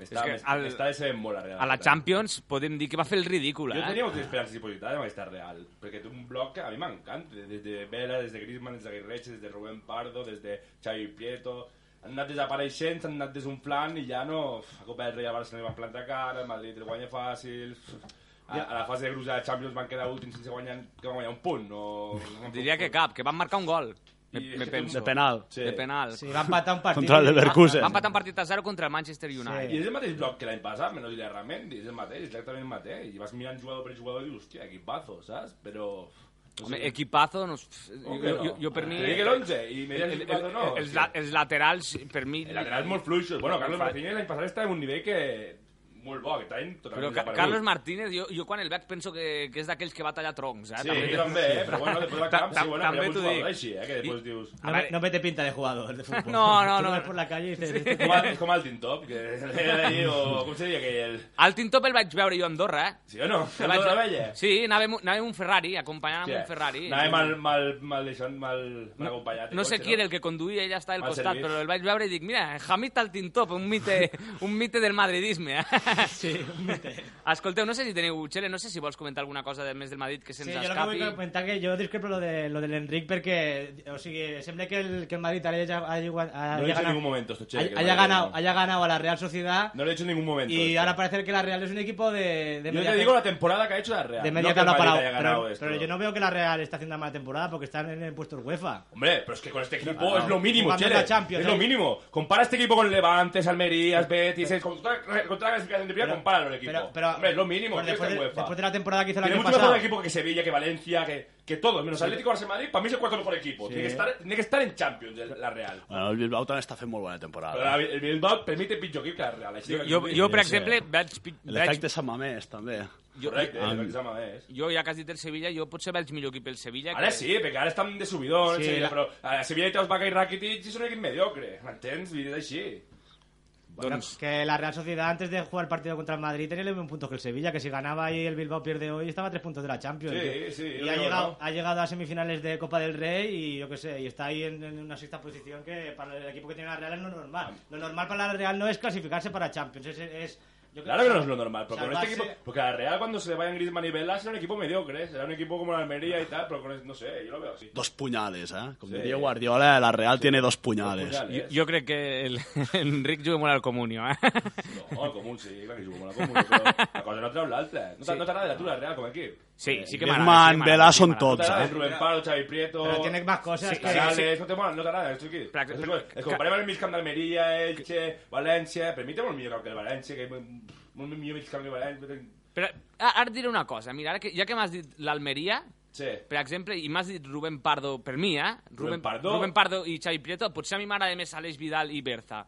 [SPEAKER 5] m'està
[SPEAKER 2] És que al-
[SPEAKER 5] m'està decebent molt la Real.
[SPEAKER 2] A la
[SPEAKER 5] aquest any.
[SPEAKER 2] Champions podem dir que va fer el ridícul,
[SPEAKER 5] Jo
[SPEAKER 2] eh?
[SPEAKER 5] tenia moltes esperances i positives amb aquesta Real, perquè té un bloc que a mi m'encanta, des de Vela, des de Griezmann, des de Guirreche, des de Rubén Pardo, des de Xavi Prieto, han anat desapareixent, s'han anat desunflant i ja no... A Copa del Rei a Barcelona van plantar cara, el Madrid el guanya fàcil... A, a la fase de grups de la Champions van quedar últims sense guanyar, que van guanyar un punt, no...
[SPEAKER 2] Diria que cap, que van marcar un gol. Me,
[SPEAKER 5] I-
[SPEAKER 2] me penso.
[SPEAKER 10] De penal.
[SPEAKER 5] Sí.
[SPEAKER 2] De penal.
[SPEAKER 6] Sí, va a empatar un partido.
[SPEAKER 10] Contra el Leverkusen.
[SPEAKER 2] Van empatar un partit a 0 contra el Manchester United.
[SPEAKER 5] I és el mateix bloc que l'any passat, menys l'errament, és el mateix, exactament el mateix. I vas mirant jugador per jugador i dius, hòstia, equipazo, saps? Però... no sé.
[SPEAKER 2] Home, equipazo, no, jo,
[SPEAKER 5] que no?
[SPEAKER 2] jo, jo per mi...
[SPEAKER 5] Te dic l'11 i me diràs
[SPEAKER 2] el-
[SPEAKER 5] equipazo o no.
[SPEAKER 2] el- els, la- els laterals, per mi...
[SPEAKER 5] El lateral molt fluixo. Bueno, Carlos Martínez l'any passat estava en un nivell que... Molt bo, aquest any totalment
[SPEAKER 2] Però Ca-
[SPEAKER 5] desaparegut.
[SPEAKER 2] Carlos Martínez, jo, jo quan el veig penso que, que és d'aquells que va tallar troncs, eh?
[SPEAKER 5] Sí, també, també, eh? però bueno, després del camp,
[SPEAKER 2] Ta-
[SPEAKER 5] sí, bueno,
[SPEAKER 2] també
[SPEAKER 5] també hi ha
[SPEAKER 2] t'ho
[SPEAKER 5] un jugador
[SPEAKER 2] dic.
[SPEAKER 5] així, eh? Que després dius...
[SPEAKER 6] No, me- no me te pinta de jugador de fútbol.
[SPEAKER 2] No, no,
[SPEAKER 6] Tú lo
[SPEAKER 2] no.
[SPEAKER 6] ves por la calle y dices, "Este
[SPEAKER 5] Com el, com el Tintop, que era d'ahir, o com seria que el...
[SPEAKER 2] El Tintop el vaig veure jo a Andorra, eh?
[SPEAKER 5] Sí o no?
[SPEAKER 2] El
[SPEAKER 5] El
[SPEAKER 2] vaig-
[SPEAKER 5] Dona Vella?
[SPEAKER 2] Sí, anàvem, anàvem un Ferrari, acompanyant amb un Ferrari.
[SPEAKER 5] Anava mal, mal, mal, deixant, mal, mal acompanyat.
[SPEAKER 2] No sé
[SPEAKER 5] cotxe,
[SPEAKER 2] qui era el que conduïa, ella estava al
[SPEAKER 5] Mal
[SPEAKER 2] costat,
[SPEAKER 5] servit.
[SPEAKER 2] però el vaig veure i dic, mira, Hamid al Tintop, un mite, un mite del madridisme. Eh?
[SPEAKER 6] Sí, un mite.
[SPEAKER 2] Escolteu, no sé si teniu, Txele, no sé si vols comentar alguna cosa del més del Madrid que se'ns
[SPEAKER 6] Sí, jo el que
[SPEAKER 2] escapi.
[SPEAKER 6] vull comentar que jo discrepo lo, de, lo de l'Enric perquè, o sigui, sembla que el, que el Madrid haya, haya, haya,
[SPEAKER 5] No lo he dicho en
[SPEAKER 6] ganado-
[SPEAKER 5] ningún momento, esto, che, que el
[SPEAKER 6] haya,
[SPEAKER 5] Madrid
[SPEAKER 6] ganado,
[SPEAKER 5] no.
[SPEAKER 6] haya ganado a la Real Sociedad
[SPEAKER 5] No lo he hecho en ningún momento.
[SPEAKER 6] y
[SPEAKER 5] esto.
[SPEAKER 6] ahora parece que la Real es un equipo de, de
[SPEAKER 5] Yo
[SPEAKER 6] media,
[SPEAKER 5] te digo la temporada que ha hecho la Real.
[SPEAKER 6] de
[SPEAKER 5] no
[SPEAKER 6] media
[SPEAKER 5] que el
[SPEAKER 6] tabla
[SPEAKER 5] Madrid
[SPEAKER 6] para
[SPEAKER 5] haya ganado
[SPEAKER 6] pero,
[SPEAKER 5] esto.
[SPEAKER 6] pero yo no veo que la Real está haciendo una mala temporada porque están en el puesto UEFA.
[SPEAKER 5] Hombre, pero es que con este equipo
[SPEAKER 6] Ah, no.
[SPEAKER 5] es lo mínimo,
[SPEAKER 6] Jugando
[SPEAKER 5] Chele.
[SPEAKER 6] la Champions,
[SPEAKER 5] es lo
[SPEAKER 6] ¿eh?
[SPEAKER 5] mínimo. Compara este equipo con Levantes, Almerías, Betis. es- Con toda, con toda la clasificación de primera, compáralo el equipo.
[SPEAKER 6] pero- pero-
[SPEAKER 5] Hombre, es lo mínimo.
[SPEAKER 6] pues
[SPEAKER 5] tío,
[SPEAKER 6] después,
[SPEAKER 5] está en
[SPEAKER 6] de,
[SPEAKER 5] UEFA.
[SPEAKER 6] después de la temporada que hizo el
[SPEAKER 5] Tiene
[SPEAKER 6] año
[SPEAKER 5] mucho mejor
[SPEAKER 6] pasado.
[SPEAKER 5] equipo que Sevilla, que Valencia, que, que todos. Menos Atlético, Barça, Madrid. Para mí es el cuarto mejor equipo. Tiene, que estar, tiene que estar en Champions, el- la Real.
[SPEAKER 10] Bueno, el Bilbao també està fent molt bona
[SPEAKER 5] Pero
[SPEAKER 10] temporada.
[SPEAKER 5] la- el Bilbao permite pitch que la Real. Així
[SPEAKER 2] Jo,
[SPEAKER 5] que-
[SPEAKER 2] jo, jo, per
[SPEAKER 10] Sí, sí.
[SPEAKER 2] exemple, veig... pi- veig
[SPEAKER 10] L'efecte Sant Mamés, també.
[SPEAKER 2] jo,
[SPEAKER 5] Correcte, és el eh, que se llama, és.
[SPEAKER 2] jo, ja que has dit el Sevilla, jo potser veig millor equip el Sevilla.
[SPEAKER 5] Ara sí, perquè ara estan de subidón,
[SPEAKER 6] Sí,
[SPEAKER 5] sí, Sevilla,
[SPEAKER 6] la-
[SPEAKER 5] però a Sevilla hi treus Vaca i Rakitic i són un equip mediocre, m'entens? Vull dir, és així. Doncs,
[SPEAKER 6] Que la Real Sociedad antes de jugar el partido contra el Madrid tenía el mismo puntos que el Sevilla, que si ganaba y el Bilbao pierde hoy estaba a tres puntos de la Champions.
[SPEAKER 5] Sí,
[SPEAKER 6] Que-
[SPEAKER 5] sí, yo
[SPEAKER 6] y ha
[SPEAKER 5] digo,
[SPEAKER 6] llegado,
[SPEAKER 5] ¿no?
[SPEAKER 6] ha llegado a semifinales de Copa del Rey y yo qué sé, y está ahí en, en una sexta posición que para el equipo que tiene la Real es no normal. Lo normal para la Real no es clasificarse para Champions, es... es- yo creo
[SPEAKER 5] claro que no es lo normal, pero con este
[SPEAKER 6] salvarse-
[SPEAKER 5] equipo... Porque a la Real cuando se le vayan Griezmann y Vela será un equipo mediocre, ¿eh? será un equipo como la Almería y tal, pero con este, no sé, yo lo veo así.
[SPEAKER 10] Dos punyales, eh? Com
[SPEAKER 5] Sí.
[SPEAKER 10] diria Guardiola, la Real tiene dos punyales.
[SPEAKER 5] Real,
[SPEAKER 2] Jo,
[SPEAKER 5] eh?
[SPEAKER 2] jo crec que el, Enric juga molt al comunio, eh?
[SPEAKER 5] No, el comú, sí, clar que jugo molt a comú, però la cosa no treu l'altra. No, t'a- no t'agrada tu la Real com a equip?
[SPEAKER 2] Sí, sí que
[SPEAKER 10] Griezmann,
[SPEAKER 2] m'agrada. sí que m'agrada, sí
[SPEAKER 10] Vela
[SPEAKER 2] que m'agrada.
[SPEAKER 10] són
[SPEAKER 5] No
[SPEAKER 10] Tots,
[SPEAKER 5] t'agrada
[SPEAKER 10] eh?
[SPEAKER 5] Rubén Pardo, Xavi Prieto...
[SPEAKER 6] Pero tiene más cosas que...
[SPEAKER 5] Canales, no te mola, no t'agrada, esto aquí.
[SPEAKER 2] Però-
[SPEAKER 5] És igual, Es comparem el migcamp d'Almeria, Elche, València... Per mi té molt millor camp que el València, que molt millor migcamp que el València...
[SPEAKER 2] Però ah, ara et diré una cosa. Mira, ara que, ja que m'has dit l'Almeria,
[SPEAKER 5] Sí.
[SPEAKER 2] per exemple, i m'has dit Rubén Pardo, per mi, eh?
[SPEAKER 5] Rubén Pardo.
[SPEAKER 2] Rubén Pardo i Xavi Prieto, potser a mi m'agrada més Aleix Vidal i Berza.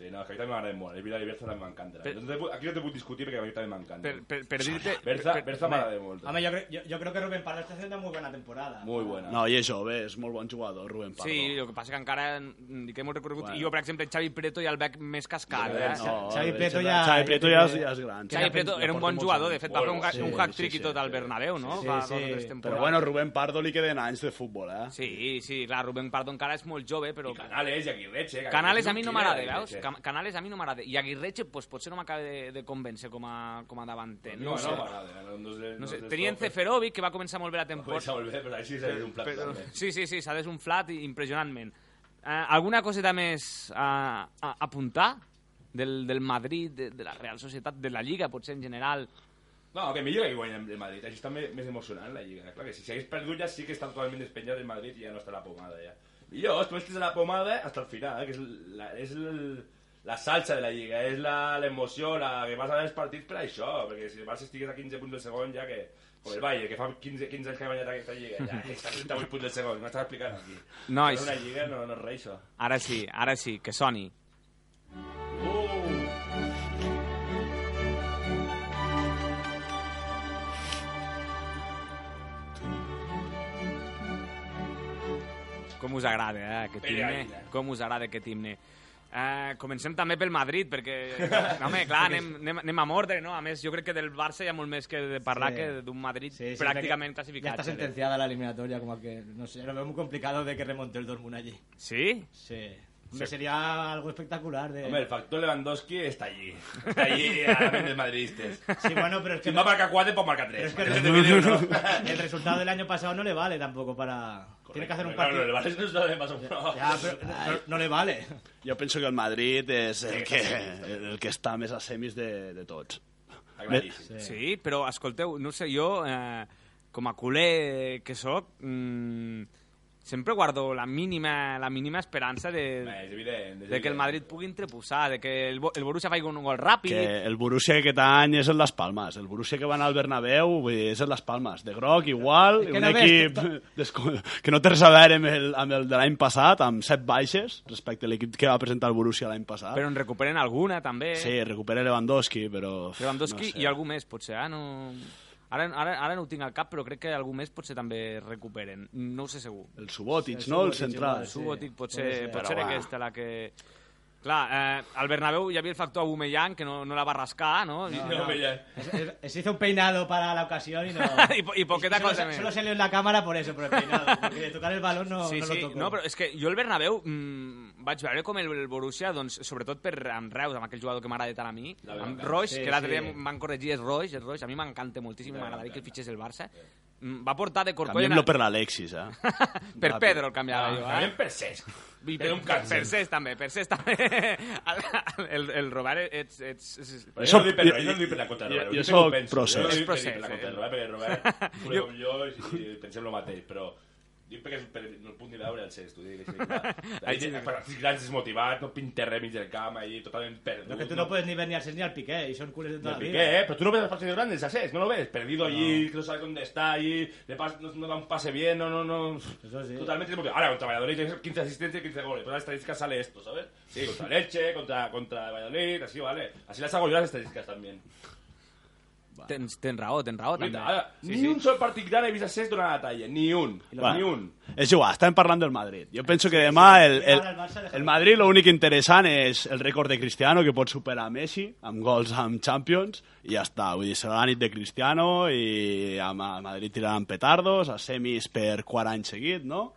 [SPEAKER 5] Sí, no, és que a mi també m'agrada molt. És veritat, i Berza també m'encanta.
[SPEAKER 2] Per-
[SPEAKER 5] No te puc- Aquí no te puc discutir perquè a mi també m'encanta.
[SPEAKER 2] Per, per, per dir-te...
[SPEAKER 5] Berza,
[SPEAKER 2] per-
[SPEAKER 5] Berza m'agrada molt.
[SPEAKER 6] Hombre, yo, creo- yo, yo creo que Rubén Pardo está haciendo muy buena temporada.
[SPEAKER 5] Muy buena.
[SPEAKER 10] No, i és jove, és molt bon jugador, Rubén Pardo.
[SPEAKER 2] Sí, el que passa que encara mm, li queda molt recorregut.
[SPEAKER 10] Bueno.
[SPEAKER 2] I jo, per exemple, Xavi Preto ja el veig més cascat, eh?
[SPEAKER 5] No,
[SPEAKER 6] Xavi Prieto ja-
[SPEAKER 10] Xavi Prieto ja, és, ja és gran.
[SPEAKER 2] Xavi Preto era un bon jugador, de fet va fer un,
[SPEAKER 5] Molt
[SPEAKER 2] ga-
[SPEAKER 10] sí,
[SPEAKER 2] un hack-trick
[SPEAKER 10] sí,
[SPEAKER 2] i tot
[SPEAKER 10] sí,
[SPEAKER 2] al
[SPEAKER 10] sí.
[SPEAKER 2] Bernabéu, no?
[SPEAKER 6] Sí,
[SPEAKER 2] Fa
[SPEAKER 6] sí.
[SPEAKER 2] dos o tres
[SPEAKER 10] Però
[SPEAKER 2] temporades.
[SPEAKER 10] bueno, Rubén Pardo li queden anys de futbol, eh?
[SPEAKER 2] Sí, sí, clar, Rubén Pardo encara és molt jove, però...
[SPEAKER 5] I Canales, i Aguirreche... que
[SPEAKER 2] Canales a mi
[SPEAKER 5] és
[SPEAKER 2] no
[SPEAKER 5] un
[SPEAKER 2] m'agrada,
[SPEAKER 5] killer,
[SPEAKER 2] veus?
[SPEAKER 5] Aguirreche.
[SPEAKER 2] Cam- Canales a mi no m'agrada. I Aguirreche, pues, potser no m'acaba de, de convèncer com a, com a davanter. No,
[SPEAKER 5] No, no
[SPEAKER 2] sé.
[SPEAKER 5] m'agrada. No, no, sé,
[SPEAKER 2] No sé,
[SPEAKER 5] sé,
[SPEAKER 2] tenien Ceferovic, que va començar molt bé la
[SPEAKER 5] Comença
[SPEAKER 2] temporada.
[SPEAKER 5] molt bé, però així s'ha un plat.
[SPEAKER 2] Però,
[SPEAKER 5] també.
[SPEAKER 2] sí, sí, sí, s'ha desunflat i- impressionantment. Eh, alguna coseta més a, a apuntar? Del, del Madrid, de, de la Real Societat, de la Lliga, potser en general.
[SPEAKER 5] No, que millor que guanyem el Madrid, així està me- més emocionant la Lliga. Clar que sí, si hagués perdut ja sí que està totalment despenjat el Madrid i ja no està la pomada ja. Millor, tu estàs a la pomada hasta el final, eh, que és la, és el, la salsa de la Lliga, és la- l'emoció, la, que vas a veure els partits per això, perquè si el Barça estigués a 15 punts del segon ja que... O el Bayern, que fa 15, 15 anys que ha guanyat aquesta Lliga, ja que està a 38 punts del segon, no estàs explicant aquí.
[SPEAKER 2] Nois.
[SPEAKER 5] Però una Lliga no, no és res, això.
[SPEAKER 2] Ara sí, ara sí, que soni.
[SPEAKER 5] Uh!
[SPEAKER 2] Com us agrada, eh, aquest
[SPEAKER 5] Pere
[SPEAKER 2] himne.
[SPEAKER 5] Aguilar.
[SPEAKER 2] Com us agrada aquest himne. Uh, comencem també pel Madrid, perquè, no, home, clar, anem, anem, anem a mordre, no? A més, jo crec que del Barça hi ha molt més que de parlar
[SPEAKER 6] Sí.
[SPEAKER 2] que d'un Madrid
[SPEAKER 6] Sí, sí,
[SPEAKER 2] pràcticament
[SPEAKER 6] es verdad que
[SPEAKER 2] classificat.
[SPEAKER 6] Ya está
[SPEAKER 2] Xavier.
[SPEAKER 6] sentenciada la eliminatoria, como que, no sé, lo veo muy complicado de que remonte el Dortmund allí.
[SPEAKER 2] Sí?
[SPEAKER 6] Sí. Hombre, Sería algo espectacular de...
[SPEAKER 5] Home, el factor Lewandowski està allí. Està allí a la ment dels madridistes.
[SPEAKER 6] Sí, bueno, pero es que...
[SPEAKER 5] Si va a marcar 4, pues marca 3.
[SPEAKER 6] Pero es que el resultado del año pasado no le vale tampoco para... Tiene que hacer un partido...
[SPEAKER 5] Claro, el Barça no es lo de más o menos.
[SPEAKER 6] Ya, pero pero no le vale.
[SPEAKER 10] Jo penso que el Madrid és el que, el que està més a semis de, de tots.
[SPEAKER 5] Está clarísimo.
[SPEAKER 2] Sí, però escolteu, no sé, jo, eh, com a culer que sóc, mm, sempre guardo la mínima, la mínima esperança
[SPEAKER 5] Home,
[SPEAKER 2] de,
[SPEAKER 5] És evident.
[SPEAKER 2] de
[SPEAKER 5] és
[SPEAKER 2] que el
[SPEAKER 5] evident.
[SPEAKER 2] Madrid pugui entreposar, de que el, Bo- el Borussia faci un gol ràpid.
[SPEAKER 10] Que el Borussia aquest any és el Las Palmas. El Borussia que va anar al Bernabéu vull dir, és el Las Palmas. De groc, igual,
[SPEAKER 6] És que
[SPEAKER 10] un
[SPEAKER 6] no ves,
[SPEAKER 10] equip
[SPEAKER 6] tot-
[SPEAKER 10] desco- que no té res a veure amb el, amb el de l'any passat, amb set baixes, respecte a l'equip que va presentar el Borussia l'any passat.
[SPEAKER 2] Però en recuperen alguna, també.
[SPEAKER 10] Sí, recupera Lewandowski, però...
[SPEAKER 2] Lewandowski
[SPEAKER 10] no sé.
[SPEAKER 2] i algú més, potser. Ah, no... Ara, ara, ara no ho tinc al cap, però crec que algú més potser també recuperen. No ho sé segur.
[SPEAKER 10] El Subotic, no? El
[SPEAKER 6] Subotic,
[SPEAKER 10] central.
[SPEAKER 6] igual, sí.
[SPEAKER 2] Subotic potser,
[SPEAKER 6] pot ser.
[SPEAKER 2] potser era
[SPEAKER 10] va.
[SPEAKER 2] aquesta la que... Clar, eh, al Bernabéu hi havia el factor Aubameyang, que no, no la va rascar, no? I,
[SPEAKER 5] No, home, ja.
[SPEAKER 6] Es- es- Se hizo un peinado para la ocasión y no...
[SPEAKER 2] I po- i poqueta
[SPEAKER 6] solo,
[SPEAKER 2] cosa més.
[SPEAKER 6] Solo salió en la cámara por eso, por el peinado. Porque de tocar el balón no,
[SPEAKER 2] sí,
[SPEAKER 6] no
[SPEAKER 2] sí.
[SPEAKER 6] lo tocó.
[SPEAKER 2] No, però és que jo el Bernabéu mmm, vaig veure com el, el Borussia, doncs, sobretot per amb Reus, amb aquell jugador que m'agrada tant a mi, amb Roig,
[SPEAKER 6] Sí,
[SPEAKER 2] que l'altre
[SPEAKER 6] sí.
[SPEAKER 2] dia m'han corregir, és Roig, és Roig, a mi m'encanta moltíssim, i m'agradaria que el fitxés el Barça. Mm, Va portar de corcoll... en-
[SPEAKER 10] Canviem-lo per l'Alexis, eh?
[SPEAKER 2] per Pedro el canviava
[SPEAKER 5] Ah,
[SPEAKER 2] jo, eh?
[SPEAKER 5] También per Cesc.
[SPEAKER 2] I
[SPEAKER 5] Era un càncer.
[SPEAKER 2] Per Cesc també, per Cesc també. El, el, el Robert, ets... ets, ets
[SPEAKER 5] Però
[SPEAKER 10] Això-
[SPEAKER 5] jo no dic per-
[SPEAKER 10] jo-
[SPEAKER 5] jo no dic per la contra de
[SPEAKER 10] jo-
[SPEAKER 5] Robert,
[SPEAKER 10] jo
[SPEAKER 5] dic
[SPEAKER 10] soc
[SPEAKER 5] com penso.
[SPEAKER 10] procés.
[SPEAKER 5] Jo no dic per-
[SPEAKER 2] És
[SPEAKER 5] per la
[SPEAKER 2] procés,
[SPEAKER 5] contra de
[SPEAKER 2] eh?
[SPEAKER 5] Robert, perquè Robert, tu com jo, i- i pensem lo mateix, però dic perquè és per el punt de veure el Cesc, t'ho dic, així, clar.
[SPEAKER 2] Així
[SPEAKER 5] Ahí, per als grans desmotivats, no pinta res mig del camp, ahí, totalment perdut,
[SPEAKER 6] Lo que tú
[SPEAKER 5] no-
[SPEAKER 6] no puedes ni ver ni al Cesc ni al Piqué, y son culés de
[SPEAKER 5] Del
[SPEAKER 6] toda la vida.
[SPEAKER 5] Piqué, ¿eh? Pero tú no ves los partidos grandes, ¿sabes? No lo ves. Perdido allí, que no sabe dónde está allí, le pas- no, no da un pase bien, no, no, no.
[SPEAKER 6] Eso sí.
[SPEAKER 5] Totalmente desmotivado. Ahora, contra Valladolid tienes 15 asistencias y 15 goles. Todas las estadísticas sale esto, ¿sabes? Sí, contra Leche, contra, contra Valladolid, así, ¿vale? Así las hago yo las estadísticas también.
[SPEAKER 2] Tens, tens raó, tens raó també.
[SPEAKER 5] Ahora, ni un sol partido grande he visto a Sés durant la talla. Ni un. Ni un.
[SPEAKER 10] És igual, estem parlant del Madrid. Jo penso que demà el, el, el Madrid l'únic interessant és el rècord de Cristiano, que pot superar Messi amb gols amb Champions, i ja està. Vull dir, serà la nit de Cristiano i a Ma- Madrid tiraran petardos, a semis per quart any seguit, no?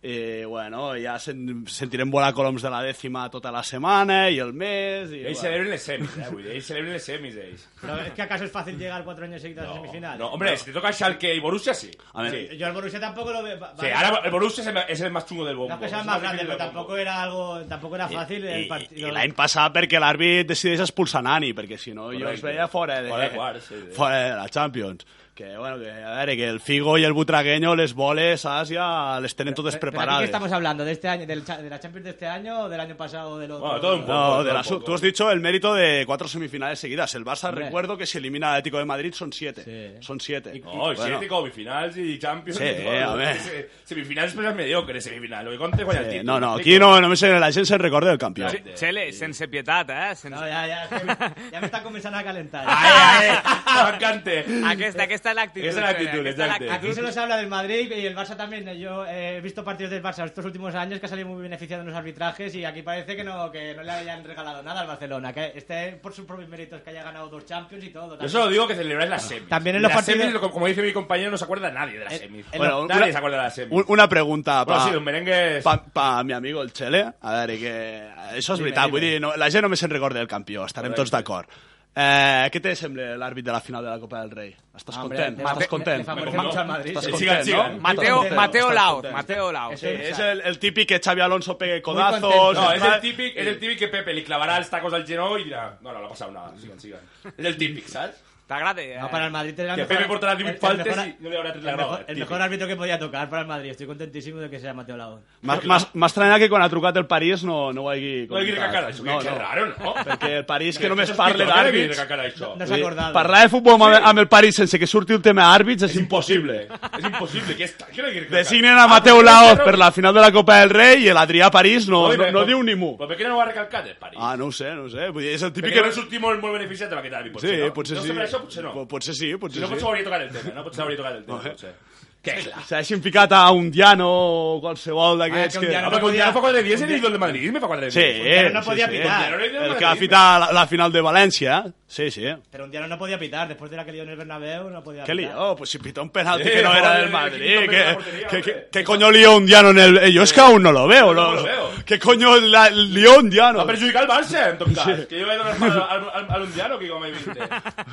[SPEAKER 10] I, bueno, ja sen, sentirem volar coloms de la dècima tota la setmana i el mes... I,
[SPEAKER 5] Ells
[SPEAKER 10] bueno.
[SPEAKER 5] celebren les semis, eh, vull dir, ells celebren les semis, ells.
[SPEAKER 6] Pero es que acaso es fácil llegar cuatro años seguidos a semifinales.
[SPEAKER 5] No, hombre, si te toca Schalke y Borussia, sí.
[SPEAKER 10] A ver.
[SPEAKER 5] Sí.
[SPEAKER 6] Yo al Borussia tampoco lo veo. va-
[SPEAKER 5] Sí,
[SPEAKER 6] va-
[SPEAKER 5] ahora el Borussia es el, es el más chungo del bombo.
[SPEAKER 6] No es que
[SPEAKER 5] Es
[SPEAKER 6] sea
[SPEAKER 5] el
[SPEAKER 6] más grande,
[SPEAKER 5] difícil
[SPEAKER 6] pero
[SPEAKER 5] del bombo.
[SPEAKER 6] tampoco era algo, tampoco era fácil
[SPEAKER 10] I,
[SPEAKER 6] el
[SPEAKER 10] i,
[SPEAKER 6] partido.
[SPEAKER 10] i l'any passat perquè l'àrbit decideix expulsar Nani, perquè si no jo es
[SPEAKER 5] Correcte.
[SPEAKER 10] veia fora de,
[SPEAKER 5] Fora de quarts, sí, sí.
[SPEAKER 10] fora de la Champions.
[SPEAKER 7] Que, bueno, que, a veure, que el Figo i el Butragueño les boles, saps, ja les tenen totes
[SPEAKER 6] Pero aquí, ¿qué
[SPEAKER 7] preparades.
[SPEAKER 6] estamos hablando? ¿De, este año, del cha- ¿De la Champions de este año o del año pasado o del otro?
[SPEAKER 5] Bueno, todo un poco.
[SPEAKER 7] No, de
[SPEAKER 5] todo
[SPEAKER 7] la
[SPEAKER 5] un
[SPEAKER 7] su-
[SPEAKER 5] poco.
[SPEAKER 7] tú has dicho el mérito de cuatro semifinales seguidas. El Barça,
[SPEAKER 6] Hombre.
[SPEAKER 7] recuerdo que si elimina al Atlético de Madrid son siete.
[SPEAKER 6] Sí.
[SPEAKER 7] Son siete.
[SPEAKER 5] No, y
[SPEAKER 7] Bueno,
[SPEAKER 5] siete semifinals y Champions.
[SPEAKER 7] Sí,
[SPEAKER 5] y todo.
[SPEAKER 7] a ver.
[SPEAKER 5] Se- Semifinals pues és mediocre, semifinal. Lo que compta és guanyar el
[SPEAKER 7] eh,
[SPEAKER 5] títol.
[SPEAKER 7] no, no, aquí no, només la gent se'n recorda del campió.
[SPEAKER 2] Sí, Xele, sense pietat, eh? Sense...
[SPEAKER 6] No, ya, ya, es que me- ya me está comenzando a calentar.
[SPEAKER 5] Ai, ai, m'encanta.
[SPEAKER 2] Aquesta, aquesta és l'actitud.
[SPEAKER 5] Aquesta és l'actitud,
[SPEAKER 2] Xele, aquesta és
[SPEAKER 5] exacte.
[SPEAKER 6] Aquí se nos habla del Madrid y el Barça también. Yo eh, he visto partidos del Barça estos últimos años que ha salido muy beneficiado en los arbitrajes y aquí parece que no, que no le hayan regalado nada al Barcelona. Que este por sus propios méritos que haya ganado dos Champions y todo.
[SPEAKER 5] Yo solo digo que celebráis las semis.
[SPEAKER 6] También en los
[SPEAKER 5] Las
[SPEAKER 6] partidos-
[SPEAKER 5] semis, como- como dice mi compañero, no se acuerda nadie de las semis.
[SPEAKER 7] Bueno,
[SPEAKER 5] nadie
[SPEAKER 7] una-
[SPEAKER 5] se acuerda de las semis.
[SPEAKER 7] Un- Una pregunta
[SPEAKER 5] Bueno,
[SPEAKER 7] pa,
[SPEAKER 5] sí, los merengues...
[SPEAKER 7] pa, pa mi amigo el Chele. A veure, que això és veritat. Vull dir, no, la gent només se'n recorda del campió. Estarem tots d'acord. Eh, què te sembla l'àrbit de la final de la Copa del Rei? Estàs
[SPEAKER 6] Hombre,
[SPEAKER 7] content?
[SPEAKER 6] te-
[SPEAKER 7] Estàs
[SPEAKER 6] te-
[SPEAKER 7] content?
[SPEAKER 6] te favorece mucho al Madrid.
[SPEAKER 7] Estàs
[SPEAKER 5] Sí,
[SPEAKER 7] content,
[SPEAKER 5] sigan, sigan.
[SPEAKER 7] no?
[SPEAKER 2] Mateo,
[SPEAKER 7] Estàs
[SPEAKER 2] Mateo
[SPEAKER 7] content.
[SPEAKER 2] Laos, Mateo Laos.
[SPEAKER 7] Sí, és Eh, el, el típic que Xavi Alonso pegue
[SPEAKER 6] contento.
[SPEAKER 7] codazos...
[SPEAKER 5] No, es
[SPEAKER 7] tal.
[SPEAKER 5] el típico, es el típico que Pepe le clavará el tacos al lleno y dirá, no, no, no ha pasado nada, sigan, sigan. Es el típico, ¿sabes?
[SPEAKER 2] T'agrada? Eh?
[SPEAKER 6] No, para el Madrid tendrá
[SPEAKER 5] Que
[SPEAKER 6] el
[SPEAKER 5] Pepe portará
[SPEAKER 6] el- el
[SPEAKER 5] faltes
[SPEAKER 6] mejor-
[SPEAKER 5] y no le habrá tres la
[SPEAKER 6] el
[SPEAKER 5] grada,
[SPEAKER 6] mejor, el
[SPEAKER 5] típico.
[SPEAKER 6] mejor árbitro que podía tocar para el Madrid. Estoy contentísimo de que sea Mateo Laos.
[SPEAKER 7] M'ha- M'ha m'ha estranyat que quan ha trucat el París no, no ho hagi
[SPEAKER 5] No hay que ir a
[SPEAKER 7] comentat.
[SPEAKER 5] cara eso, que,
[SPEAKER 7] No,
[SPEAKER 5] que
[SPEAKER 7] no.
[SPEAKER 5] raro, ¿no?
[SPEAKER 7] Perquè el París que
[SPEAKER 5] Eso
[SPEAKER 7] només
[SPEAKER 5] es
[SPEAKER 7] parla
[SPEAKER 5] pito, ¿qué le viene
[SPEAKER 7] d'àrbits...
[SPEAKER 5] a cara eso?
[SPEAKER 6] No
[SPEAKER 7] Vull
[SPEAKER 6] s'ha
[SPEAKER 7] dir,
[SPEAKER 6] acordat.
[SPEAKER 7] Parlar de futbol amb, amb el París sense que surti el tema àrbits és
[SPEAKER 5] Es
[SPEAKER 7] impossible.
[SPEAKER 5] imposible, es imposible, que está, que no hay que ir a cara.
[SPEAKER 7] Designen a
[SPEAKER 5] Ah,
[SPEAKER 7] Mateu Laoz per la final de la Copa del Rei i l'Adrià París no,
[SPEAKER 5] Oye,
[SPEAKER 7] no,
[SPEAKER 5] pero-
[SPEAKER 7] no diu ni mu.
[SPEAKER 5] Pues ¿por qué no va a recalcar el París?
[SPEAKER 7] Ah, no ho sé, no ho sé. Vull dir, és el típic...
[SPEAKER 5] Perquè no
[SPEAKER 7] Que...
[SPEAKER 5] és l'últim molt beneficiat de la que t'ha
[SPEAKER 7] Sí, potser
[SPEAKER 5] pues, no
[SPEAKER 7] sí.
[SPEAKER 5] sé, per això potser no.
[SPEAKER 7] Po- Potser sí,
[SPEAKER 5] Si
[SPEAKER 7] potser
[SPEAKER 5] no, pues potser
[SPEAKER 7] sí.
[SPEAKER 5] hauria tocat el tema, no? pues Potser hauria tocat el tema, potser. Que clar.
[SPEAKER 7] S'hagin ficat a un Diano o qualsevol d'aquests
[SPEAKER 6] Ah, que un
[SPEAKER 7] que...
[SPEAKER 6] Diano
[SPEAKER 5] Home, que un dia no fa 4 de 10 i l'idol de Madrid me fa 4 de 10.
[SPEAKER 7] Sí,
[SPEAKER 6] Diano no
[SPEAKER 7] sí,
[SPEAKER 6] podia
[SPEAKER 7] sí.
[SPEAKER 6] pitar.
[SPEAKER 7] El que ha fitat la, la final de València, eh? sí, sí.
[SPEAKER 6] Pero un día no podía pitar. Después de la que lió en el Bernabéu, no podía
[SPEAKER 7] ¿Qué
[SPEAKER 6] pitar.
[SPEAKER 7] lío? Pues si pitó un penalti
[SPEAKER 5] Sí,
[SPEAKER 7] que no era
[SPEAKER 5] joder,
[SPEAKER 7] del
[SPEAKER 5] el
[SPEAKER 7] Madrid.
[SPEAKER 5] quinto penalti
[SPEAKER 7] ¿Qué,
[SPEAKER 5] de portería,
[SPEAKER 7] qué-
[SPEAKER 5] hombre.
[SPEAKER 7] qué coño lió un diano en el.? eh, Yo es que aún no lo veo.
[SPEAKER 5] Yo no
[SPEAKER 7] lo-
[SPEAKER 5] lo
[SPEAKER 7] lo-
[SPEAKER 5] veo.
[SPEAKER 7] ¿Qué coño la, lió un diano?
[SPEAKER 5] Va perjudicar el Barça, en tot cas. Que jo vaig donar el al, al, al Lundiano, que com mai vinte.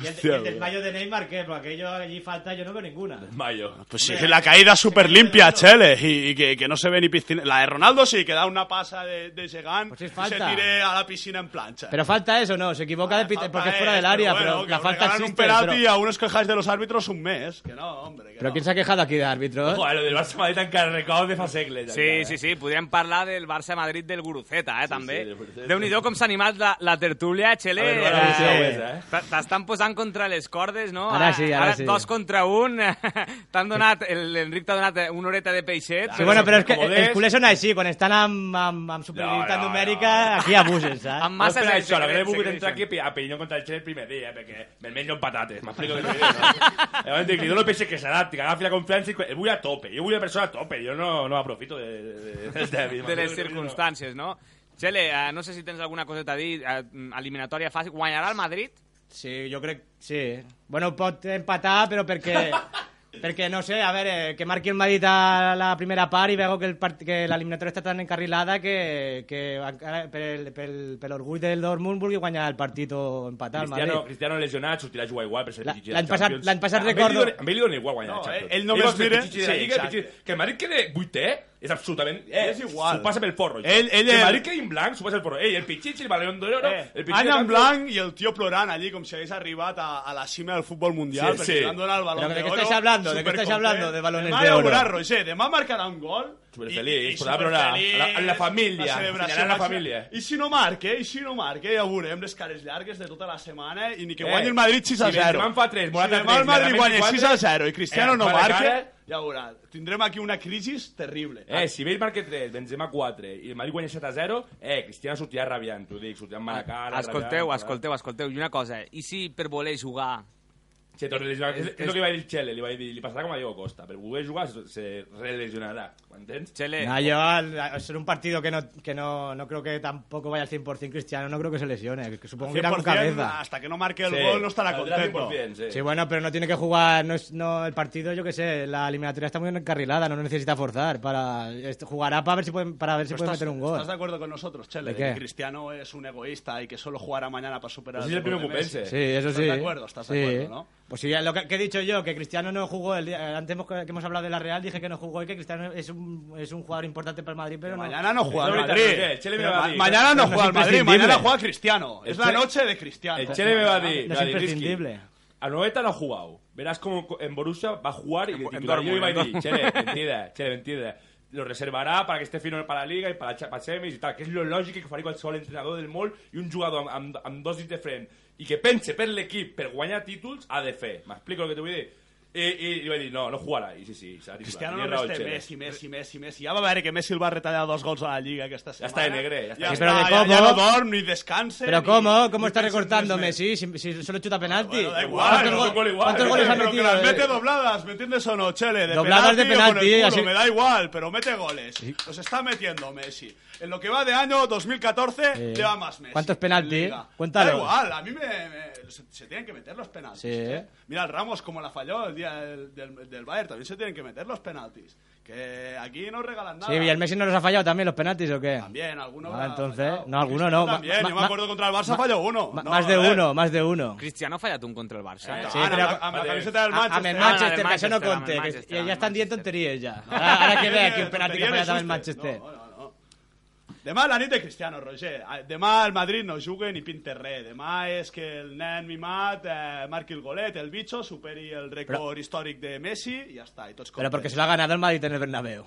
[SPEAKER 6] Y el,
[SPEAKER 7] Hostia,
[SPEAKER 6] y el
[SPEAKER 7] bro.
[SPEAKER 6] desmayo de Neymar, ¿qué? Porque aquello allí falta, yo no veo ninguna.
[SPEAKER 5] Mayo.
[SPEAKER 7] Pues sí, la caída súper limpia, Chele. Y, y que, que no se ve ni piscina. La de Ronaldo sí, que da una pasa de, de Segan.
[SPEAKER 6] Pues sí,
[SPEAKER 7] se
[SPEAKER 6] falta.
[SPEAKER 7] tire a la piscina en plancha.
[SPEAKER 6] Pero falta eso, ¿no? Se equivoca de pit-
[SPEAKER 7] Falta
[SPEAKER 6] porque es fuera
[SPEAKER 7] es,
[SPEAKER 6] del área,
[SPEAKER 7] bueno,
[SPEAKER 6] pero,
[SPEAKER 7] que
[SPEAKER 6] la
[SPEAKER 7] os
[SPEAKER 6] falta
[SPEAKER 7] regalan
[SPEAKER 6] existe.
[SPEAKER 7] un penalti
[SPEAKER 6] pero,
[SPEAKER 7] y aún os quejáis de los árbitros un mes. Que no, hombre. Que
[SPEAKER 6] pero
[SPEAKER 7] no.
[SPEAKER 6] ¿quién se ha quejado aquí de árbitro? eh?
[SPEAKER 5] Joder, lo del Barça-Madrid encara recau de fa segles.
[SPEAKER 2] Sí, sí, sí, podríem parlar del Barça-Madrid del Guruceta, eh, també.
[SPEAKER 5] eh? del Guruceta.
[SPEAKER 2] Déu-n'hi-do com s'ha animat la, la tertúlia, Xele.
[SPEAKER 5] A veure, ara
[SPEAKER 2] Eh,
[SPEAKER 5] sí, ja ho és, eh?
[SPEAKER 2] t'a- T'estan posant contra les cordes, no?
[SPEAKER 6] Ara sí, ara sí.
[SPEAKER 2] Dos contra un. T'han donat, el- l'Enric t'ha donat eh, una horeta de peixet.
[SPEAKER 6] Sí, bueno,
[SPEAKER 5] si
[SPEAKER 6] pero es que
[SPEAKER 5] t'incomodes-
[SPEAKER 6] els culers són així, quan estan amb, amb, amb superioritat
[SPEAKER 5] No, no,
[SPEAKER 6] numèrica,
[SPEAKER 5] no.
[SPEAKER 6] aquí abusen, saps?
[SPEAKER 2] Amb
[SPEAKER 5] Más
[SPEAKER 2] masses
[SPEAKER 5] no
[SPEAKER 2] en
[SPEAKER 5] això, la
[SPEAKER 2] secret,
[SPEAKER 5] veritat he volgut
[SPEAKER 2] secret,
[SPEAKER 5] entrar aquí
[SPEAKER 2] secret.
[SPEAKER 5] a Peñón contra el Xer el primer dia, perquè me'n menjo amb patates, m'explico que t'ho diré. Llavors dic, jo no peixe que s'adapti, que agafi la confiança i que- vull a tope, jo vull la persona a tope, jo no, no aprofito de, de, de, de,
[SPEAKER 2] de les circumstàncies, no? Xele, eh, no sé si tens alguna coseta a dir, eh, eliminatòria fàcil. Guanyarà el Madrid?
[SPEAKER 6] Sí, jo crec... Sí. Bueno, pot empatar, però perquè... perquè, no sé, a veure, que marqui el Madrid a la primera part i veu que, el part... que l'eliminatòria està tan encarrilada que, que encara pel, pel, per l'orgull del Dortmund vulgui guanyar el partit o empatar el
[SPEAKER 5] Cristiano,
[SPEAKER 6] Madrid.
[SPEAKER 5] Cristiano lesionat, sortirà a jugar igual per ser
[SPEAKER 6] La-
[SPEAKER 5] el pitxi de
[SPEAKER 6] l'any
[SPEAKER 5] la Champions.
[SPEAKER 6] passat- l'any passat
[SPEAKER 5] Amb ell
[SPEAKER 6] recordo-
[SPEAKER 5] li donen- Amb ell li dona igual guanyar
[SPEAKER 7] No, eh,
[SPEAKER 5] la Champions.
[SPEAKER 7] ell- ell només
[SPEAKER 5] va ser el
[SPEAKER 7] mira-
[SPEAKER 5] pitxi de
[SPEAKER 7] sí,
[SPEAKER 5] la Lliga, el
[SPEAKER 7] exacte.
[SPEAKER 5] pitxi- Que el Madrid quede vuitè és absolutament... Eh,
[SPEAKER 7] És igual.
[SPEAKER 5] S'ho passa pel porro. això.
[SPEAKER 7] Ell- ell
[SPEAKER 5] que
[SPEAKER 7] és-
[SPEAKER 5] el Madrid quedi en blanc, s'ho passa pel porro. Ell, el pitxitxi, el balón d'oro... no?
[SPEAKER 7] Eh,
[SPEAKER 5] El pitxi de
[SPEAKER 7] Anna en
[SPEAKER 5] Champions-
[SPEAKER 7] blanc i el tio plorant allí com si hagués arribat a, a la cima del futbol mundial
[SPEAKER 5] Sí,
[SPEAKER 7] perquè
[SPEAKER 5] sí.
[SPEAKER 7] li han donat el balón
[SPEAKER 6] Pero ¿de qué
[SPEAKER 7] de oro,
[SPEAKER 6] estáis hablando? ¿De qué estáis
[SPEAKER 7] supercontent.
[SPEAKER 6] hablando? De balones
[SPEAKER 7] demà
[SPEAKER 6] de oro.
[SPEAKER 7] veurà, Roger, demà marcarà un gol
[SPEAKER 5] Superfeliç, podrà veure la- la- la família,
[SPEAKER 7] celebració
[SPEAKER 5] ensenyarà la
[SPEAKER 7] màxima.
[SPEAKER 5] família.
[SPEAKER 7] i si no marca, i si no marca ja veurem les cares llargues de tota la setmana i ni que
[SPEAKER 5] Eh,
[SPEAKER 7] guanyi el Madrid 6 a
[SPEAKER 5] si
[SPEAKER 7] 0
[SPEAKER 5] Benzema en fa tres, Morata
[SPEAKER 7] si demà
[SPEAKER 5] tres,
[SPEAKER 7] el Madrid
[SPEAKER 5] Messi
[SPEAKER 7] guanya
[SPEAKER 5] quatre,
[SPEAKER 7] 6 a 0 i Cristiano
[SPEAKER 5] eh,
[SPEAKER 7] no
[SPEAKER 5] fa la
[SPEAKER 7] marca
[SPEAKER 5] cara.
[SPEAKER 7] ja veurà, tindrem aquí una crisi terrible
[SPEAKER 5] Eh, si ve el marca 3, Benzema 4 i el Madrid guanya 7 a 0, eh, Cristiano sortirà rabiant, t'ho dic, sortirà
[SPEAKER 6] Ah,
[SPEAKER 5] amb mala cara...
[SPEAKER 2] Escolteu,
[SPEAKER 5] rabiant,
[SPEAKER 2] escolteu, escolteu. I una cosa, eh, i si per voler jugar
[SPEAKER 5] Se torna a lesionar. És, és el que va dir el Xele, li, va dir, li passarà com a Diego Costa. Per voler jugar se, se relesionarà, m'entens?
[SPEAKER 2] Chele,
[SPEAKER 6] No, yo al- al ser un partido que no, que no, no creo que tampoco vaya al 100% Cristiano, no creo que se lesione, que supongo que irá con
[SPEAKER 7] 100%
[SPEAKER 6] cabeza.
[SPEAKER 7] hasta que no marque el gol no estará
[SPEAKER 5] saldrà
[SPEAKER 7] contento
[SPEAKER 5] 100%, Sí.
[SPEAKER 6] Sí, bueno, pero no tiene que jugar, no es, no, el partido, yo qué sé, la eliminatoria está muy encarrilada, no necesita forzar, para est- jugará para ver si puede, para ver si
[SPEAKER 7] Pero
[SPEAKER 6] puede
[SPEAKER 7] estás-
[SPEAKER 6] meter un gol.
[SPEAKER 7] ¿Estás de acuerdo con nosotros, Chele?
[SPEAKER 6] ¿De
[SPEAKER 7] de que
[SPEAKER 6] qué?
[SPEAKER 7] Cristiano es un egoísta y que solo jugará mañana para superar
[SPEAKER 5] Ese
[SPEAKER 7] al
[SPEAKER 5] es el
[SPEAKER 7] Liverpool
[SPEAKER 5] primer
[SPEAKER 7] de Messi?
[SPEAKER 5] cupense.
[SPEAKER 6] Sí, eso
[SPEAKER 7] ¿Estás
[SPEAKER 6] sí.
[SPEAKER 7] de acuerdo? ¿Estás de
[SPEAKER 6] Sí.
[SPEAKER 7] acuerdo, no?
[SPEAKER 6] Pues sí, lo que, que he dicho yo, que Cristiano no jugó, el día- antes hemos- que hemos hablado de la Real, dije que no jugó y que Cristiano es un, es un jugador importante para el Madrid, pero no.
[SPEAKER 7] Mañana no
[SPEAKER 5] Es
[SPEAKER 7] juega el
[SPEAKER 5] ahorita,
[SPEAKER 7] Madrid.
[SPEAKER 5] Roger, el Chele me
[SPEAKER 7] Pero
[SPEAKER 5] va a
[SPEAKER 7] ma-
[SPEAKER 5] decir.
[SPEAKER 7] Mañana no
[SPEAKER 6] No es
[SPEAKER 7] juega el Madrid,
[SPEAKER 6] imprescindible.
[SPEAKER 7] mañana juega Cristiano.
[SPEAKER 5] El
[SPEAKER 7] Es la
[SPEAKER 5] Chele-
[SPEAKER 7] noche de Cristiano.
[SPEAKER 5] El Xele me va dir...
[SPEAKER 6] No
[SPEAKER 5] va
[SPEAKER 6] es
[SPEAKER 5] dir,
[SPEAKER 6] imprescindible.
[SPEAKER 5] "Risky, A Noeta no ha jugado. Verás como co- en Borussia va a jugar y
[SPEAKER 2] En-
[SPEAKER 5] de
[SPEAKER 2] en
[SPEAKER 5] titular yo
[SPEAKER 2] Dortmund,
[SPEAKER 5] iba a decir,
[SPEAKER 2] ¿no?
[SPEAKER 5] chele, mentida, chele, mentida. Lo reservarà para que esté fino para la Liga i per a, cha- per semis i tal, que és lo lògic que faria qualsevol entrenador del món i un jugador amb, amb, amb dos dits de frent i que pense per l'equip per guanyar títols ha de fer. M'explico el que t'ho vull dir? I, i, i va dir, no, no jugarà. I sí, sí, serà titular.
[SPEAKER 7] Cristiano
[SPEAKER 5] Tenia
[SPEAKER 7] només
[SPEAKER 5] raó el
[SPEAKER 7] té
[SPEAKER 5] Chele.
[SPEAKER 7] Messi, Messi, Messi, Messi. Ja va veure que Messi el va retallar dos gols a la Lliga aquesta setmana.
[SPEAKER 5] està de negre, ja està.
[SPEAKER 7] Ja,
[SPEAKER 5] Sí,
[SPEAKER 7] està,
[SPEAKER 5] però
[SPEAKER 7] ja,
[SPEAKER 6] de
[SPEAKER 7] ja no
[SPEAKER 6] cómo.
[SPEAKER 7] dorm ni descanse.
[SPEAKER 6] Pero
[SPEAKER 7] ni-
[SPEAKER 6] ¿cómo?
[SPEAKER 7] ni
[SPEAKER 6] ¿Cómo está
[SPEAKER 7] pensa en
[SPEAKER 6] recortando
[SPEAKER 7] res més.
[SPEAKER 6] Messi? Si, si solo chuta penalti.
[SPEAKER 7] Bueno, da igual,
[SPEAKER 6] ¿Cuántos,
[SPEAKER 7] Ah, no
[SPEAKER 6] gol-
[SPEAKER 7] son gol
[SPEAKER 5] igual.
[SPEAKER 6] cuántos goles ha
[SPEAKER 7] Pero que
[SPEAKER 6] metido?
[SPEAKER 7] las mete
[SPEAKER 6] Eh,
[SPEAKER 7] dobladas, ¿me entiendes o no, Chele? De
[SPEAKER 6] Dobladas de
[SPEAKER 7] penalti o con el
[SPEAKER 6] penalti,
[SPEAKER 7] culo,
[SPEAKER 6] así-
[SPEAKER 7] me da igual, pero mete goles. Los está metiendo Messi. En lo que va de año 2014,
[SPEAKER 6] Sí.
[SPEAKER 7] lleva más Messi.
[SPEAKER 6] ¿Cuántos
[SPEAKER 7] en
[SPEAKER 6] penalti? eh?
[SPEAKER 7] Liga.
[SPEAKER 6] Cuéntalo.
[SPEAKER 7] Da igual, a mí me, me- se, se tienen que meter los penaltis.
[SPEAKER 6] Sí.
[SPEAKER 7] ¿eh? Mira, el Ramos como la falló el día del, del, del Bayern, también se tienen que meter los penaltis. Que aquí no regalan nada.
[SPEAKER 6] Sí, ¿y el Messi no los ha fallado también los penaltis o qué?
[SPEAKER 7] También, alguno.
[SPEAKER 6] Ah,
[SPEAKER 7] habrá
[SPEAKER 6] entonces,
[SPEAKER 7] fallado.
[SPEAKER 6] no, alguno no.
[SPEAKER 7] También,
[SPEAKER 6] Ma-
[SPEAKER 7] yo
[SPEAKER 6] ma-
[SPEAKER 7] me acuerdo contra el Barça
[SPEAKER 6] ma-
[SPEAKER 7] falló uno.
[SPEAKER 6] Ma-
[SPEAKER 7] No,
[SPEAKER 6] más de
[SPEAKER 7] a ver. Ah,
[SPEAKER 6] uno, más de uno.
[SPEAKER 2] Cristiano ha fallat un contra el
[SPEAKER 5] Eh,
[SPEAKER 2] Barça.
[SPEAKER 7] No,
[SPEAKER 6] Sí,
[SPEAKER 7] ara,
[SPEAKER 6] però-
[SPEAKER 7] amb, la- amb la camiseta del
[SPEAKER 6] A-
[SPEAKER 7] Manchester.
[SPEAKER 6] amb el
[SPEAKER 2] Ah,
[SPEAKER 6] Manchester,
[SPEAKER 2] del
[SPEAKER 6] que això no
[SPEAKER 2] Manchester, amb el
[SPEAKER 6] conté. que
[SPEAKER 2] Manchester,
[SPEAKER 6] ja,
[SPEAKER 2] amb
[SPEAKER 6] ja
[SPEAKER 2] el
[SPEAKER 6] estan dient
[SPEAKER 2] Manchester.
[SPEAKER 6] tonteries ja. Ara, ara que ve aquí un penalti que ha
[SPEAKER 7] Tonteria
[SPEAKER 6] fallat amb el
[SPEAKER 7] no és
[SPEAKER 6] Manchester.
[SPEAKER 7] usted. No, no, no. Demà a la nit de Cristiano, Roger. Ah, Demà el Madrid no juga ni pinta res. Demà és que el nen mimat eh, marqui el golet, el bitxo, superi el rècord històric de Messi i ja està. I tots
[SPEAKER 6] Pero porque
[SPEAKER 7] contents.
[SPEAKER 6] se lo ha ganado el Madrid en el Bernabéu.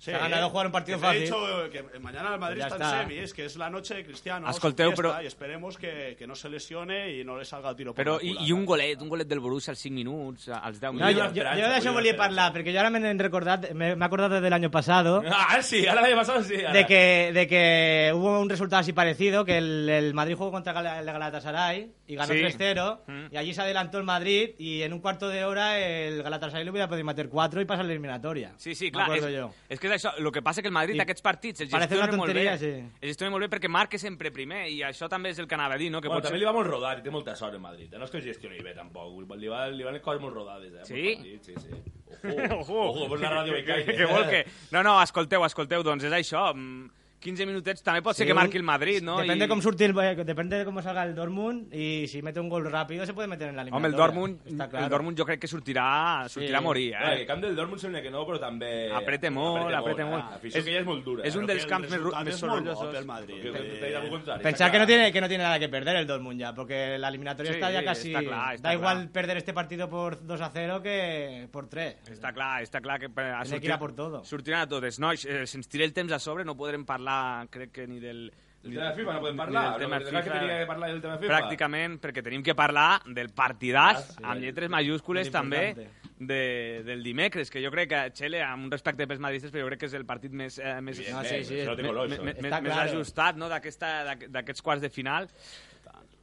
[SPEAKER 6] se ha ganado jugar un partido
[SPEAKER 7] que me he
[SPEAKER 6] fácil.
[SPEAKER 7] dicho que mañana el Madrid
[SPEAKER 6] Ya
[SPEAKER 7] está,
[SPEAKER 6] está.
[SPEAKER 7] en semis, que es la noche de Cristiano.
[SPEAKER 2] Ascolteu,
[SPEAKER 7] su fiesta,
[SPEAKER 2] però-
[SPEAKER 7] Y esperemos que, que no se lesione y no le salga el tiro por
[SPEAKER 2] Però,
[SPEAKER 7] la
[SPEAKER 2] i,
[SPEAKER 7] culata.
[SPEAKER 2] i un golet, un golet del Borussia als 5 minuts, als 10
[SPEAKER 6] No,
[SPEAKER 2] minuts.
[SPEAKER 6] jo, jo, jo d'això volia parlar, perquè jo ara m'he recordat, m'he m'he acordat de l'any passat
[SPEAKER 5] Ah, sí, ara l'any passat sí. Ara.
[SPEAKER 6] de que, de que hubo un resultado así parecido, que el, el Madrid jugó contra Gal- el Galatasaray y ganó
[SPEAKER 2] Sí.
[SPEAKER 6] 3-0,
[SPEAKER 2] Mm.
[SPEAKER 6] y allí se adelantó el Madrid y en un cuarto de hora el Galatasaray le hubiera podido meter 4 y pasar la eliminatoria.
[SPEAKER 2] Sí, sí,
[SPEAKER 6] Me
[SPEAKER 2] clar. És,
[SPEAKER 6] acuerdo jo.
[SPEAKER 2] és que és això. El que passa que el Madrid
[SPEAKER 6] I
[SPEAKER 2] aquests partits els
[SPEAKER 6] parece
[SPEAKER 2] gestiona
[SPEAKER 6] una
[SPEAKER 2] molt bé.
[SPEAKER 6] tonteria, sí.
[SPEAKER 2] Els gestiona molt bé perquè marca sempre primer i això també és el que anava a dir, no? Que
[SPEAKER 5] Bueno,
[SPEAKER 2] potser-
[SPEAKER 5] també li va molt rodat i té molta sort el Madrid. eh? No és que ho gestioni bé, tampoc. Li, va, li van coses molt rodades, eh?
[SPEAKER 2] Sí?
[SPEAKER 5] Molt sí, sí. Ojo, ojo, ojo pues la ràdio me cae.
[SPEAKER 2] que, que vol que... No, no, escolteu, escolteu, doncs és això. mm, 15 minutets també pot ser que
[SPEAKER 6] un-
[SPEAKER 2] marqui el Madrid, no?
[SPEAKER 6] Depende,
[SPEAKER 2] I-
[SPEAKER 6] com surti el, eh, depende de cómo salga el Dortmund y si mete un gol rápido se puede meter en la
[SPEAKER 2] Home,
[SPEAKER 6] eliminatoria.
[SPEAKER 2] el Dortmund,
[SPEAKER 6] Está
[SPEAKER 2] el
[SPEAKER 6] claro.
[SPEAKER 2] Dortmund jo crec que sortirà, sortirà
[SPEAKER 6] Sí.
[SPEAKER 2] a morir,
[SPEAKER 5] Eh, el
[SPEAKER 2] eh?
[SPEAKER 5] camp del Dortmund sembla que no, però també...
[SPEAKER 2] Apreta molt, apreta molt.
[SPEAKER 5] L'afició
[SPEAKER 2] És-
[SPEAKER 5] que ja és molt dura.
[SPEAKER 2] és un
[SPEAKER 5] eh?
[SPEAKER 2] dels
[SPEAKER 7] El
[SPEAKER 2] camps més, ru-
[SPEAKER 7] resultat
[SPEAKER 2] més
[SPEAKER 7] és molt bo
[SPEAKER 2] sorollosos.
[SPEAKER 7] pel Madrid.
[SPEAKER 5] Que- que- que- que- algú contrari.
[SPEAKER 6] Pensar que no,
[SPEAKER 5] Està clar.
[SPEAKER 6] tiene, que no tiene nada que perder el Dortmund ya, porque la eliminatoria
[SPEAKER 2] Sí,
[SPEAKER 6] está ya
[SPEAKER 2] sí,
[SPEAKER 6] casi...
[SPEAKER 2] está claro, está
[SPEAKER 6] da igual
[SPEAKER 2] claro.
[SPEAKER 6] perder este partido por 2 a 0 que por 3.
[SPEAKER 2] Està clar, està clar que... per- A
[SPEAKER 6] Tiene que ir a por todo.
[SPEAKER 2] Sortiran a totes. Nois, eh, se'ns tira el temps a sobre, no podrem parlar, crec que ni del...
[SPEAKER 5] Del tema FIFA no podem parlar.
[SPEAKER 2] Ni del tema
[SPEAKER 5] No, de clar que
[SPEAKER 2] FIFA.
[SPEAKER 5] tenia que parlar del tema FIFA.
[SPEAKER 2] Pràcticament, perquè tenim que parlar del partidàs, amb lletres majúscules
[SPEAKER 6] Ah, molt
[SPEAKER 2] també,
[SPEAKER 6] importante.
[SPEAKER 2] de, del dimecres, que jo crec que, Xele, amb un respecte pels madridistes, però jo crec que és el partit més, eh, més,
[SPEAKER 5] Evidentment,
[SPEAKER 7] Ah,
[SPEAKER 6] No, sí, sí.
[SPEAKER 5] això no té color,
[SPEAKER 2] més,
[SPEAKER 5] això.
[SPEAKER 2] més,
[SPEAKER 6] Està
[SPEAKER 2] més
[SPEAKER 6] claro.
[SPEAKER 2] ajustat no? d'aquesta- d'aqu- d'aquests quarts de final.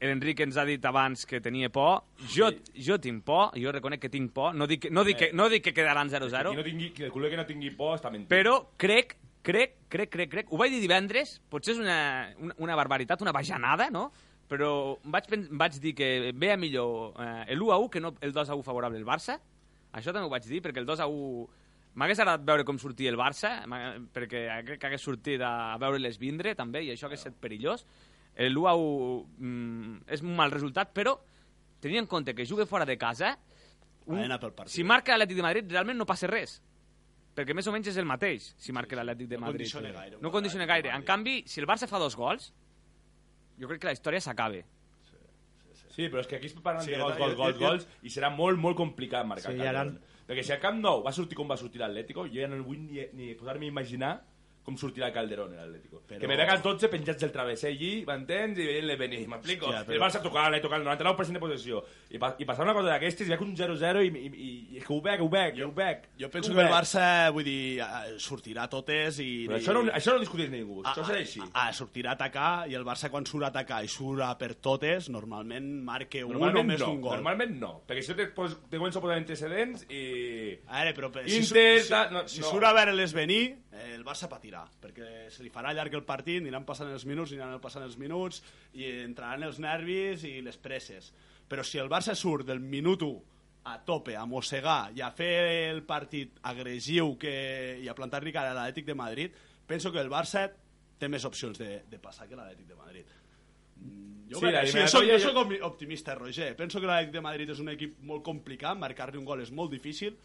[SPEAKER 2] L'Enric ens ha dit abans que tenia por. Jo, jo tinc por, jo reconec que tinc por. No dic, que- no dic, que, no dic que quedaran
[SPEAKER 5] Qui no
[SPEAKER 2] 0-0,
[SPEAKER 5] tingui, el culer que no tingui por està mentit.
[SPEAKER 2] però crec, crec, crec, crec, crec... Ho vaig dir divendres, potser és una, una, una barbaritat, una bajanada, no? Però vaig, pen- vaig dir que veia millor eh, l'1-1 que no el 2-1 favorable al Barça. Això també ho vaig dir, perquè el 2-1... M'hagués agradat veure com sortia el Barça, m'ha- perquè crec que hagués sortit a veure-les vindre, també, i això hagués estat perillós. L'1-1 mm, és un mal resultat, però tenint en compte que juga fora de casa, un-
[SPEAKER 7] Arena pel partit.
[SPEAKER 2] si marca l'Atlètic de Madrid realment no passa res, perquè més o menys és el mateix si marca l'Atlètic de
[SPEAKER 7] No
[SPEAKER 2] Madrid.
[SPEAKER 7] condiciona gaire,
[SPEAKER 2] no
[SPEAKER 7] un
[SPEAKER 2] condiciona
[SPEAKER 7] Atlètic de
[SPEAKER 2] gaire. En
[SPEAKER 7] Madrid.
[SPEAKER 2] canvi, si el Barça fa dos gols, jo crec que la història s'acaba.
[SPEAKER 5] Sí, però és que aquí es parlen
[SPEAKER 7] Sí,
[SPEAKER 5] de gols,
[SPEAKER 7] jo-
[SPEAKER 5] gols,
[SPEAKER 7] jo-
[SPEAKER 5] gols,
[SPEAKER 7] jo-
[SPEAKER 5] gols, i serà molt, molt complicat marcar
[SPEAKER 6] Sí,
[SPEAKER 5] cap
[SPEAKER 6] ja
[SPEAKER 5] de
[SPEAKER 6] l'han-
[SPEAKER 5] gol. Perquè si a Camp Nou va sortir com va sortir l'Atlético, jo ja no vull ni, ni posar-me a imaginar com sortirà Calderón en l'Atlético.
[SPEAKER 7] Però-
[SPEAKER 5] Que me veig als 12 penjats del travesser allí, m'entens? I veient-le venir, m'explico.
[SPEAKER 7] Hòstia,
[SPEAKER 5] El
[SPEAKER 7] però-
[SPEAKER 5] Barça tocant, tocant el 99% de possessió. I, pa, i passar una cosa d'aquestes, i veig un 0-0 i, i, i, i, és que ho veig, ho veig, ho veig.
[SPEAKER 7] Jo
[SPEAKER 5] ho
[SPEAKER 7] penso
[SPEAKER 5] veig.
[SPEAKER 7] que el Barça, vull dir, eh, sortirà totes i...
[SPEAKER 5] Però això no, això no ho discuteix ningú,
[SPEAKER 7] Ah,
[SPEAKER 5] això serà així.
[SPEAKER 7] Ah, ah, sortirà a atacar i el Barça quan surt a atacar i surt a per totes, normalment marca un o
[SPEAKER 5] Normalment
[SPEAKER 7] més
[SPEAKER 5] no,
[SPEAKER 7] un gol.
[SPEAKER 5] normalment no, perquè si no te, pos- te començo a posar antecedents i...
[SPEAKER 7] A veure, però per-
[SPEAKER 5] Inter,
[SPEAKER 7] si,
[SPEAKER 5] tal,
[SPEAKER 7] surt-
[SPEAKER 5] no,
[SPEAKER 7] si, si
[SPEAKER 5] no.
[SPEAKER 7] surt a veure-les venir, eh, el Barça patirà, perquè se li farà llarg el partit, aniran passant els minuts, aniran passant els minuts, i entraran els nervis i les presses. Però si el Barça surt del minut 1 a tope, a mossegar i a fer el partit agressiu que, i a plantar-li cara a l'Atlètic de Madrid, penso que el Barça té més opcions de, de passar que l'Atlètic de Madrid.
[SPEAKER 5] Sí,
[SPEAKER 7] Jo, sí,
[SPEAKER 5] la
[SPEAKER 7] sí, jo, soc, jo
[SPEAKER 5] eliminatòria-
[SPEAKER 7] soc opti- optimista, Roger. Penso que l'Atlètic de Madrid és un equip molt complicat, marcar-li un gol és molt difícil,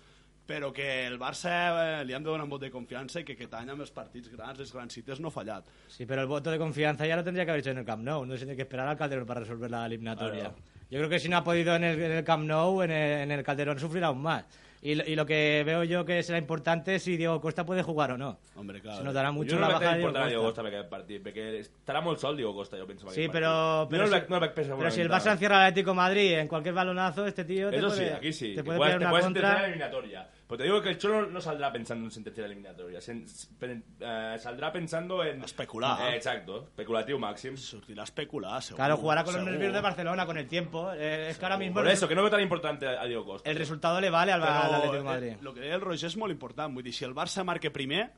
[SPEAKER 7] però que el Barça eh, li han de donar un vot de confiança i que aquest any amb els partits grans, les grans cites, no ha fallat.
[SPEAKER 6] Sí, pero el voto de confianza ya lo tendría que haber hecho en el Camp Nou. No tendría que esperar al Calderón para resolver la eliminatoria. Yo creo que si no ha podido en el, en el Camp Nou, en el, en el Calderón sufrirá aún más. Y, lo- y lo que veo yo que será importante es si Diego Costa puede jugar o no.
[SPEAKER 7] Hombre, claro.
[SPEAKER 6] Se notará mucho
[SPEAKER 5] jo no crec
[SPEAKER 6] la
[SPEAKER 5] que
[SPEAKER 6] baja de Diego
[SPEAKER 5] importarà
[SPEAKER 6] Costa.
[SPEAKER 5] Diego Costa per aquest partit, perquè estarà molt sol Diego Costa, jo penso. en
[SPEAKER 6] Sí,
[SPEAKER 5] aquest
[SPEAKER 6] pero,
[SPEAKER 5] partit.
[SPEAKER 6] pero,
[SPEAKER 5] Jo no el
[SPEAKER 6] si,
[SPEAKER 5] vaig, no el vaig pensar
[SPEAKER 6] pero si el Barça
[SPEAKER 5] fonamental.
[SPEAKER 6] encierra al Atlético de Madrid en cualquier balonazo, este tío te
[SPEAKER 5] Eso
[SPEAKER 6] puede,
[SPEAKER 5] sí, aquí sí.
[SPEAKER 6] te
[SPEAKER 5] Te
[SPEAKER 6] puede
[SPEAKER 5] puedes,
[SPEAKER 6] pegar
[SPEAKER 5] te
[SPEAKER 6] una
[SPEAKER 5] puedes
[SPEAKER 6] contra.
[SPEAKER 5] sentenciar en eliminatoria. Pero te digo que el Cholo no saldrá pensando en sentencia eliminatoria. sen- pen- eh, saldrá pensando en...
[SPEAKER 7] Especular.
[SPEAKER 5] Eh, exacto. Especulativo máximo.
[SPEAKER 7] Sortirà a especular, segur.
[SPEAKER 6] Claro, jugará con los
[SPEAKER 7] segur.
[SPEAKER 6] nervios de Barcelona con el tiempo. Eh, es que ahora mismo
[SPEAKER 5] Por
[SPEAKER 6] el-
[SPEAKER 5] eso, que no veo tan importante a a Diego Costa.
[SPEAKER 6] el resultado le vale al,
[SPEAKER 7] Però,
[SPEAKER 6] al Atlético de
[SPEAKER 7] eh,
[SPEAKER 6] Madrid.
[SPEAKER 7] El que deia el Roger és molt important. Vull dir, si el Barça marca primer,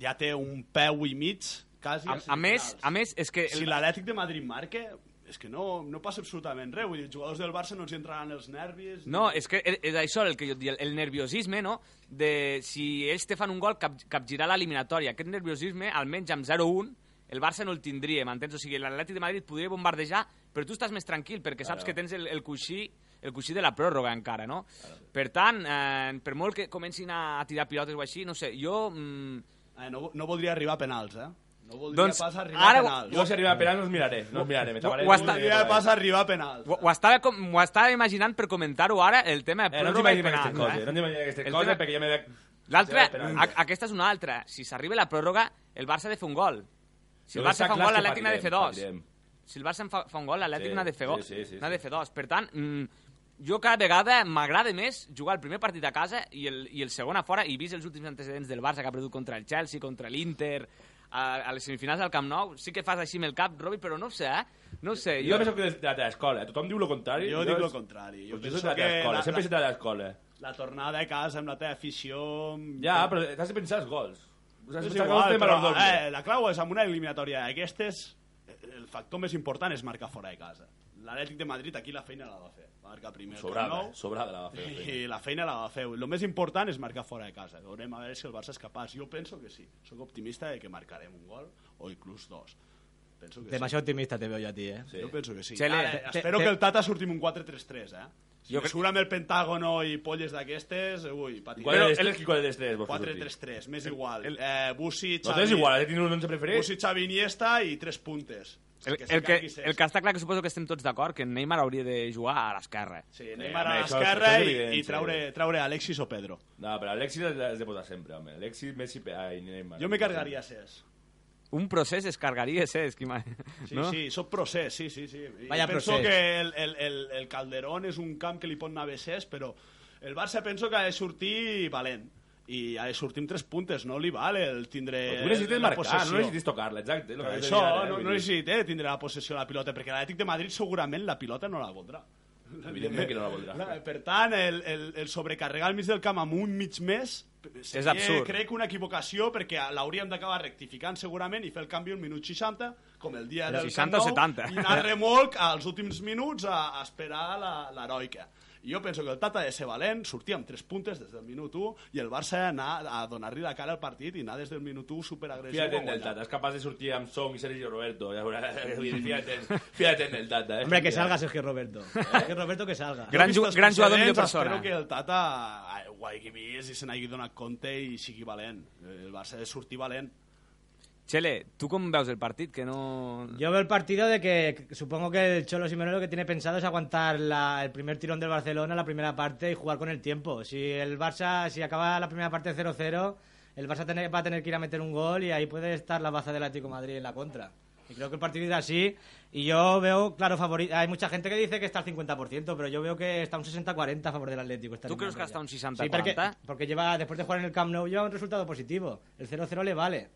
[SPEAKER 7] ja té un peu i mig, quasi.
[SPEAKER 2] A, a més, a més, és que...
[SPEAKER 7] Si l'Atlètic de Madrid marca, és que no, no passa absolutament res. Vull dir, els jugadors del Barça no els hi entraran els nervis.
[SPEAKER 2] No, és que és això el que jo et dic, el nerviosisme, no? De si ells te fan un gol, cap, capgirar l'eliminatòria. Aquest nerviosisme, almenys amb 0-1, el Barça no el tindria, m'entens? O sigui, l'Atlètic de Madrid et podria bombardejar, però tu estàs més tranquil, perquè saps que tens el, el coixí el coixí de la pròrroga encara, no? Per tant, eh, per molt que comencin a, a tirar pilotes o així, no sé, jo... Mm,
[SPEAKER 7] Eh, no, no voldria arribar a penals, eh? No voldria
[SPEAKER 2] Doncs,
[SPEAKER 7] doncs, pas arribar
[SPEAKER 2] ara-
[SPEAKER 7] a penals.
[SPEAKER 5] Yo si arriba a penal no os miraré. No os miraré. Me
[SPEAKER 2] Ho-
[SPEAKER 5] taparé
[SPEAKER 2] ho
[SPEAKER 5] el
[SPEAKER 2] està-
[SPEAKER 5] culo y
[SPEAKER 7] Voldria
[SPEAKER 5] me
[SPEAKER 7] pas
[SPEAKER 5] taparé.
[SPEAKER 7] arribar a penals.
[SPEAKER 2] ho, ho, estava, com, ho estava imaginant per comentar-ho ara, el tema de
[SPEAKER 5] Eh, no
[SPEAKER 2] pròrroga i
[SPEAKER 5] imagino
[SPEAKER 2] penal.
[SPEAKER 5] estas cosas. No
[SPEAKER 2] eh?
[SPEAKER 5] imagino
[SPEAKER 2] El
[SPEAKER 5] estas cosas
[SPEAKER 2] tema-
[SPEAKER 5] porque yo me veo...
[SPEAKER 2] L'altra,
[SPEAKER 5] Sí, però-
[SPEAKER 2] a- aquesta és una altra. Si s'arriba la pròrroga, el Barça ha de fer un gol. Si el
[SPEAKER 5] Jo crec que
[SPEAKER 2] Barça fa un
[SPEAKER 5] clar
[SPEAKER 2] gol,
[SPEAKER 5] que
[SPEAKER 2] l'Atlètic n'ha de fer
[SPEAKER 5] patirem,
[SPEAKER 2] dos.
[SPEAKER 5] patirem.
[SPEAKER 2] Si el Barça en fa, fa un gol, l'Atlètic
[SPEAKER 5] Sí,
[SPEAKER 2] n'ha de fer dos.
[SPEAKER 5] sí, sí, sí,
[SPEAKER 2] n'ha
[SPEAKER 5] sí.
[SPEAKER 2] de fer dos. Per tant, mm, jo cada vegada m'agrada més jugar el primer partit a casa i el, i el segon a fora, i vist els últims antecedents del Barça que ha perdut contra el Chelsea, contra l'Inter, a, a les semifinals del Camp Nou, sí que fas així amb el cap, Robi, però no ho sé, eh? No ho sé.
[SPEAKER 5] Yo pienso que de la escuela. Tothom diu lo contrario.
[SPEAKER 7] Jo dic lo contrari. Jo
[SPEAKER 5] Yo
[SPEAKER 7] penso
[SPEAKER 5] soy de
[SPEAKER 7] que
[SPEAKER 5] la escuela.
[SPEAKER 7] la-
[SPEAKER 5] Siempre
[SPEAKER 7] la-
[SPEAKER 5] soy de la escuela.
[SPEAKER 7] La tornada a casa amb la teva afició... amb-
[SPEAKER 5] Ya, pero te has de pensar los gols. O sea, has de
[SPEAKER 7] És
[SPEAKER 5] pensar gols
[SPEAKER 7] igual,
[SPEAKER 5] de
[SPEAKER 7] però,
[SPEAKER 5] los dos.
[SPEAKER 7] eh, la clau és amb una eliminatòria d'aquestes, el factor més important és marcar fora de casa. L'Atlètic de Madrid aquí la feina la va fer. Va marcar primer el Camp
[SPEAKER 5] Sobrada,
[SPEAKER 7] Nou,
[SPEAKER 5] eh, sobrada la va fer.
[SPEAKER 7] I la feina la va fer. El més important és marcar fora de casa. Veurem a veure si el Barça és capaç. Jo penso que sí. Soc optimista de que marcarem un gol o inclús dos. Penso que
[SPEAKER 6] Demasiado optimista te veo yo a ti, eh.
[SPEAKER 7] sí. Jo penso que sí.
[SPEAKER 10] Ah,
[SPEAKER 2] Xele,
[SPEAKER 7] Ara,
[SPEAKER 6] te-
[SPEAKER 7] espero
[SPEAKER 6] te-
[SPEAKER 7] que el Tata surti amb un 4-3-3, eh? Si
[SPEAKER 2] Jo
[SPEAKER 7] jo
[SPEAKER 2] crec-
[SPEAKER 7] surt amb el Pentágono i polles d'aquestes, ui, patim.
[SPEAKER 5] ¿Cuál es el tres? ¿Cuál es el tres?
[SPEAKER 7] 4-3-3, m'és igual. Eh, Busi,
[SPEAKER 5] Los tres
[SPEAKER 7] Xavi...
[SPEAKER 5] igual, tiene un 11 preferido.
[SPEAKER 7] Busi, Xavi, Iniesta i tres puntes.
[SPEAKER 2] El,
[SPEAKER 7] se
[SPEAKER 2] el, que,
[SPEAKER 7] cagui Cesc.
[SPEAKER 2] el que està clar que suposo que estem tots d'acord que en Neymar hauria de jugar a l'esquerra.
[SPEAKER 7] Sí, Neymar
[SPEAKER 5] home,
[SPEAKER 7] a
[SPEAKER 5] això-
[SPEAKER 7] l'esquerra
[SPEAKER 5] això és
[SPEAKER 7] i,
[SPEAKER 5] evident,
[SPEAKER 7] i
[SPEAKER 5] sí.
[SPEAKER 7] traure, traure Alexis o Pedro.
[SPEAKER 5] No, pero Alexis es de posar siempre, hombre. Alexis, Messi pe- ay, Neymar.
[SPEAKER 7] Jo me cargaria eh, Cesc.
[SPEAKER 2] Un procés es cargaria, eh? Que, ima-
[SPEAKER 7] Sí,
[SPEAKER 2] no?
[SPEAKER 7] sí, sóc procés, sí, sí. sí. I
[SPEAKER 6] Vaya
[SPEAKER 7] penso
[SPEAKER 6] procés.
[SPEAKER 7] que el, el, el, el Calderón és un camp que li pot anar bé Cesc, però el Barça penso que ha de sortir valent i ha de sortir amb tres puntes, no li val el tindre...
[SPEAKER 5] Però Tu necessites
[SPEAKER 7] la
[SPEAKER 5] marcar,
[SPEAKER 7] possessió.
[SPEAKER 5] no necessites tocar-la, exacte. és el que
[SPEAKER 7] Però
[SPEAKER 5] has de
[SPEAKER 7] això,
[SPEAKER 5] mirar, eh,
[SPEAKER 7] no,
[SPEAKER 5] vull
[SPEAKER 7] no
[SPEAKER 5] dir.
[SPEAKER 7] necessita tindre la possessió de la pilota, perquè l'Atlètic de Madrid segurament la pilota no la voldrà.
[SPEAKER 5] Evidentment que no la voldrà.
[SPEAKER 7] La- Per tant, el, el, el sobrecarregar el mig del camp amb un mig més seria,
[SPEAKER 2] absurd.
[SPEAKER 7] crec, una equivocació perquè l'hauríem d'acabar rectificant segurament i fer el canvi un minut 60, com el dia
[SPEAKER 2] Però
[SPEAKER 7] del
[SPEAKER 2] 60
[SPEAKER 7] Camp Nou,
[SPEAKER 2] o 70.
[SPEAKER 7] i anar a remolc als últims minuts a, a esperar la- l'heroica. I Jo penso que el Tata ha de ser valent, sortir amb tres puntes des del minut 1 i el Barça anar a donar-li la cara al partit i anar des del minut 1 superagressiu.
[SPEAKER 5] Fíjate
[SPEAKER 7] a
[SPEAKER 5] en el
[SPEAKER 7] guanyar.
[SPEAKER 5] Tata, es capaz de surtir amb Song y Sergio Roberto. ja veuràs. Fíjate, en- fíjate en el Tata, eh.
[SPEAKER 6] Hombre, que
[SPEAKER 5] Mira.
[SPEAKER 6] salga Sergio Roberto. Sergio Roberto que salga.
[SPEAKER 2] Gran ju-
[SPEAKER 7] vistes
[SPEAKER 2] gran jugador, millor
[SPEAKER 7] precedents,
[SPEAKER 2] persona.
[SPEAKER 7] Espero que el Tata eh, ho hagi vist i se n'hagi donat compte i sigui valent. Eh, El Barça ha de sortir valent.
[SPEAKER 2] Chele, tu com veus el partit? Que no...
[SPEAKER 6] Yo veo el partido de que que supongo que el Cholo Simeone lo que tiene pensado es aguantar la- el primer tirón del Barcelona, la primera parte y jugar con el tiempo. Si el Barça, si acaba la primera parte 0-0, el Barça tener- va a tener que ir a meter un gol y ahí puede estar la baza del Atlético de Madrid en la contra. Y creo que el partido irá así. Y yo veo, claro, favorito. Hay mucha gente que dice que está al 50%, pero yo veo que está un 60-40 a favor del Atlético. esta
[SPEAKER 2] ¿Tú crees que
[SPEAKER 6] eliminatoria.
[SPEAKER 2] hasta un
[SPEAKER 6] Sí, porque,
[SPEAKER 2] 60-40?
[SPEAKER 6] porque lleva, después de jugar en el Camp Nou, lleva un resultado positivo. El 0-0 le vale.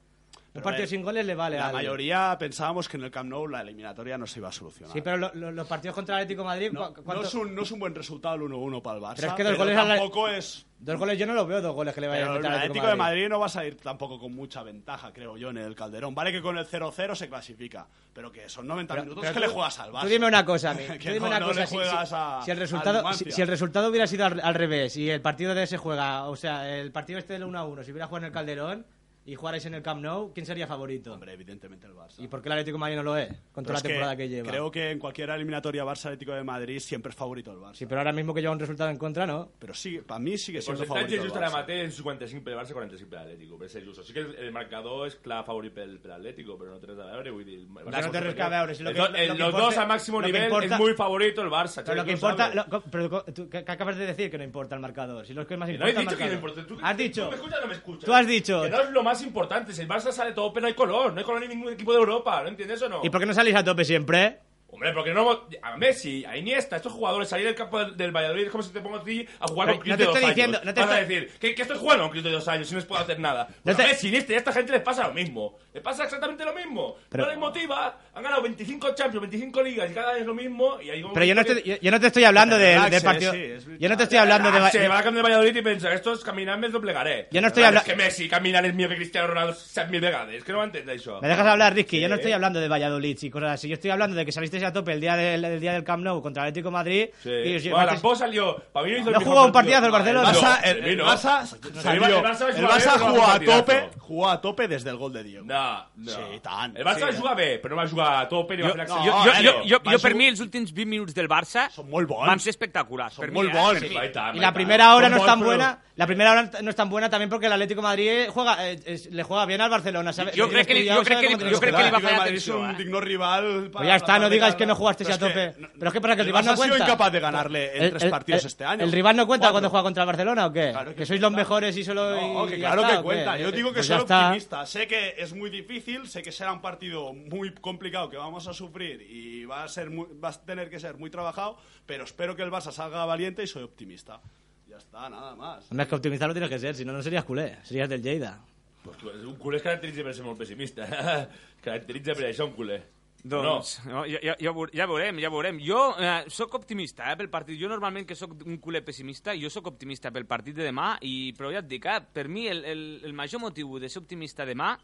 [SPEAKER 6] Un
[SPEAKER 7] Pero,
[SPEAKER 6] partido
[SPEAKER 7] eh,
[SPEAKER 6] sin goles le vale.
[SPEAKER 7] La
[SPEAKER 6] al-
[SPEAKER 7] mayoría pensábamos que en el Camp Nou la eliminatoria no se iba a solucionar.
[SPEAKER 6] Sí, pero lo- lo- los partidos contra el Atlético de Madrid,
[SPEAKER 7] no,
[SPEAKER 6] ¿cu-
[SPEAKER 7] no
[SPEAKER 6] cuánto-
[SPEAKER 7] es un, no es un buen resultado el 1-1 para el Barça,
[SPEAKER 6] Pero
[SPEAKER 7] pero,
[SPEAKER 6] es que los goles al-
[SPEAKER 7] tampoco es...
[SPEAKER 6] dos goles yo no los veo, dos goles que le vayan a
[SPEAKER 7] Pero el
[SPEAKER 6] meter al
[SPEAKER 7] Atlético de Madrid no va a salir tampoco con mucha ventaja, creo yo, en el Calderón. Vale que con el 0-0 se clasifica, pero que son 90
[SPEAKER 6] Pero-
[SPEAKER 7] minutos
[SPEAKER 6] pero
[SPEAKER 7] que
[SPEAKER 6] tú-
[SPEAKER 7] le juegas al Barça.
[SPEAKER 6] Tú dime una cosa, a mí.
[SPEAKER 7] Que
[SPEAKER 6] Tú dime
[SPEAKER 7] no-
[SPEAKER 6] una
[SPEAKER 7] no
[SPEAKER 6] cosa,
[SPEAKER 7] le
[SPEAKER 6] si-
[SPEAKER 7] juegas
[SPEAKER 6] si,
[SPEAKER 7] a-
[SPEAKER 6] si el
[SPEAKER 7] a
[SPEAKER 6] resultado, si,
[SPEAKER 7] Numancia.
[SPEAKER 6] si el resultado hubiera sido al, al revés y el partido de ese juega, o sea, el partido este del 1 a 1, si hubiera jugado en el Calderón, y jugarais en el Camp Nou, ¿quién sería favorito?
[SPEAKER 7] Hombre, evidentemente el Barça.
[SPEAKER 6] ¿Y por qué el Atlético de Madrid no lo es? Con toda
[SPEAKER 7] Pero
[SPEAKER 6] la
[SPEAKER 7] es que
[SPEAKER 6] temporada que, lleva.
[SPEAKER 7] Creo que en cualquier eliminatoria Barça-Atlético de Madrid siempre es favorito el Barça.
[SPEAKER 6] Sí, pero ahora mismo que lleva un resultado en contra, ¿no?
[SPEAKER 7] Pero sí, para mí sigue siendo
[SPEAKER 5] Percentatge
[SPEAKER 7] favorito el
[SPEAKER 5] just ara
[SPEAKER 7] Barça.
[SPEAKER 5] mateix 55 pel Barça, 45 per l'Atlético. Per ser justos. Sí que el el marcador és clar favorit pel, per l'Atlético, però no té res a veure, vull dir... el Barça
[SPEAKER 6] no té
[SPEAKER 5] és
[SPEAKER 6] res
[SPEAKER 5] superior.
[SPEAKER 6] a veure, si lo
[SPEAKER 5] Els
[SPEAKER 6] que-
[SPEAKER 5] dos-
[SPEAKER 6] lo
[SPEAKER 5] el-
[SPEAKER 6] que
[SPEAKER 5] Los
[SPEAKER 6] importa-
[SPEAKER 5] dos a máximo
[SPEAKER 6] lo que
[SPEAKER 5] nivel
[SPEAKER 6] importa-
[SPEAKER 5] es muy favorito el Barça.
[SPEAKER 6] Pero lo
[SPEAKER 5] Xavi,
[SPEAKER 6] que
[SPEAKER 5] tú
[SPEAKER 6] importa,
[SPEAKER 5] sabes.
[SPEAKER 6] lo- co- pero co- tú, ¿qué qué acabas de decir que no importa el marcador? Si lo que más
[SPEAKER 5] Que No he
[SPEAKER 6] importa. el
[SPEAKER 5] dicho que no
[SPEAKER 6] marcador.
[SPEAKER 5] importa. ¿Tú,
[SPEAKER 6] Has
[SPEAKER 5] tú
[SPEAKER 6] dicho.
[SPEAKER 5] me escuchas o no me escuchas?
[SPEAKER 6] Tú has dicho.
[SPEAKER 5] Que no es lo más importante. Si el Barça sale todo, pero no hay color. No hay color en ningún equipo de Europa. ¿No entiendes o no?
[SPEAKER 6] ¿Y por qué no salís a tope siempre?
[SPEAKER 5] Hombre, porque no... A Messi, a Iniesta, estos jugadores, salir del campo del, del Valladolid es como si te pongo a ti a jugar con
[SPEAKER 6] Pero no
[SPEAKER 5] Cristo
[SPEAKER 6] te
[SPEAKER 5] de dos
[SPEAKER 6] estoy
[SPEAKER 5] años.
[SPEAKER 6] diciendo- no te
[SPEAKER 5] Vas a
[SPEAKER 6] estoy-
[SPEAKER 5] decir, que, que estoy jugando con Cristo de dos años y no les puedo hacer nada. Pues
[SPEAKER 6] te-
[SPEAKER 5] A Messi, Iniesta y a esta gente les pasa lo mismo. Les pasa exactamente lo mismo.
[SPEAKER 6] Pero-
[SPEAKER 5] No les motiva. Han ganado 25 Champions, 25 ligas y cada año es lo mismo. Y hay un
[SPEAKER 6] Pero yo no,
[SPEAKER 5] momento
[SPEAKER 6] te,
[SPEAKER 5] que-
[SPEAKER 6] yo, yo no te estoy hablando
[SPEAKER 7] Que te
[SPEAKER 6] del- del,
[SPEAKER 7] relaxes,
[SPEAKER 6] partido.
[SPEAKER 7] sí, es-
[SPEAKER 6] yo no te estoy hablando de.
[SPEAKER 5] Ah, Se va a cambiar de Valladolid y piensa, estos caminar me doblegaré.
[SPEAKER 6] Yo no estoy
[SPEAKER 5] Ah,
[SPEAKER 6] habla-
[SPEAKER 5] Es que Messi caminar es mío que Cristiano Ronaldo sean mil vegades. Es que no me entendéis eso.
[SPEAKER 6] Me dejas hablar, Rizky. Yo no estoy hablando de Valladolid y cosas así. Yo estoy hablando de que salisteis a tope el día del, el día del Camp Nou contra el Atlético de Madrid.
[SPEAKER 5] Sí.
[SPEAKER 6] Y
[SPEAKER 5] Bueno,
[SPEAKER 6] os llevasteis-
[SPEAKER 5] tampoco salió. Para mí no hizo
[SPEAKER 6] No
[SPEAKER 5] el
[SPEAKER 6] jugó un
[SPEAKER 5] mejor partido.
[SPEAKER 6] partidazo el Barcelona.
[SPEAKER 5] No,
[SPEAKER 7] Barça- el,
[SPEAKER 5] para mí
[SPEAKER 7] el
[SPEAKER 5] no.
[SPEAKER 7] Barça salió-
[SPEAKER 5] El Barça
[SPEAKER 7] el
[SPEAKER 5] juega
[SPEAKER 7] Barça
[SPEAKER 5] bien,
[SPEAKER 7] jugó a
[SPEAKER 5] partidazo.
[SPEAKER 7] tope, jugó a tope desde el gol de Diego.
[SPEAKER 5] No, no.
[SPEAKER 7] Sí, tant.
[SPEAKER 5] El Barça
[SPEAKER 7] Sí.
[SPEAKER 5] juga bé, però no va jugar a tope ni va
[SPEAKER 7] Jo-
[SPEAKER 5] fer
[SPEAKER 7] no,
[SPEAKER 5] acció.
[SPEAKER 2] Jo,
[SPEAKER 7] Ah,
[SPEAKER 2] jo,
[SPEAKER 7] eh,
[SPEAKER 2] jo, jo,
[SPEAKER 7] va
[SPEAKER 2] jo per
[SPEAKER 7] jugar-
[SPEAKER 2] mi els últims 20 minuts del Barça
[SPEAKER 7] Són molt bons.
[SPEAKER 2] van ser espectaculars.
[SPEAKER 7] Són
[SPEAKER 2] per
[SPEAKER 7] molt
[SPEAKER 2] mi,
[SPEAKER 7] bons.
[SPEAKER 2] Eh? Per mi.
[SPEAKER 5] I tant,
[SPEAKER 6] Y
[SPEAKER 5] i
[SPEAKER 6] la
[SPEAKER 5] tant.
[SPEAKER 6] primera hora
[SPEAKER 5] Són
[SPEAKER 6] no es
[SPEAKER 5] bons,
[SPEAKER 6] tan
[SPEAKER 5] però-
[SPEAKER 6] buena. La primera hora no es tan buena también porque el Atlético de Madrid juega, eh, es- le juega bien al Barcelona. ¿sabe?
[SPEAKER 2] Yo
[SPEAKER 6] Tiene
[SPEAKER 2] creo que le-
[SPEAKER 6] estudiado,
[SPEAKER 2] yo creo que
[SPEAKER 6] sabe cómo
[SPEAKER 2] le-
[SPEAKER 6] tiene
[SPEAKER 2] yo creo que le iba a
[SPEAKER 7] Atlético de
[SPEAKER 2] fallar
[SPEAKER 7] Madrid es
[SPEAKER 2] atención,
[SPEAKER 7] un
[SPEAKER 2] eh.
[SPEAKER 7] digno rival.
[SPEAKER 6] Pues ya está, no digáis que no jugasteis
[SPEAKER 7] Pero
[SPEAKER 6] a
[SPEAKER 7] pues es que
[SPEAKER 6] tope.
[SPEAKER 7] no-
[SPEAKER 6] Pero es que para que el
[SPEAKER 7] el
[SPEAKER 6] rival no
[SPEAKER 7] Barça ha sido
[SPEAKER 6] cuenta.
[SPEAKER 7] incapaz de ganarle en
[SPEAKER 6] El-
[SPEAKER 7] tres
[SPEAKER 6] el-
[SPEAKER 7] partidos
[SPEAKER 6] el-
[SPEAKER 7] este año.
[SPEAKER 6] ¿El rival no cuenta
[SPEAKER 7] Cuatro.
[SPEAKER 6] cuando juega contra el Barcelona o qué?
[SPEAKER 7] Claro que
[SPEAKER 6] que, sois los
[SPEAKER 7] cuenta.
[SPEAKER 6] mejores y solo.
[SPEAKER 7] No,
[SPEAKER 6] y-
[SPEAKER 7] que
[SPEAKER 6] y ya
[SPEAKER 7] claro
[SPEAKER 6] está,
[SPEAKER 7] que
[SPEAKER 6] ¿o qué?
[SPEAKER 7] cuenta. Yo digo que
[SPEAKER 6] Pues ya
[SPEAKER 7] soy
[SPEAKER 6] está.
[SPEAKER 7] optimista. Sé que es muy difícil, sé que será un partido muy complicado que vamos a sufrir y va a, ser muy- va a tener que ser muy trabajado, pero espero que el Barça salga valiente y soy optimista. Ya está, nada más.
[SPEAKER 6] Hombre, es que optimista lo tienes que ser, si no, no serías culé, serías del Lleida.
[SPEAKER 5] Pues tu- un culer es caracteritza per ser molt pessimista. Es caracteritza per això un culer.
[SPEAKER 2] Doncs, no. ja, ja, ja, veure- ja veurem, ja veurem. Jo eh, sóc optimista eh, pel partit. Jo normalment que sóc un culer pessimista, jo sóc optimista pel partit de demà, i, però ja et dic, eh, per mi el, el, el major motiu de ser optimista demà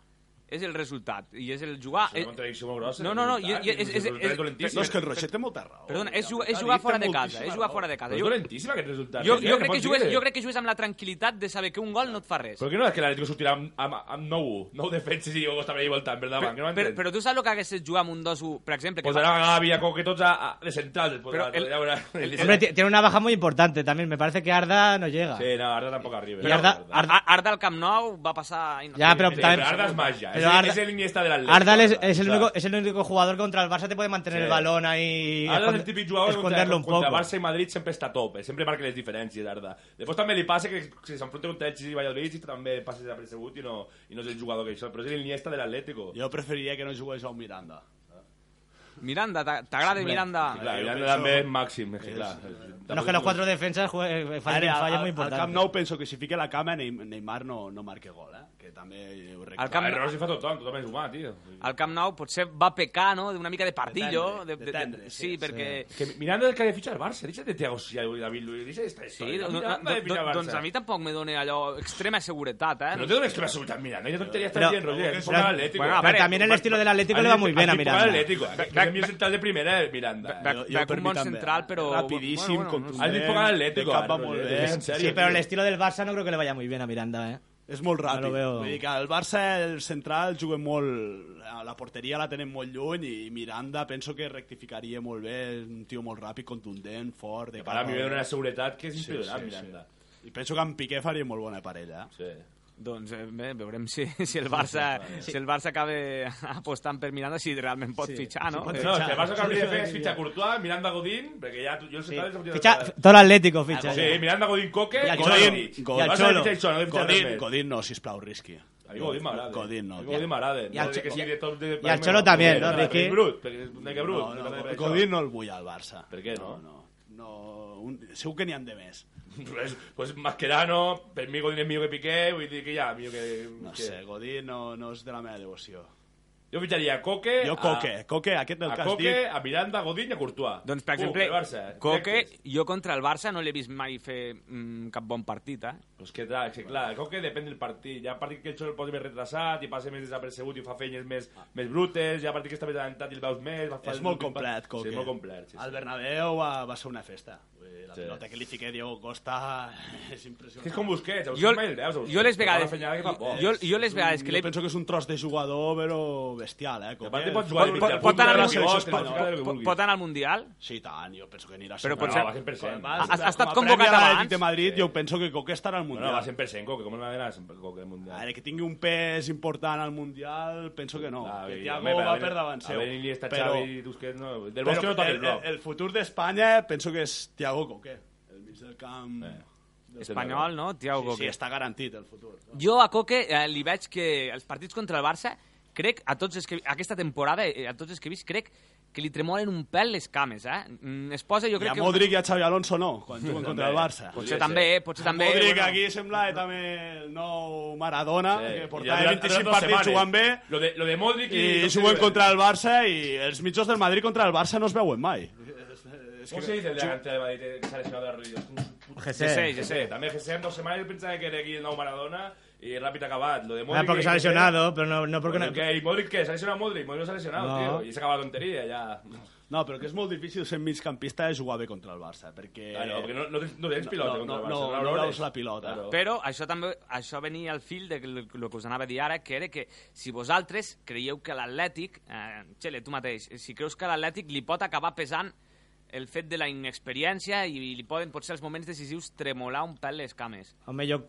[SPEAKER 2] és el resultat, i és el jugar...
[SPEAKER 5] És una contradicció molt grossa.
[SPEAKER 2] No, no, no,
[SPEAKER 5] és,
[SPEAKER 2] i- i- és- és- és-
[SPEAKER 7] No,
[SPEAKER 5] dolentíssim.
[SPEAKER 7] es que el Rochette té molta raó.
[SPEAKER 2] Perdona, és, jugar- és
[SPEAKER 7] Dic,
[SPEAKER 2] jugar
[SPEAKER 7] té
[SPEAKER 2] fora de casa,
[SPEAKER 7] moltíssima
[SPEAKER 2] és jugar
[SPEAKER 7] raó.
[SPEAKER 2] fora de
[SPEAKER 5] Però
[SPEAKER 2] casa.
[SPEAKER 5] és
[SPEAKER 2] Jo,
[SPEAKER 5] dolentíssim aquest resultat.
[SPEAKER 2] jo,
[SPEAKER 5] eh?
[SPEAKER 2] jo, crec
[SPEAKER 5] pots
[SPEAKER 2] que jugues,
[SPEAKER 5] dir-ho.
[SPEAKER 2] jo crec que jugues amb la tranquil·litat de saber que un gol no et fa res.
[SPEAKER 5] Però que no és que l'Atlético sortirà amb, amb, amb 9-1, 9 defenses i Hugo estarà ahí voltant per davant, que no
[SPEAKER 2] però,
[SPEAKER 5] m'entens?
[SPEAKER 2] però tu saps el que hagués estat jugar amb un 2-1, per exemple? Que
[SPEAKER 5] Posarà Gavi, a Coque, tots a, a, de centrals. Però
[SPEAKER 2] el-
[SPEAKER 5] ja veurà.
[SPEAKER 6] Hombre, ti- tiene una baja muy importante también. Me parece que Arda no llega.
[SPEAKER 5] Sí, no, Arda tampoc arriba.
[SPEAKER 6] I Arda-
[SPEAKER 5] Arda-
[SPEAKER 2] Arda, Arda al Camp Nou va passar... inocente.
[SPEAKER 6] Ja, però
[SPEAKER 5] Sí,
[SPEAKER 6] también-
[SPEAKER 5] però Arda es malla.
[SPEAKER 6] Pero
[SPEAKER 5] es,
[SPEAKER 6] Arda-
[SPEAKER 5] es el Iniesta del Atlético.
[SPEAKER 6] Arda es, es el
[SPEAKER 5] O sea,
[SPEAKER 6] único, es el único jugador que contra el Barça te puede mantener
[SPEAKER 5] Sí.
[SPEAKER 6] el balón ahí. y
[SPEAKER 5] Arda és el
[SPEAKER 6] escond-
[SPEAKER 5] típic jugador que
[SPEAKER 6] esconderlo
[SPEAKER 5] contra,
[SPEAKER 6] un
[SPEAKER 5] contra
[SPEAKER 6] poco.
[SPEAKER 5] Barça i Madrid sempre està a tope, sempre marca les diferències, Arda. Després també li passa que si s'enfronta contra Elxis i Valladolid i també passa desapercebut i no, i no és el jugador que això, però és l'Iniesta de l'Atlético.
[SPEAKER 7] Jo preferiria que no jugués a un Miranda.
[SPEAKER 2] Miranda, t'a- t'agrada Miranda?
[SPEAKER 5] Clar,
[SPEAKER 7] jo
[SPEAKER 5] i l'Arda
[SPEAKER 7] penso-
[SPEAKER 5] també és màxim, és que clar.
[SPEAKER 6] Bueno, es que los cuatro defensas jue- eh, fallan,
[SPEAKER 7] Ara, al-
[SPEAKER 6] fallan
[SPEAKER 7] al-
[SPEAKER 6] muy
[SPEAKER 7] Al Camp
[SPEAKER 6] importante.
[SPEAKER 7] Nou penso que si fique la cama Neym- Neymar no, no marque gol, eh? que també ho
[SPEAKER 2] Al Camp
[SPEAKER 7] reclamo.
[SPEAKER 5] Camp... Errors hi fa tothom, tothom és humà, tio.
[SPEAKER 2] Al Camp Nou potser va pecar, no?, d'una mica de partillo.
[SPEAKER 7] De tendre, de tendre,
[SPEAKER 2] sí,
[SPEAKER 7] sí,
[SPEAKER 2] perquè...
[SPEAKER 5] Que Miranda és el que ha de fitxar el Barça, deixa't de Thiago Silva i David Luiz, deixa't d'esta
[SPEAKER 2] Sí,
[SPEAKER 5] història.
[SPEAKER 2] do- do-
[SPEAKER 5] Miranda ha de
[SPEAKER 2] do-
[SPEAKER 5] fitxar el Barça.
[SPEAKER 2] doncs a mi tampoc me dona allò extrema seguretat, eh?
[SPEAKER 5] Però no té una extrema seguretat Miranda, ja tonteria estàs
[SPEAKER 6] Però-
[SPEAKER 5] dient, Roger,
[SPEAKER 6] però-
[SPEAKER 5] és un poc l'Atlético.
[SPEAKER 2] Bueno, a
[SPEAKER 6] Pero también el estilo del Atlético le va muy bien a Miranda.
[SPEAKER 5] Atlético, és el millor central de primera, el Miranda.
[SPEAKER 2] Bec-
[SPEAKER 7] Jo- jo
[SPEAKER 2] Bec
[SPEAKER 7] per
[SPEAKER 2] un
[SPEAKER 7] mi
[SPEAKER 2] bon
[SPEAKER 7] també.
[SPEAKER 2] central, però...
[SPEAKER 7] Rapidíssim,
[SPEAKER 2] Bueno, bueno, no sé.
[SPEAKER 7] contundent.
[SPEAKER 5] Has dit poc a l'Atlético,
[SPEAKER 7] De cap va
[SPEAKER 5] ara,
[SPEAKER 7] molt
[SPEAKER 5] Roger,
[SPEAKER 7] bé.
[SPEAKER 5] en sèrio,
[SPEAKER 6] Sí, pero el
[SPEAKER 5] tio.
[SPEAKER 6] estilo del Barça no creo que le vaya muy bien a Miranda, ¿eh?
[SPEAKER 7] És molt ràpid.
[SPEAKER 6] No lo veo.
[SPEAKER 7] Vull dir que el Barça, el central, juguen molt... A la porteria la tenen molt lluny i Miranda penso que rectificaria molt bé. És un tio molt ràpid, contundent, fort... De
[SPEAKER 5] Para
[SPEAKER 7] cap
[SPEAKER 5] mi ve
[SPEAKER 7] a-
[SPEAKER 5] una seguretat que és
[SPEAKER 7] Sí,
[SPEAKER 5] impressionant,
[SPEAKER 7] sí,
[SPEAKER 5] Miranda.
[SPEAKER 7] sí. I penso que en Piqué faria molt bona parella. eh?
[SPEAKER 5] Sí.
[SPEAKER 2] Doncs eh, bé, veurem si, si, el Barça, si el Barça acaba apostant per Miranda, si realment pot fitxar, no? Eh,
[SPEAKER 5] No, si el Barça que hauria de fer és fitxar Courtois, Miranda Godín, perquè ja tu- jo sé que l'hauria de
[SPEAKER 6] Ficha,
[SPEAKER 5] fer-
[SPEAKER 6] todo el Atlético ficha. ¿eh?
[SPEAKER 5] Sí, Miranda Godín Coque
[SPEAKER 6] I el
[SPEAKER 5] i
[SPEAKER 6] Cholo.
[SPEAKER 5] Godín.
[SPEAKER 6] I el
[SPEAKER 5] Godín. Vas a
[SPEAKER 6] Cholo.
[SPEAKER 5] fitxar el Cholo, no hem fitxat res
[SPEAKER 7] Godín,
[SPEAKER 5] més.
[SPEAKER 7] Godín no, sisplau, risqui.
[SPEAKER 5] A mi Godín m'agrada.
[SPEAKER 7] Godín no.
[SPEAKER 5] A mi Godín m'agrada.
[SPEAKER 6] I el
[SPEAKER 5] No, de que
[SPEAKER 6] Cho-
[SPEAKER 5] sigui de top de-
[SPEAKER 6] i el Cholo també, no,
[SPEAKER 5] Perquè
[SPEAKER 6] Riqui?
[SPEAKER 5] és brut, perquè és un nec brut.
[SPEAKER 7] No, no,
[SPEAKER 5] Per això.
[SPEAKER 7] Godín no el vull al Barça.
[SPEAKER 5] Per què, no?
[SPEAKER 7] No, no. no un... Segur que n'hi han de més.
[SPEAKER 5] Pues- pues Mascherano, pues per mi Godín és millor que Piqué, vull dir que ja, millor que-
[SPEAKER 7] No
[SPEAKER 5] que-
[SPEAKER 7] sé, Godín no, no és de la meva devoció.
[SPEAKER 5] Jo fitxaria Coque...
[SPEAKER 10] Jo Coque, Coque, aquest del
[SPEAKER 5] Eh, a
[SPEAKER 10] que has
[SPEAKER 5] Coque,
[SPEAKER 10] dit.
[SPEAKER 5] a Miranda, a Godín i a Courtois.
[SPEAKER 2] Doncs, per
[SPEAKER 5] Uh,
[SPEAKER 2] exemple,
[SPEAKER 5] el Barça, eh?
[SPEAKER 2] Coque,
[SPEAKER 5] Directes.
[SPEAKER 2] jo contra el Barça no l'he vist mai fer mm, cap bon partit, eh?
[SPEAKER 5] Pues que, clar, que, clar, crec que depèn del partit. Hi ha partit que el xol pot més retrasat i passa més desapercebut i fa feines més, més brutes. Hi ha partit que està més adelantat i el veus més. Va
[SPEAKER 10] És molt complet,
[SPEAKER 5] Coque. Sí,
[SPEAKER 10] Coque.
[SPEAKER 5] és molt complet. Sí,
[SPEAKER 10] Al
[SPEAKER 5] sí.
[SPEAKER 10] Bernabéu va, va ser una festa. Vull dir, La
[SPEAKER 5] Sí.
[SPEAKER 10] pelota que li fiqué Diego Costa és impressionant.
[SPEAKER 5] Que és com Busquets,
[SPEAKER 2] Jo-
[SPEAKER 5] a Busquets mai el veus. a Busquets.
[SPEAKER 2] jo les
[SPEAKER 5] Fa una
[SPEAKER 2] vegades-
[SPEAKER 5] feinada que fa poc.
[SPEAKER 2] Jo- jo les vegades que
[SPEAKER 10] Jo
[SPEAKER 2] l'he-
[SPEAKER 10] penso que és un tros de jugador, però bestial, eh? Coque.
[SPEAKER 5] aparte pot jugar de
[SPEAKER 10] Pot-
[SPEAKER 5] mitjà
[SPEAKER 10] pot-
[SPEAKER 5] punta,
[SPEAKER 10] pot anar a
[SPEAKER 5] de
[SPEAKER 10] la selecció
[SPEAKER 5] pivot, de
[SPEAKER 10] espanyola.
[SPEAKER 5] marcador.
[SPEAKER 2] Pot, pot anar al Mundial?
[SPEAKER 10] Sí, tant, jo penso que anirà
[SPEAKER 2] Però
[SPEAKER 10] segur.
[SPEAKER 2] potser-
[SPEAKER 5] No, va 100%.
[SPEAKER 10] Va,
[SPEAKER 5] Ha-
[SPEAKER 10] com
[SPEAKER 2] ha estat
[SPEAKER 10] a
[SPEAKER 2] convocat
[SPEAKER 10] prèvia a l'Atlètic
[SPEAKER 2] abans?
[SPEAKER 10] de Madrid, jo penso que Coque estarà al
[SPEAKER 5] Bueno,
[SPEAKER 10] Mundial.
[SPEAKER 5] va 100%, Coque. Com no va anar sempre Coque al Mundial?
[SPEAKER 10] A veure, que tingui un pes important al Mundial, penso que no.
[SPEAKER 5] Ah,
[SPEAKER 10] que
[SPEAKER 5] i- home,
[SPEAKER 10] Thiago
[SPEAKER 5] per
[SPEAKER 10] va
[SPEAKER 5] haver-
[SPEAKER 10] per davant seu.
[SPEAKER 5] haver Iniesta,
[SPEAKER 10] Però-
[SPEAKER 5] Xavi, Busquets, no. Del Bosque
[SPEAKER 10] però
[SPEAKER 5] no toca el
[SPEAKER 10] el, el,
[SPEAKER 5] bloc.
[SPEAKER 10] el futur d'Espanya penso que és Thiago Coque. El mig del camp...
[SPEAKER 5] Eh.
[SPEAKER 2] Espanyol, no? Tiago
[SPEAKER 10] Sí,
[SPEAKER 2] Coque.
[SPEAKER 10] sí, està garantit el futur.
[SPEAKER 2] Jo a Coque eh, li veig que els partits contra el Barça, crec, a tots els que, aquesta temporada, eh, a tots els que he vist, crec que li tremolen un pèl les cames, eh? Mm, Es posa, jo
[SPEAKER 10] I
[SPEAKER 2] crec
[SPEAKER 10] a
[SPEAKER 2] que...
[SPEAKER 10] Modric i a Xavi Alonso no, quan juguen contra el Barça.
[SPEAKER 2] Potser
[SPEAKER 5] Podria
[SPEAKER 2] també,
[SPEAKER 5] ser.
[SPEAKER 2] eh? Potser també...
[SPEAKER 10] Modric
[SPEAKER 2] bueno.
[SPEAKER 10] aquí sembla eh, també el nou Maradona,
[SPEAKER 5] Sí.
[SPEAKER 10] que
[SPEAKER 5] I ha
[SPEAKER 10] portava
[SPEAKER 5] durat- ha
[SPEAKER 10] 25
[SPEAKER 5] durat dos
[SPEAKER 10] partits
[SPEAKER 5] setmanes.
[SPEAKER 10] jugant bé,
[SPEAKER 5] Lo de, lo de Modric i...
[SPEAKER 10] i juguen contra el Barça i els mitjos del Madrid contra el Barça no es veuen mai.
[SPEAKER 5] ¿Cómo se dice el delantero de Madrid que se ha lesionado de rodillas?
[SPEAKER 2] Sí, sí,
[SPEAKER 5] Yo
[SPEAKER 2] sí,
[SPEAKER 5] sé,
[SPEAKER 2] sí.
[SPEAKER 5] también que sean dos semanas yo pensaba que era aquí el nuevo Maradona y rápido acabar. Lo de Modric.
[SPEAKER 11] Ah, porque
[SPEAKER 5] que-
[SPEAKER 11] se ha lesionado, pero no, no porque...
[SPEAKER 5] Bueno,
[SPEAKER 11] No,
[SPEAKER 5] que, ¿Y Modric qué? ¿Se ha lesionado Modric? Modric no se ha lesionado,
[SPEAKER 11] No.
[SPEAKER 5] tío. Y se acaba la tontería ya.
[SPEAKER 10] No, però que és molt difícil ser migcampista i jugar bé contra el Barça, perquè...
[SPEAKER 5] Claro, porque no, no, tens- no tens pilota
[SPEAKER 10] no,
[SPEAKER 5] contra el
[SPEAKER 10] no,
[SPEAKER 5] Barça.
[SPEAKER 10] no, no
[SPEAKER 5] l'hauràs.
[SPEAKER 10] veus la pilota.
[SPEAKER 5] Claro.
[SPEAKER 2] Però això també això venia al fil de lo, lo que us anava a dir ara, que era que si vosaltres creieu que l'Atlètic, eh, Txele, tu mateix, si creus que a l'Atlètic li pot acabar pesant el fet de la inexperiència i li poden potser els moments decisius tremolar un pèl les cames.
[SPEAKER 11] Home, jo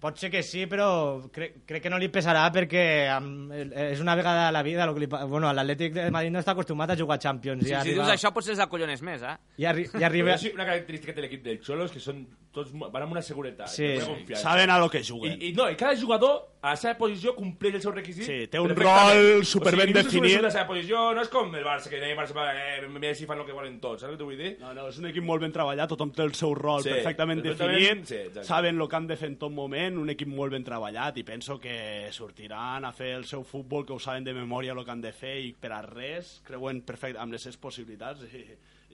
[SPEAKER 11] pot ser que sí, però crec, crec que no li pesarà perquè am, el- és una vegada a la vida... Lo que li, pa- bueno, l'Atlètic de Madrid no està acostumat a jugar a Champions. i
[SPEAKER 2] Si, si
[SPEAKER 11] arriba-
[SPEAKER 2] dius això potser els acollones més, eh?
[SPEAKER 11] I, arri, i
[SPEAKER 5] Però
[SPEAKER 11] arriba...
[SPEAKER 5] és una característica de l'equip del Xolo és que són tots, mo- van amb una seguretat,
[SPEAKER 11] Sí.
[SPEAKER 5] una confiança.
[SPEAKER 10] Saben a lo que
[SPEAKER 5] I,
[SPEAKER 10] juguen.
[SPEAKER 5] I, no, i cada jugador a la seva posició compleix el seu requisit.
[SPEAKER 10] Sí, té un
[SPEAKER 5] perfectament.
[SPEAKER 10] rol superben
[SPEAKER 5] ningú se
[SPEAKER 10] definit.
[SPEAKER 5] sobresurt de la seva posició, no és com el Barça, que el Barça va, eh, mira si fan el que volen tots, saps què t'ho vull dir?
[SPEAKER 10] No, no, és un equip molt ben treballat, tothom té el seu rol
[SPEAKER 5] Sí,
[SPEAKER 10] perfectament
[SPEAKER 5] perfectament,
[SPEAKER 10] definit,
[SPEAKER 5] sí, exacte.
[SPEAKER 10] saben el que han de fer en tot moment, un equip molt ben treballat i penso que sortiran a fer el seu futbol, que ho saben de memòria el que han de fer i per a res, creuen perfecte amb les seves possibilitats i,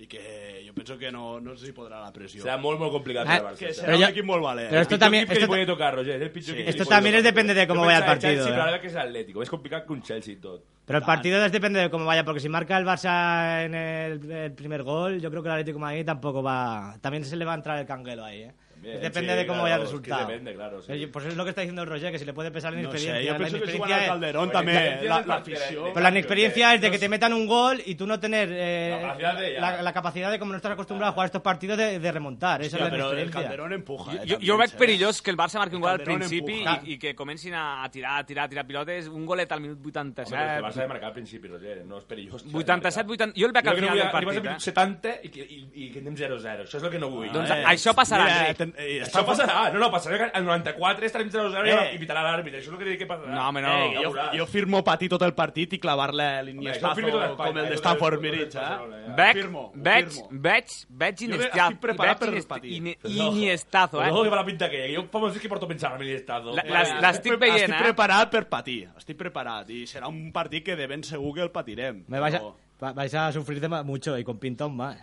[SPEAKER 10] i que jo penso que no, no els hi podrà la pressió.
[SPEAKER 5] Serà molt, molt complicat
[SPEAKER 11] Ah,
[SPEAKER 5] per al Barça.
[SPEAKER 10] que
[SPEAKER 5] serà.
[SPEAKER 10] serà
[SPEAKER 11] Però
[SPEAKER 10] un
[SPEAKER 11] ja-
[SPEAKER 10] equip molt valent.
[SPEAKER 11] però esto
[SPEAKER 5] Pitjor
[SPEAKER 11] también-
[SPEAKER 5] equip que
[SPEAKER 11] esto-
[SPEAKER 5] li puede tocar, Roger. Es el pitjor
[SPEAKER 10] Sí.
[SPEAKER 5] equipo que
[SPEAKER 11] Esto
[SPEAKER 5] le puede
[SPEAKER 11] también es
[SPEAKER 5] tocar.
[SPEAKER 11] depende de cómo
[SPEAKER 5] Yo
[SPEAKER 11] vaya el
[SPEAKER 5] pensaba en
[SPEAKER 11] partido,
[SPEAKER 5] Chelsea,
[SPEAKER 11] eh.
[SPEAKER 5] pero la verdad que es el Atlético. Es complicado con Chelsea y todo.
[SPEAKER 11] Pero el partido es depende de cómo vaya, porque si marca el Barça en el, el primer gol, yo creo que el Atlético de Madrid tampoco va. También se le va a entrar el canguelo ahí, ¿eh?
[SPEAKER 5] También,
[SPEAKER 11] depende
[SPEAKER 5] sí,
[SPEAKER 11] de cómo
[SPEAKER 5] claro,
[SPEAKER 11] vaya el
[SPEAKER 5] es que
[SPEAKER 11] resultado.
[SPEAKER 5] depende, claro, sí.
[SPEAKER 11] Pero yo- Pues es lo que está diciendo el Roger, que si le puede pesar la
[SPEAKER 10] No sé,
[SPEAKER 11] inexperiencia.
[SPEAKER 10] jo
[SPEAKER 11] la
[SPEAKER 10] penso que juguen
[SPEAKER 11] inexperiencia
[SPEAKER 10] al
[SPEAKER 11] es-
[SPEAKER 10] Calderón
[SPEAKER 5] Oye,
[SPEAKER 10] també,
[SPEAKER 5] la-
[SPEAKER 10] la-
[SPEAKER 5] la-
[SPEAKER 10] l'afició.
[SPEAKER 5] la-
[SPEAKER 11] Pero la inexperiencia es de que te metan un gol y tú no tener eh,
[SPEAKER 5] La capacidad de-
[SPEAKER 11] la, la capacidad de, como no estás acostumbrado a jugar estos partidos, de, de remontar. Esa
[SPEAKER 10] Hòstia,
[SPEAKER 11] es la
[SPEAKER 10] però el
[SPEAKER 11] inexperiencia.
[SPEAKER 10] Calderón empuja. Eh,
[SPEAKER 2] Jo,
[SPEAKER 10] també,
[SPEAKER 2] jo veig
[SPEAKER 10] eh?
[SPEAKER 2] perillós que el Barça marqui un gol al
[SPEAKER 10] Calderón
[SPEAKER 2] principi i,
[SPEAKER 10] empuja.
[SPEAKER 2] i que comencin a, a tirar, a tirar, a tirar pilotes. Un golet al minut
[SPEAKER 5] Hombre, pero es que el
[SPEAKER 2] 87.
[SPEAKER 5] Barça de marcar al principio, Roger, no es perilloso.
[SPEAKER 2] 87, 80... Jo el veig al final del partit, eh?
[SPEAKER 5] 70 y que, y, y que anem 0-0. Això és el que no
[SPEAKER 11] Ah,
[SPEAKER 5] vull.
[SPEAKER 2] Doncs
[SPEAKER 10] Eh,
[SPEAKER 2] això passarà,
[SPEAKER 10] Mira,
[SPEAKER 2] Enric.
[SPEAKER 10] ten- eh,
[SPEAKER 5] Això
[SPEAKER 10] està-
[SPEAKER 5] passarà. No, no, passarà que al 94 estarem 0-0 i
[SPEAKER 10] Eh.
[SPEAKER 5] ara invitarà l'àrbitre. Això és el que dic que passarà.
[SPEAKER 2] No, home, no.
[SPEAKER 5] Eh,
[SPEAKER 10] Eh, jo,
[SPEAKER 5] veuràs.
[SPEAKER 10] jo firmo patir tot el partit i clavar-la a l'Iniestazo
[SPEAKER 5] firmi tota Espanya,
[SPEAKER 10] com el
[SPEAKER 5] eh,
[SPEAKER 10] de
[SPEAKER 5] tot
[SPEAKER 10] Stanford
[SPEAKER 5] el- tot el
[SPEAKER 10] Mirich,
[SPEAKER 5] Barcelona,
[SPEAKER 10] eh?
[SPEAKER 5] ja.
[SPEAKER 2] Veig,
[SPEAKER 10] Firmo, ho
[SPEAKER 2] veig,
[SPEAKER 10] firmo.
[SPEAKER 2] veig, veig
[SPEAKER 10] Jo
[SPEAKER 2] Iniesta-
[SPEAKER 10] estic
[SPEAKER 2] veig
[SPEAKER 10] preparat per
[SPEAKER 2] Inest-
[SPEAKER 10] patir.
[SPEAKER 2] Ini-
[SPEAKER 5] No.
[SPEAKER 2] Iniestazo, eh?
[SPEAKER 5] No, que va la pinta que hi ha. Jo fa molts dies que porto pensant en l'estado.
[SPEAKER 2] La- les- les- L'estic
[SPEAKER 10] Estic pre-
[SPEAKER 2] veient,
[SPEAKER 10] estic
[SPEAKER 2] eh?
[SPEAKER 10] preparat per patir, estic preparat. I serà un partit que de ben segur que el patirem.
[SPEAKER 11] Me vais a,
[SPEAKER 10] Però-
[SPEAKER 11] va- vais a sufrir de ma- mucho y con pintón más.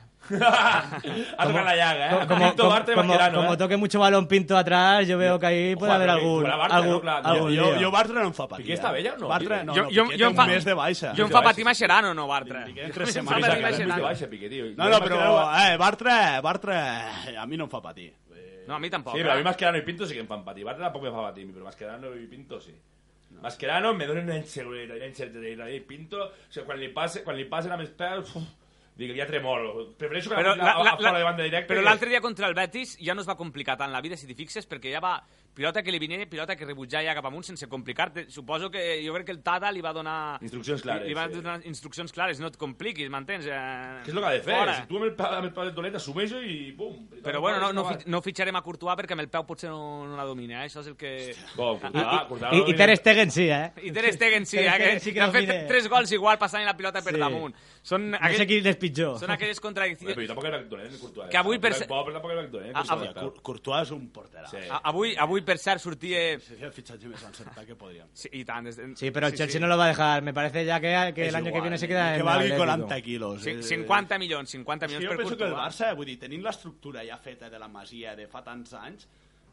[SPEAKER 5] Ha tocat la llaga, eh?
[SPEAKER 11] Como,
[SPEAKER 5] Pinto
[SPEAKER 11] como-
[SPEAKER 5] Bartra i
[SPEAKER 11] como-
[SPEAKER 5] Mascherano,
[SPEAKER 11] como
[SPEAKER 5] eh?
[SPEAKER 11] toque mucho balón pinto atrás, yo veo que ahí puede
[SPEAKER 5] Ojo,
[SPEAKER 11] haber
[SPEAKER 5] porque
[SPEAKER 11] algún.
[SPEAKER 5] jugará Bartra,
[SPEAKER 11] algún-
[SPEAKER 5] ¿no? Claro,
[SPEAKER 11] algún
[SPEAKER 10] Jo,
[SPEAKER 11] lío.
[SPEAKER 10] jo Bartra no em fa patir.
[SPEAKER 5] Piqué està
[SPEAKER 10] eh? bé ja o no? Bartra, no,
[SPEAKER 2] Jo,
[SPEAKER 10] no,
[SPEAKER 2] jo,
[SPEAKER 10] Piqué
[SPEAKER 2] jo,
[SPEAKER 10] té
[SPEAKER 2] em
[SPEAKER 10] un
[SPEAKER 2] fa,
[SPEAKER 10] mes de baixa.
[SPEAKER 2] jo em fa patir Mascherano, no, Bartra.
[SPEAKER 10] Piqué tres
[SPEAKER 2] Em fa
[SPEAKER 10] setmanes
[SPEAKER 2] patir
[SPEAKER 10] de
[SPEAKER 5] Era
[SPEAKER 2] Mascherano.
[SPEAKER 5] molt baixa, Piqué, tio.
[SPEAKER 10] No, no, però eh, Bartra, Bartra a mi no em fa patir.
[SPEAKER 2] No, a mi tampoc.
[SPEAKER 5] Sí, pero a mí
[SPEAKER 2] eh?
[SPEAKER 5] Mascherano y Pinto sí que me fan patir. Bartra tampoco me fa patir, pero Mascherano y Pinto sí. Mascherano me duele una inseguridad, una inseguridad. Y Pinto, o sea, cuando le pase, cuando le pasen a mis pedos, uf, digo, ya tremolo. Prefereixo que
[SPEAKER 2] Però
[SPEAKER 5] la, la,
[SPEAKER 2] la- la-
[SPEAKER 5] fora de
[SPEAKER 2] la-
[SPEAKER 5] banda directa.
[SPEAKER 2] però l'altre dia contra el Betis ja no es va complicar tant la vida, si t'hi fixes, perquè ja va pilota que li venia, pilota que rebutjar ja cap amunt sense complicar-te. Suposo que jo crec que el Tata li va donar...
[SPEAKER 5] Instruccions clares,
[SPEAKER 2] Li, li va
[SPEAKER 5] sí.
[SPEAKER 2] donar instruccions clares, no et compliquis, m'entens? Eh,
[SPEAKER 5] Que és el que ha de fer.
[SPEAKER 2] fora.
[SPEAKER 5] Si tu amb el, pa- amb el pal de dolent assumeixo i pum.
[SPEAKER 2] Però bueno, no, no, fit, no fitxarem a Courtois perquè amb el peu potser no, no la domina, eh? Això és el que...
[SPEAKER 5] Com, Courtois, Courtois,
[SPEAKER 11] Y, y Ter Stegen sí, ¿eh?
[SPEAKER 2] I Ter Stegen sí,
[SPEAKER 11] Ter
[SPEAKER 2] eh?
[SPEAKER 11] Stegen
[SPEAKER 2] que,
[SPEAKER 11] sí
[SPEAKER 2] sí
[SPEAKER 11] que
[SPEAKER 2] que ha fet
[SPEAKER 11] domina.
[SPEAKER 2] tres gols igual passant la pilota per
[SPEAKER 11] Sí.
[SPEAKER 2] damunt. Són
[SPEAKER 11] No sé qui les pitjor.
[SPEAKER 2] Són aquelles
[SPEAKER 5] Bé, però
[SPEAKER 2] contradiccions...
[SPEAKER 5] tampoc era actual, eh, ni Courtois.
[SPEAKER 2] Que avui
[SPEAKER 5] Tampoc
[SPEAKER 2] perse-
[SPEAKER 5] era Pau, però tampoc era actual, eh,
[SPEAKER 2] Ah,
[SPEAKER 5] Courtois.
[SPEAKER 2] ah,
[SPEAKER 10] Cour- Courtois és un porterà.
[SPEAKER 5] Sí.
[SPEAKER 2] A- Avui, avui, per cert, sortia...
[SPEAKER 10] Seria el fitxatge més encertat que podríem.
[SPEAKER 2] Sí, I tant. Des... de-
[SPEAKER 11] Sí, pero el Chelsea no lo va a dejar. Me parece ya que, que
[SPEAKER 10] És
[SPEAKER 11] el año que
[SPEAKER 10] igual,
[SPEAKER 11] viene se queda en
[SPEAKER 10] Que
[SPEAKER 11] el
[SPEAKER 10] valgui
[SPEAKER 11] Atlético.
[SPEAKER 10] 40 quilos.
[SPEAKER 2] Cin-
[SPEAKER 10] eh.
[SPEAKER 2] 50 milions, 50
[SPEAKER 10] Sí,
[SPEAKER 2] milions per
[SPEAKER 10] jo penso que el
[SPEAKER 2] Courtois.
[SPEAKER 10] Barça, vull dir, tenint l'estructura ja feta de la Masia de fa tants anys,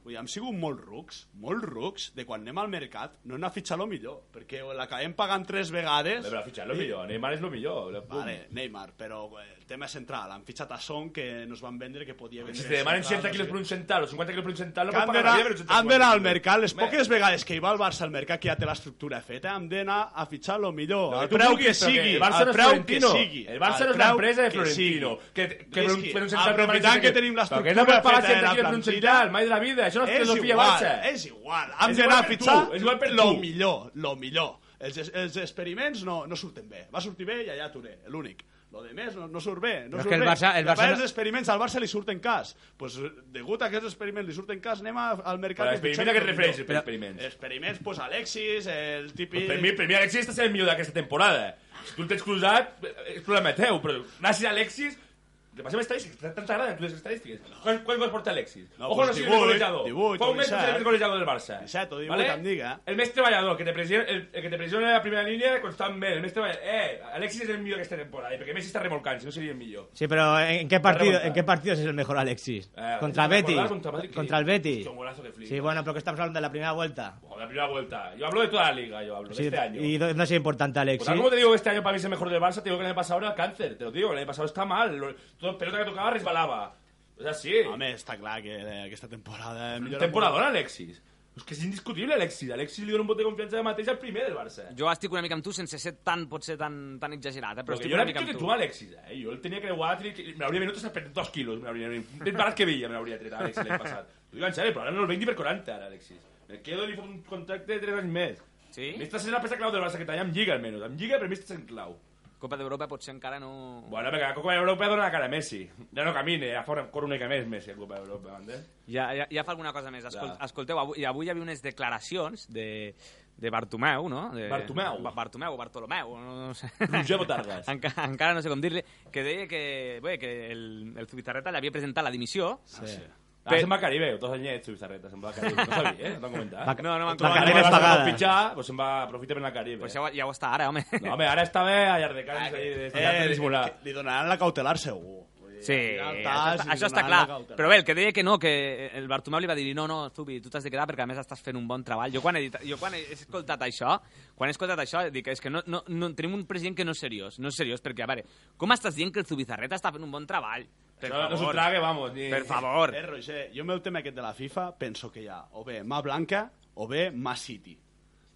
[SPEAKER 10] vull dir, hem sigut molt rucs, molt rucs, de quan anem al mercat no anem a fitxar lo millor, perquè l'acabem pagant tres vegades...
[SPEAKER 5] Bé, però fitxar lo millor, Neymar és lo millor. la- pum.
[SPEAKER 10] Vale, Neymar, però eh, el tema central, han fitxat a Son que nos van vendre que podia vendre...
[SPEAKER 5] Si te demanen 60
[SPEAKER 10] central,
[SPEAKER 5] quilos
[SPEAKER 10] sé
[SPEAKER 5] por un centavo o 50 kilos por un centavo,
[SPEAKER 10] que han
[SPEAKER 5] pagar la vida,
[SPEAKER 10] d'anar
[SPEAKER 5] pero
[SPEAKER 10] han d'anar al mercat, les
[SPEAKER 5] Home,
[SPEAKER 10] poques vegades que hi va el Barça al mercat que ja té l'estructura feta, hem d'anar a fitxar lo millor,
[SPEAKER 5] No,
[SPEAKER 10] al
[SPEAKER 5] tu
[SPEAKER 10] preu
[SPEAKER 5] vulguis,
[SPEAKER 10] que
[SPEAKER 5] però
[SPEAKER 10] sigui,
[SPEAKER 5] el Barça
[SPEAKER 10] al
[SPEAKER 5] no és
[SPEAKER 10] preu que
[SPEAKER 5] Florentino.
[SPEAKER 10] sigui.
[SPEAKER 5] El Barça
[SPEAKER 10] al
[SPEAKER 5] no és l'empresa
[SPEAKER 10] preu
[SPEAKER 5] de
[SPEAKER 10] que
[SPEAKER 5] Florentino,
[SPEAKER 10] sigui.
[SPEAKER 5] que- que
[SPEAKER 10] És
[SPEAKER 5] per un- per un central
[SPEAKER 10] aprofitant
[SPEAKER 5] permanent
[SPEAKER 10] que
[SPEAKER 5] que-
[SPEAKER 10] tenim
[SPEAKER 5] Però que
[SPEAKER 10] l'estructura
[SPEAKER 5] no pots pagar
[SPEAKER 10] feta de
[SPEAKER 5] 60
[SPEAKER 10] la
[SPEAKER 5] quilos per un
[SPEAKER 10] plantilla,
[SPEAKER 5] central, mai de la vida, això no és
[SPEAKER 10] és
[SPEAKER 5] filosofia
[SPEAKER 10] igual,
[SPEAKER 5] Barça.
[SPEAKER 10] és igual. Hem
[SPEAKER 5] És
[SPEAKER 10] d'anar
[SPEAKER 5] igual
[SPEAKER 10] a
[SPEAKER 5] per
[SPEAKER 10] fitxar
[SPEAKER 5] tu, és igual per
[SPEAKER 10] lo
[SPEAKER 5] tu.
[SPEAKER 10] millor, lo millor. Els, els experiments no, no surten bé. Va sortir bé i allà aturé, l'únic. Lo de més no, no surt bé. No
[SPEAKER 11] Però és
[SPEAKER 10] surt
[SPEAKER 11] que el
[SPEAKER 10] bé.
[SPEAKER 11] Barça- el
[SPEAKER 10] I a part
[SPEAKER 11] Barça no-
[SPEAKER 10] els experiments al Barça li surten cas. Pues, eh, degut a aquests experiments li surten cas, anem a, al mercat...
[SPEAKER 5] Però
[SPEAKER 10] i fitxem
[SPEAKER 5] experimenta que
[SPEAKER 10] lo
[SPEAKER 5] et refereixes per
[SPEAKER 10] millor.
[SPEAKER 5] experiments.
[SPEAKER 10] Experiments, pues Alexis, el típic...
[SPEAKER 5] Per mi, per mi Alexis està sent el millor d'aquesta temporada. Si tu el tens cruzat, és problema teu, però gràcies a Alexis... Repassem estadístiques, tant t'agraden tu les estadístiques. Quants quants gols porta Alexis?
[SPEAKER 10] No,
[SPEAKER 5] Ojo,
[SPEAKER 10] pues
[SPEAKER 5] no sigui
[SPEAKER 10] 18,
[SPEAKER 5] el golejador.
[SPEAKER 10] 18,
[SPEAKER 5] Fa un mes que és el
[SPEAKER 10] 17.
[SPEAKER 5] més golejador del Barça.
[SPEAKER 10] 17 o 18 en Lliga.
[SPEAKER 5] El més treballador, que te presiona, el, el que te presiona a la primera línia constantment. El més treballador. Eh, Alexis és el millor aquesta temporada, i perquè Messi està remolcant, si no seria el millor.
[SPEAKER 11] Sí, pero ¿en qué partido,
[SPEAKER 5] remontar.
[SPEAKER 11] en qué partidos es el mejor Alexis?
[SPEAKER 5] Eh,
[SPEAKER 11] contra
[SPEAKER 5] no me
[SPEAKER 11] Betis.
[SPEAKER 5] acordaba contra Madrid, que-
[SPEAKER 11] Contra el Betis.
[SPEAKER 5] Hostia, un golazo que flipa.
[SPEAKER 11] Sí, bueno, pero que estamos hablando de la primera vuelta.
[SPEAKER 5] Ojo, la primera vuelta. Yo hablo de toda la liga, yo hablo, de
[SPEAKER 11] Sí,
[SPEAKER 5] este año.
[SPEAKER 11] y no es importante
[SPEAKER 5] Pues
[SPEAKER 11] Alexis.
[SPEAKER 5] tal como te digo que este año para mí es el mejor del Barça, te digo que el año pasado era cáncer, te lo digo, el año pasado está mal, lo- todo pelota que tocaba resbalaba. O sea, sí.
[SPEAKER 10] Home, està clar que eh, aquesta temporada... millora
[SPEAKER 5] Temporadón, Alexis. Es que es indiscutible, Alexis. Alexis le dio un voto de confianza de Mateix al primer del Barça.
[SPEAKER 2] Jo estic una mica amb tu sense ser tan, potser tan, tan exagerat, eh? però
[SPEAKER 5] Porque
[SPEAKER 2] estic
[SPEAKER 5] yo era
[SPEAKER 2] una mica
[SPEAKER 5] picho
[SPEAKER 2] amb
[SPEAKER 5] que
[SPEAKER 2] tu.
[SPEAKER 5] tú, Alexis. eh, Yo él tenía que jugar, tenía que- me habría minutos a perder dos kilos. Me habría, de paras que veía, me habría tret, Alexis, l'any passat. T'ho dic en serio, però ara no el 20 per 40, ara, Alexis. Me quedo li fa un contracte de 3 anys més.
[SPEAKER 2] Sí?
[SPEAKER 5] A mi Esta és la peça clau del Barça que talla amb Lliga, almenys. Amb Lliga, per mi, esta és en clau.
[SPEAKER 2] Copa d'Europa potser encara no...
[SPEAKER 5] Bueno, perquè la Copa Europa dona la cara a Messi. Ja no camine, a fora corre una mica més Messi a Copa Europa, entens?
[SPEAKER 2] Ja, ja, ja fa alguna cosa més. Escol,
[SPEAKER 5] Ja.
[SPEAKER 2] Escolteu, avui, avui hi havia unes declaracions de, de Bartomeu, no? De,
[SPEAKER 5] Bartomeu.
[SPEAKER 2] Ba- Bartomeu o Bartolomeu, no, no sé.
[SPEAKER 5] Roger Botargas.
[SPEAKER 2] Enca, encara no sé com dir-li, que deia que, bé, que el, el Zubizarreta li havia presentat la dimissió.
[SPEAKER 11] Sí.
[SPEAKER 5] Ah, se'n va a Caribe, dos anyets, Zubizarreta, se'n va a Caribe. No sabia, eh? No van comentar.
[SPEAKER 2] No, no
[SPEAKER 11] Va-
[SPEAKER 2] m'han contat.
[SPEAKER 11] Caribe
[SPEAKER 5] Quan el Barça no
[SPEAKER 11] pagada.
[SPEAKER 5] pot Pitjar, pues se'n va aprofitar per anar a Caribe.
[SPEAKER 2] Pues ja, ho- ja ho està ara, home.
[SPEAKER 5] No, home, ara està bé a llarg de cara, ah, de
[SPEAKER 10] molt. Eh,
[SPEAKER 5] eh, dissimular.
[SPEAKER 10] li- li donaran la cautelar segur. Vull dir,
[SPEAKER 2] Sí,
[SPEAKER 10] al
[SPEAKER 2] això
[SPEAKER 10] final tas
[SPEAKER 2] està,
[SPEAKER 10] i
[SPEAKER 2] això està
[SPEAKER 10] donaran
[SPEAKER 2] clar.
[SPEAKER 10] la cautelar.
[SPEAKER 2] Però bé, el que deia que no, que el Bartomeu li va dir no, no, Zubi, tu t'has de quedar perquè a més estàs fent un bon treball. Jo quan he, dit, jo quan he escoltat això, quan he escoltat això, dic, és que no, no, no, tenim un president que no és seriós, no és seriós, perquè, a veure, com estàs dient que el Zubizarreta està fent un bon treball? Per
[SPEAKER 5] No, no s'ho
[SPEAKER 2] favor,
[SPEAKER 5] trague, vamos. Ni...
[SPEAKER 2] per favor.
[SPEAKER 10] Eh, Roger, jo amb el tema aquest de la FIFA penso que hi ha o bé mà blanca o bé mà City.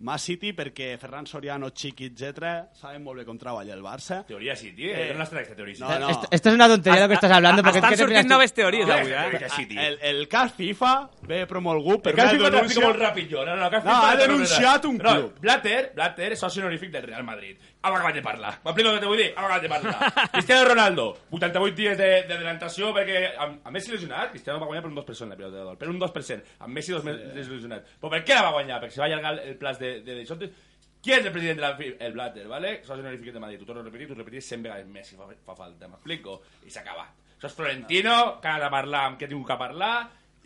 [SPEAKER 10] Mà City perquè Ferran Soriano, Chiqui, etc saben molt bé com treballa el Barça.
[SPEAKER 5] Teoria sí, tio.
[SPEAKER 10] Eh.
[SPEAKER 5] Eh. No l'estan aquesta teoria sí.
[SPEAKER 10] No, no.
[SPEAKER 11] Esto, esto es una tontería lo que estás hablando. Porque
[SPEAKER 2] Estan
[SPEAKER 11] es que te
[SPEAKER 2] sortint
[SPEAKER 11] miras-
[SPEAKER 2] noves teories,
[SPEAKER 5] No,
[SPEAKER 2] avui, eh?
[SPEAKER 5] eh, sí, tio.
[SPEAKER 10] El, el cas FIFA ve promulgut per
[SPEAKER 5] Però
[SPEAKER 10] una
[SPEAKER 5] Cal FIFA
[SPEAKER 10] denúncia...
[SPEAKER 5] t'explica molt ràpid jo. No, no, Cal
[SPEAKER 10] No,
[SPEAKER 5] FIFA no,
[SPEAKER 10] ha
[SPEAKER 5] no,
[SPEAKER 10] denunciat
[SPEAKER 5] no.
[SPEAKER 10] un
[SPEAKER 5] no,
[SPEAKER 10] club.
[SPEAKER 5] Blatter, Blatter és soci honorífic del Real Madrid. Hem acabat de parlar. M'aplico el que te vull dir, hem acabat de parlar. Cristiano Ronaldo, 88 dies de, de adelantació perquè amb, amb Messi lesionat, Cristiano va guanyar per un 2% la pilota de dol, per un 2%. Amb Messi dos mesos lesionat. Però per què la va guanyar? Perquè se va allargar el, el plaç de, de, de Xontes. Qui és el president de la FIFA? El Blatter, ¿vale? Soci honorífic de Madrid. T'ho torno a repetir, t'ho repetir 100 vegades Messi fa, fa falta, m'explico? I s'ha acabat. Això és Florentino, que ha de parlar amb qui ha tingut que parlar,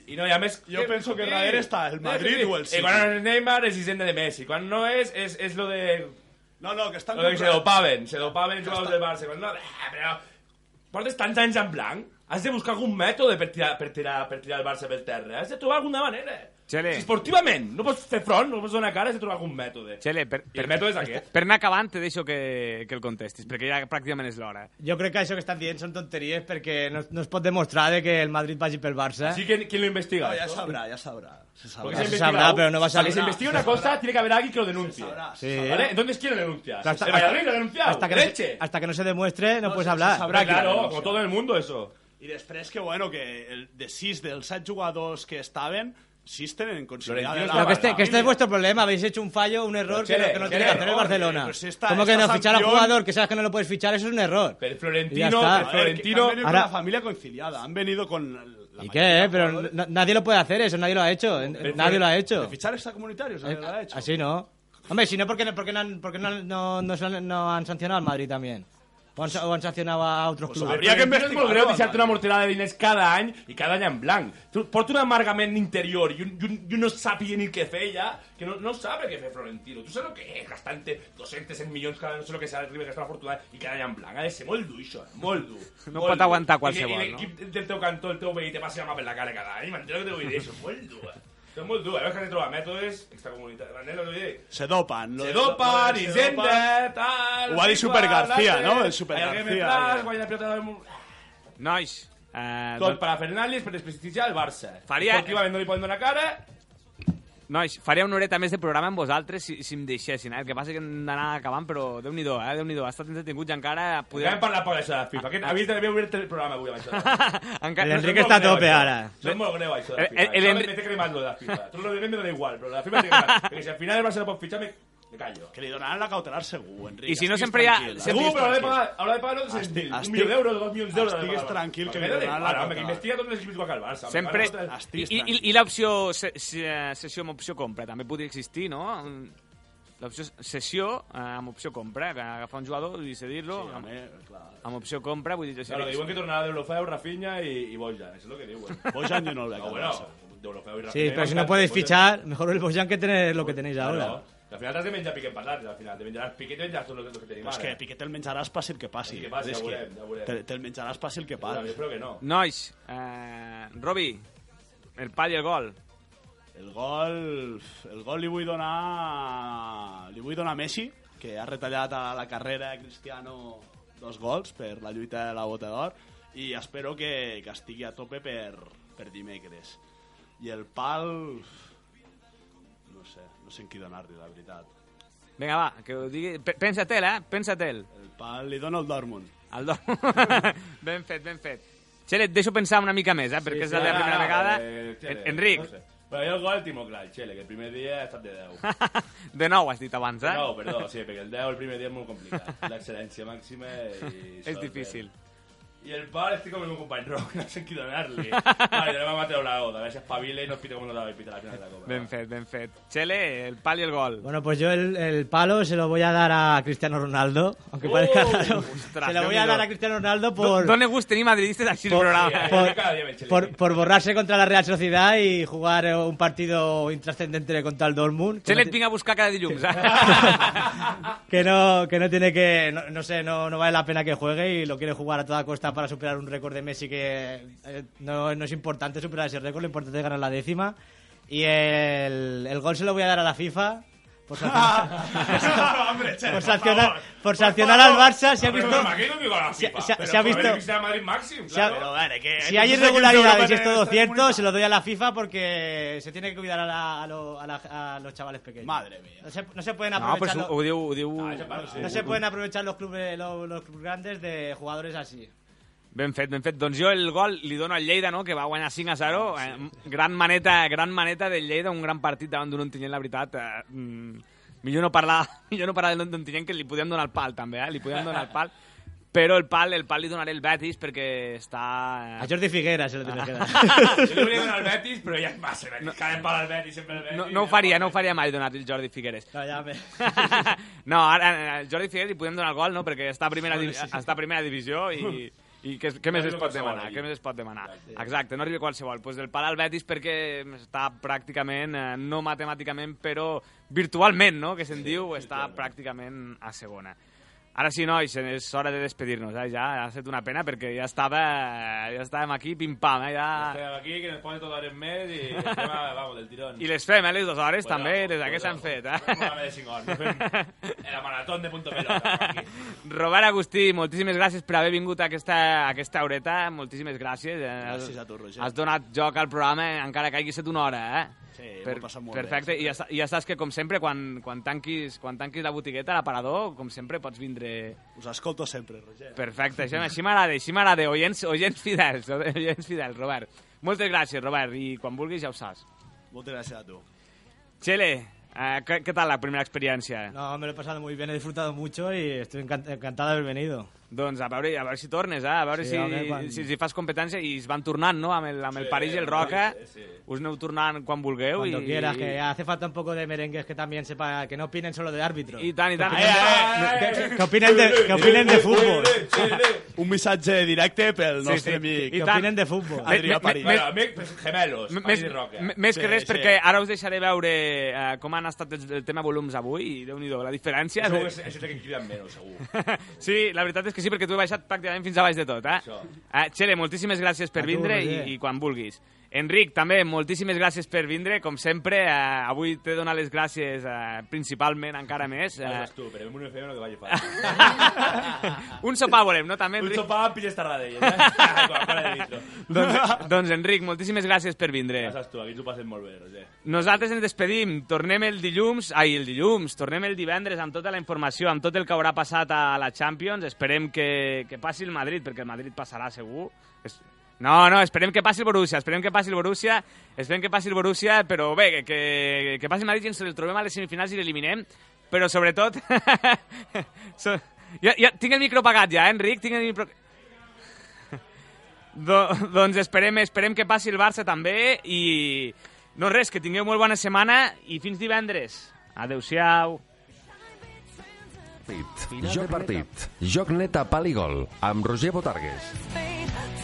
[SPEAKER 5] i no hi ha més...
[SPEAKER 10] Jo penso que darrere està el Madrid o el City.
[SPEAKER 5] Eh, quan no és Neymar és Hisenda de Messi. Quan no és, és, és lo de...
[SPEAKER 10] No, no, que estan...
[SPEAKER 5] Lo de que se
[SPEAKER 10] comprant-
[SPEAKER 5] dopaven. Se dopaven els jugadors del Barça. Quan no... Ah, però... Portes tants anys en blanc. Has de buscar algun mètode per tirar, per tirar, per tirar el Barça pel terra. Has de trobar alguna manera.
[SPEAKER 2] Xele.
[SPEAKER 5] Si esportivament no pots fer front, no pots donar cara, has de trobar algun mètode.
[SPEAKER 2] Xele, per,
[SPEAKER 5] I el mètode és aquest.
[SPEAKER 2] per anar acabant te deixo que, que el contestis, perquè ja pràcticament és l'hora.
[SPEAKER 11] Yo creo que eso que están bien son tonterías porque nos, nos pot demostrar de que el Madrid va a el Barça.
[SPEAKER 5] Així que qui lo investiga?
[SPEAKER 10] No, ja
[SPEAKER 5] això?
[SPEAKER 10] sabrà, ja sabrà. Se
[SPEAKER 11] Ja se
[SPEAKER 5] Porque se
[SPEAKER 10] sabrà.
[SPEAKER 5] investiga
[SPEAKER 11] sabrá,
[SPEAKER 5] algo.
[SPEAKER 11] pero no va a
[SPEAKER 5] Para que se
[SPEAKER 11] saber.
[SPEAKER 5] investigue una cosa, tiene que haber alguien que lo denuncie.
[SPEAKER 10] sabrá,
[SPEAKER 11] se Sí.
[SPEAKER 5] ¿Vale? Entonces, ¿quién lo denuncia?
[SPEAKER 11] Pero hasta-
[SPEAKER 5] ¿El Valladolid lo ha denunciado?
[SPEAKER 11] hasta que no
[SPEAKER 5] ¡Leche!
[SPEAKER 11] se, hasta que no se demuestre no,
[SPEAKER 10] No,
[SPEAKER 11] puedes
[SPEAKER 10] se- se
[SPEAKER 11] hablar.
[SPEAKER 10] sabrá.
[SPEAKER 5] Pero
[SPEAKER 10] Habrá que
[SPEAKER 5] claro,
[SPEAKER 10] denunciar.
[SPEAKER 5] como todo el mundo eso.
[SPEAKER 10] I després que, bueno, que el, de sis dels set jugadors que estaven, sis tenen considerades...
[SPEAKER 5] Florentino
[SPEAKER 11] Pero que
[SPEAKER 5] está
[SPEAKER 11] este, que este es vuestro problema, habéis hecho un fallo, un error que,
[SPEAKER 5] Chele,
[SPEAKER 11] no- que no
[SPEAKER 5] Chele,
[SPEAKER 11] tiene que hacer el
[SPEAKER 5] no,
[SPEAKER 11] Barcelona.
[SPEAKER 10] pues esta-
[SPEAKER 11] Como que
[SPEAKER 10] esta
[SPEAKER 11] no fichar a un
[SPEAKER 10] sanción-
[SPEAKER 11] jugador que sabes que no lo puedes fichar, eso es un error.
[SPEAKER 5] Pero
[SPEAKER 11] Ya
[SPEAKER 5] Florentino,
[SPEAKER 11] está.
[SPEAKER 5] el
[SPEAKER 10] A ver,
[SPEAKER 5] Florentino...
[SPEAKER 10] que han venido
[SPEAKER 11] Ahora-
[SPEAKER 10] con la familia conciliada, han venido con... la- la
[SPEAKER 11] ¿Y
[SPEAKER 10] mayoría
[SPEAKER 11] qué?
[SPEAKER 10] de
[SPEAKER 11] eh? Pero
[SPEAKER 10] jugadores.
[SPEAKER 11] na- nadie lo puede hacer eso, nadie lo ha hecho. eh,
[SPEAKER 5] Pero-
[SPEAKER 11] Nadie lo ha hecho. Eh, ah,
[SPEAKER 10] De fichar extracomunitarios, nadie
[SPEAKER 6] Eh,
[SPEAKER 10] lo ha hecho.
[SPEAKER 11] Así no. Hombre, si no, ¿por qué no, por qué no han, por qué no, han- no- no se han- no han sancionado al Madrid también?
[SPEAKER 6] o han, sa- o han sancionado a otros
[SPEAKER 5] Pues
[SPEAKER 6] clubes.
[SPEAKER 5] hauria que investigar. És molt greu deixar-te una morterada de diners cada any i cada any en blanc. Tu- Porta un amargament interior i, un, i, un, i un no sàpiga ni què fer ja, que no, no sabe què fer Florentino. Tu saps el que és gastant-te 200 100 milions cada no sé el que s'arriba a gastar una fortuna i cada any en blanc. Ha de ser molt dur, això, eh? molt dur.
[SPEAKER 2] No
[SPEAKER 5] molt
[SPEAKER 2] pot
[SPEAKER 5] dur.
[SPEAKER 2] aguantar
[SPEAKER 5] I que-
[SPEAKER 2] qualsevol,
[SPEAKER 5] I l'equip del teu cantó, el teu veí, te passi la mà per la cara cada any. M'entens el que te vull dir? Això és molt dur, eh? Això és molt dur. A veure que has de trobar mètodes extracomunitaris. M'entens el que vull dir?
[SPEAKER 10] Se dopan. lo
[SPEAKER 5] Se
[SPEAKER 10] de-
[SPEAKER 5] dopa,
[SPEAKER 10] lo de se
[SPEAKER 5] Hisenda,
[SPEAKER 10] dopan.
[SPEAKER 5] tal...
[SPEAKER 10] Ho va dir
[SPEAKER 5] Fico,
[SPEAKER 10] Super García,
[SPEAKER 5] Lander,
[SPEAKER 10] no? El Super
[SPEAKER 5] Javier
[SPEAKER 10] García.
[SPEAKER 5] Plaza, guanya la pilota del Mur-
[SPEAKER 2] Nois, eh,
[SPEAKER 5] Tot
[SPEAKER 2] doncs,
[SPEAKER 5] per a Fernàndez, per desprestigiar el Barça.
[SPEAKER 2] Faria-
[SPEAKER 5] Esportivament no li poden donar cara.
[SPEAKER 2] nois, faria una horeta més de programa amb vosaltres si, si em deixessin, eh? El que passa que hem d'anar acabant, però déu-n'hi-do, eh? Déu-n'hi-do, ha estat entretingut i encara...
[SPEAKER 5] Podem
[SPEAKER 2] Podríem...
[SPEAKER 5] parlar poc d'això de FIFA. Aquest, havies d'haver obert el programa avui amb això.
[SPEAKER 2] encara...
[SPEAKER 6] El Ah.
[SPEAKER 5] És
[SPEAKER 6] Enrique
[SPEAKER 5] molt
[SPEAKER 6] està a
[SPEAKER 5] greu,
[SPEAKER 6] tope Eh,
[SPEAKER 5] això.
[SPEAKER 6] ara.
[SPEAKER 5] Això és molt greu, això
[SPEAKER 2] El-
[SPEAKER 5] de
[SPEAKER 2] el-
[SPEAKER 5] FIFA.
[SPEAKER 2] el
[SPEAKER 5] Això
[SPEAKER 2] Enri-
[SPEAKER 5] m'he cremat, lo de la FIFA. Tot lo de me dona igual, però la FIFA m'he cremat. Perquè si al final el Barça no pot fitxar, me, me callo.
[SPEAKER 10] Que li donaran la cautelar segur, Enric.
[SPEAKER 2] I si no
[SPEAKER 10] Estiguis
[SPEAKER 2] sempre hi ha-
[SPEAKER 10] tranquil.
[SPEAKER 2] sempre-
[SPEAKER 5] Segur, però haurà de
[SPEAKER 10] Estiguis
[SPEAKER 5] pagar, haurà de pagar 900.000.
[SPEAKER 10] Estic-
[SPEAKER 5] Un milió d'euros, dos milions d'euros. haurà
[SPEAKER 10] estiguis
[SPEAKER 5] de pagar.
[SPEAKER 10] tranquil, que
[SPEAKER 5] Perquè
[SPEAKER 10] li
[SPEAKER 5] me da
[SPEAKER 10] donaran
[SPEAKER 5] igual,
[SPEAKER 10] la
[SPEAKER 5] home, que
[SPEAKER 10] total.
[SPEAKER 5] Investiga tots els equips que va el Barça.
[SPEAKER 2] Sempre...
[SPEAKER 5] Me paga
[SPEAKER 10] Estic
[SPEAKER 2] I, i, i,
[SPEAKER 10] tranquil.
[SPEAKER 2] i l'opció se- se- sessió amb opció compra també podria existir, no? L'opció sessió eh, amb opció compra, que agafar un jugador i cedir-lo
[SPEAKER 10] Sí,
[SPEAKER 2] amb,
[SPEAKER 10] home, clar.
[SPEAKER 2] amb opció compra, vull dir... jo sé
[SPEAKER 5] Claro,
[SPEAKER 2] que-
[SPEAKER 5] diuen que tornarà d'Eurofeu, Rafinha i, i Bojan, és el que diuen.
[SPEAKER 10] Bojan jo no el veig
[SPEAKER 5] No,
[SPEAKER 10] al
[SPEAKER 5] bueno,
[SPEAKER 10] Barça.
[SPEAKER 5] d'Eurofeu i Rafinha... pues
[SPEAKER 6] Sí, pero si no
[SPEAKER 5] Bojan-
[SPEAKER 6] podéis
[SPEAKER 5] Bojan-
[SPEAKER 6] fichar, mejor el Bojan que tener lo que tenéis
[SPEAKER 5] Claro.
[SPEAKER 6] ahora.
[SPEAKER 5] Al final t'has de menjar piquet patat, al final. Te menjaràs piquet i te menjaràs tot el que tenim
[SPEAKER 10] Però és que
[SPEAKER 5] ara.
[SPEAKER 10] Piqué te'l menjaràs passi el que passi.
[SPEAKER 5] El que passi,
[SPEAKER 10] És
[SPEAKER 5] ja
[SPEAKER 10] que
[SPEAKER 5] veurem, ja veurem.
[SPEAKER 10] Te'l te'l menjaràs passi el que
[SPEAKER 5] Bueno, jo
[SPEAKER 10] passi.
[SPEAKER 5] crec que no.
[SPEAKER 2] Nois, eh, Robi, el pal i el gol.
[SPEAKER 10] El gol, el gol li vull donar... Li vull donar a Messi, que ha retallat a la carrera de Cristiano dos gols per la lluita de la bota d'or i espero que, que estigui a tope per, per dimecres. I el pal... No sé, no sé en qui donar-li, la veritat.
[SPEAKER 2] Vinga, va, que ho digui... Pe- Pensa-te'l, eh? Pensa-te'l.
[SPEAKER 10] El pal li dono el Dortmund.
[SPEAKER 2] El do... ben fet, ben fet. Xele, et deixo pensar una mica més, eh? Perquè és la
[SPEAKER 5] Ah,
[SPEAKER 2] teva primera
[SPEAKER 5] ah,
[SPEAKER 2] vegada.
[SPEAKER 5] eh, Chele,
[SPEAKER 2] En- Enric,
[SPEAKER 5] No sé. Però jo el gol el tinc molt clar, el Chele, que el primer dia ha estat de 10.
[SPEAKER 2] de nou has dit abans, eh?
[SPEAKER 5] No, perdó, sí, perquè el 10 el primer dia és molt complicat. L'excel·lència màxima i...
[SPEAKER 2] és
[SPEAKER 5] sort,
[SPEAKER 2] difícil.
[SPEAKER 5] I el pal estic com el meu company Roc, no sé qui donar-li. Vale, donem a Mateo la gota, a veure si espavila i no es pita com no t'ha de pitar a la final de la Copa.
[SPEAKER 2] Ben fet, ben fet. Xele, el pal i el gol.
[SPEAKER 6] Bueno, pues yo el, el palo se lo voy a dar a Cristiano Ronaldo, aunque parezca
[SPEAKER 5] ¡Oh!
[SPEAKER 6] raro.
[SPEAKER 2] Ostras,
[SPEAKER 6] se lo voy
[SPEAKER 2] Dios
[SPEAKER 6] a dar
[SPEAKER 2] mío.
[SPEAKER 6] a Cristiano Ronaldo por,
[SPEAKER 2] Por... Dónde gust tenir madridistes així el
[SPEAKER 6] por,
[SPEAKER 2] programa.
[SPEAKER 5] por-
[SPEAKER 6] por- por borrarse contra la Real Sociedad y jugar eh, un partido intrascendente contra el Dortmund. que no
[SPEAKER 2] Xele, et
[SPEAKER 6] ti-
[SPEAKER 2] vinc a buscar cada dilluns, eh?
[SPEAKER 6] que no, que no tiene que, no, no sé, no, no vale la pena que juegue y lo quiere jugar a toda costa para superar un récord de Messi que eh, no, no es importante superar ese récord, lo importante es ganar la décima. Y el, el gol se lo voy a dar a la FIFA. Por sancionar,
[SPEAKER 5] Hombre, Chele,
[SPEAKER 6] por
[SPEAKER 5] por
[SPEAKER 6] sancionar-
[SPEAKER 5] favor,
[SPEAKER 6] por sancionar al
[SPEAKER 5] favor.
[SPEAKER 6] Barça, si ha
[SPEAKER 5] Hombre,
[SPEAKER 6] visto-
[SPEAKER 5] me imagino que con la
[SPEAKER 6] si-
[SPEAKER 5] FIFA,
[SPEAKER 6] si-
[SPEAKER 5] pero
[SPEAKER 6] si ha
[SPEAKER 5] por ver
[SPEAKER 6] visto-
[SPEAKER 5] que sea Madrid Maxim,
[SPEAKER 6] si ha-
[SPEAKER 5] claro.
[SPEAKER 6] pero,
[SPEAKER 5] que-
[SPEAKER 6] si hay
[SPEAKER 5] no sé qué
[SPEAKER 6] irregularidades
[SPEAKER 5] Europa
[SPEAKER 6] y es todo
[SPEAKER 5] está
[SPEAKER 6] cierto,
[SPEAKER 5] comunicado.
[SPEAKER 6] se lo doy a la FIFA porque se tiene que cuidar a, la- a lo- a la- a los chavales pequeños.
[SPEAKER 10] Madre mía.
[SPEAKER 6] No se, no se pueden
[SPEAKER 2] No,
[SPEAKER 6] aprovechar.
[SPEAKER 2] pues
[SPEAKER 6] los-
[SPEAKER 2] ho, ho diu... Ho diu...
[SPEAKER 6] No se pueden aprovechar los clubes, los, los clubes grandes de jugadores así.
[SPEAKER 2] Ben fet, ben fet. Doncs jo el gol li dono al Lleida, no?, que va guanyar 5 a 0. Eh, gran maneta, gran maneta del Lleida, un gran partit davant d'un Ontinyent, la veritat. Eh, mm, millor no parlar, millor no parlar de l'Ontinyent, que li podíem donar el pal, també, eh? Li podíem donar el pal. Però el pal, el pal li donaré el Betis perquè està...
[SPEAKER 6] A
[SPEAKER 2] eh,
[SPEAKER 6] Jordi Figuera se lo tiene que dar.
[SPEAKER 5] Yo le voy a dar al Betis, pero ya es más, el Betis, cae en pala al Betis, siempre el Betis,
[SPEAKER 2] No, no ho faria, no ho faria mai donar el Jordi Figueres.
[SPEAKER 6] No, ya me-
[SPEAKER 2] no, ara al Jordi Figueres li podem donar el gol, no? Perquè està a primera, divi- està a primera divisió i, i què, què més es
[SPEAKER 5] arriba
[SPEAKER 2] pot
[SPEAKER 5] qualsevol
[SPEAKER 2] demanar?
[SPEAKER 5] allí.
[SPEAKER 2] Què més es pot demanar? Exacte, no arriba qualsevol. Pues del pal al Betis perquè està pràcticament, eh, no matemàticament, però virtualment, no? Que se'n diu, està pràcticament a segona. Ara sí, nois, eh, és hora de despedir-nos, eh? ja ha estat una pena perquè ja estava, ja estàvem aquí pim-pam, eh? ja...
[SPEAKER 5] Pero aquí que nos pone todo en mes y el tema, vamos, del tirón.
[SPEAKER 2] i les fem, eh? les dues hores
[SPEAKER 5] Bueno, pues
[SPEAKER 2] també, des de que
[SPEAKER 5] bueno,
[SPEAKER 2] s'han fet.
[SPEAKER 5] fem
[SPEAKER 2] Eh?
[SPEAKER 5] una de cinc hores, fem la maratón de Punto Pelota, aquí.
[SPEAKER 2] Robert Agustí, moltíssimes gràcies per haver vingut a aquesta, a aquesta horeta, moltíssimes gràcies. Eh,
[SPEAKER 10] Gràcies a tu, Roger.
[SPEAKER 2] Has donat joc al programa, eh, encara que hagi estat una hora, eh?
[SPEAKER 10] Sí, m'ho he passat molt bé,
[SPEAKER 2] perfecte, I, ja, sa- i ja saps que, com sempre, quan, quan, tanquis, quan tanquis la botigueta, a l'aparador, com sempre, pots vindre...
[SPEAKER 10] Us escolto sempre, Roger.
[SPEAKER 2] Perfecte, això, així m'agrada, així m'agrada. Oients, oients fidels, oients fidels, Robert. Moltes gràcies, Robert, i quan vulguis ja ho saps.
[SPEAKER 10] Moltes gràcies a tu.
[SPEAKER 2] Txele, eh, què, què tal la primera experiència?
[SPEAKER 6] No, me lo he pasado muy bien, he disfrutado mucho y estoy encan- encantado de haber venido.
[SPEAKER 2] Doncs a veure, a veure si tornes, eh? a veure
[SPEAKER 11] Sí,
[SPEAKER 2] sí, si,
[SPEAKER 11] home,
[SPEAKER 2] quan...
[SPEAKER 11] quan-
[SPEAKER 2] si, si fas competència i es van tornant, no?, amb el, amb el París i el Roca.
[SPEAKER 5] sí, sí.
[SPEAKER 2] Us aneu tornant quan vulgueu.
[SPEAKER 11] Cuando
[SPEAKER 2] i...
[SPEAKER 11] quieras, que hace falta un poco de merengues que también sepa, que no opinen solo de árbitro.
[SPEAKER 2] I tant, i tant.
[SPEAKER 11] Eh, eh, eh, que, que opinen de, que opinen de fútbol.
[SPEAKER 10] Un missatge directe pel
[SPEAKER 11] eh,
[SPEAKER 2] Sí,
[SPEAKER 10] nostre
[SPEAKER 2] sí.
[SPEAKER 10] amic
[SPEAKER 11] Que
[SPEAKER 2] tant.
[SPEAKER 11] opinen de fútbol.
[SPEAKER 2] Me- me-
[SPEAKER 10] Adrià París.
[SPEAKER 2] me-
[SPEAKER 5] Bueno, amics gemelos,
[SPEAKER 2] M-
[SPEAKER 5] París
[SPEAKER 2] Més,
[SPEAKER 5] i Roca.
[SPEAKER 2] m- més que
[SPEAKER 10] Sí,
[SPEAKER 2] res,
[SPEAKER 10] sí.
[SPEAKER 2] perquè ara us deixaré veure eh, com han estat els, el tema volums avui i déu nhi la diferència... de-
[SPEAKER 5] Segur que és- això és el que criden menys, segur.
[SPEAKER 2] sí, la veritat és que sí, perquè tu he baixat pràcticament fins a baix de tot, eh?
[SPEAKER 5] Això.
[SPEAKER 2] eh Xere, moltíssimes gràcies per
[SPEAKER 11] A tu,
[SPEAKER 2] vindre i,
[SPEAKER 11] Roger.
[SPEAKER 2] i quan vulguis. Enric, també, moltíssimes gràcies per vindre, com sempre. Eh, avui t'he donat les gràcies eh, principalment, encara més. Eh,
[SPEAKER 5] Fas tu, però amb un FM no te vagi fàcil.
[SPEAKER 2] un sopar volem, no? També,
[SPEAKER 5] Un
[SPEAKER 2] Enric?
[SPEAKER 5] sopar amb pilles tardadellas, eh? Ai, quan para de litro.
[SPEAKER 2] doncs, doncs, Enric, moltíssimes gràcies per vindre.
[SPEAKER 5] Passes tu, aquí ens ho passem molt bé, Roger.
[SPEAKER 2] Nosaltres ens despedim, tornem el dilluns, ai, el dilluns, tornem el divendres amb tota la informació, amb tot el que haurà passat a la Champions, esperem que, que passi el Madrid, perquè el Madrid passarà segur. Es... No, no, esperem que passi el Borussia, esperem que passi el Borussia, esperem que passi el Borussia, però bé, que, que, que passi el Madrid i ens el trobem a les semifinals i l'eliminem, però sobretot... so... ja, ja, tinc el micro apagat ja, eh, Enric, tinc el micro... Do, doncs esperem, esperem que passi el Barça també i no res, que tingueu molt bona setmana i fins divendres. Adeu-siau.
[SPEAKER 3] Joc partit. Joc neta pal i gol. Amb Roger Botargues.
[SPEAKER 9] Spain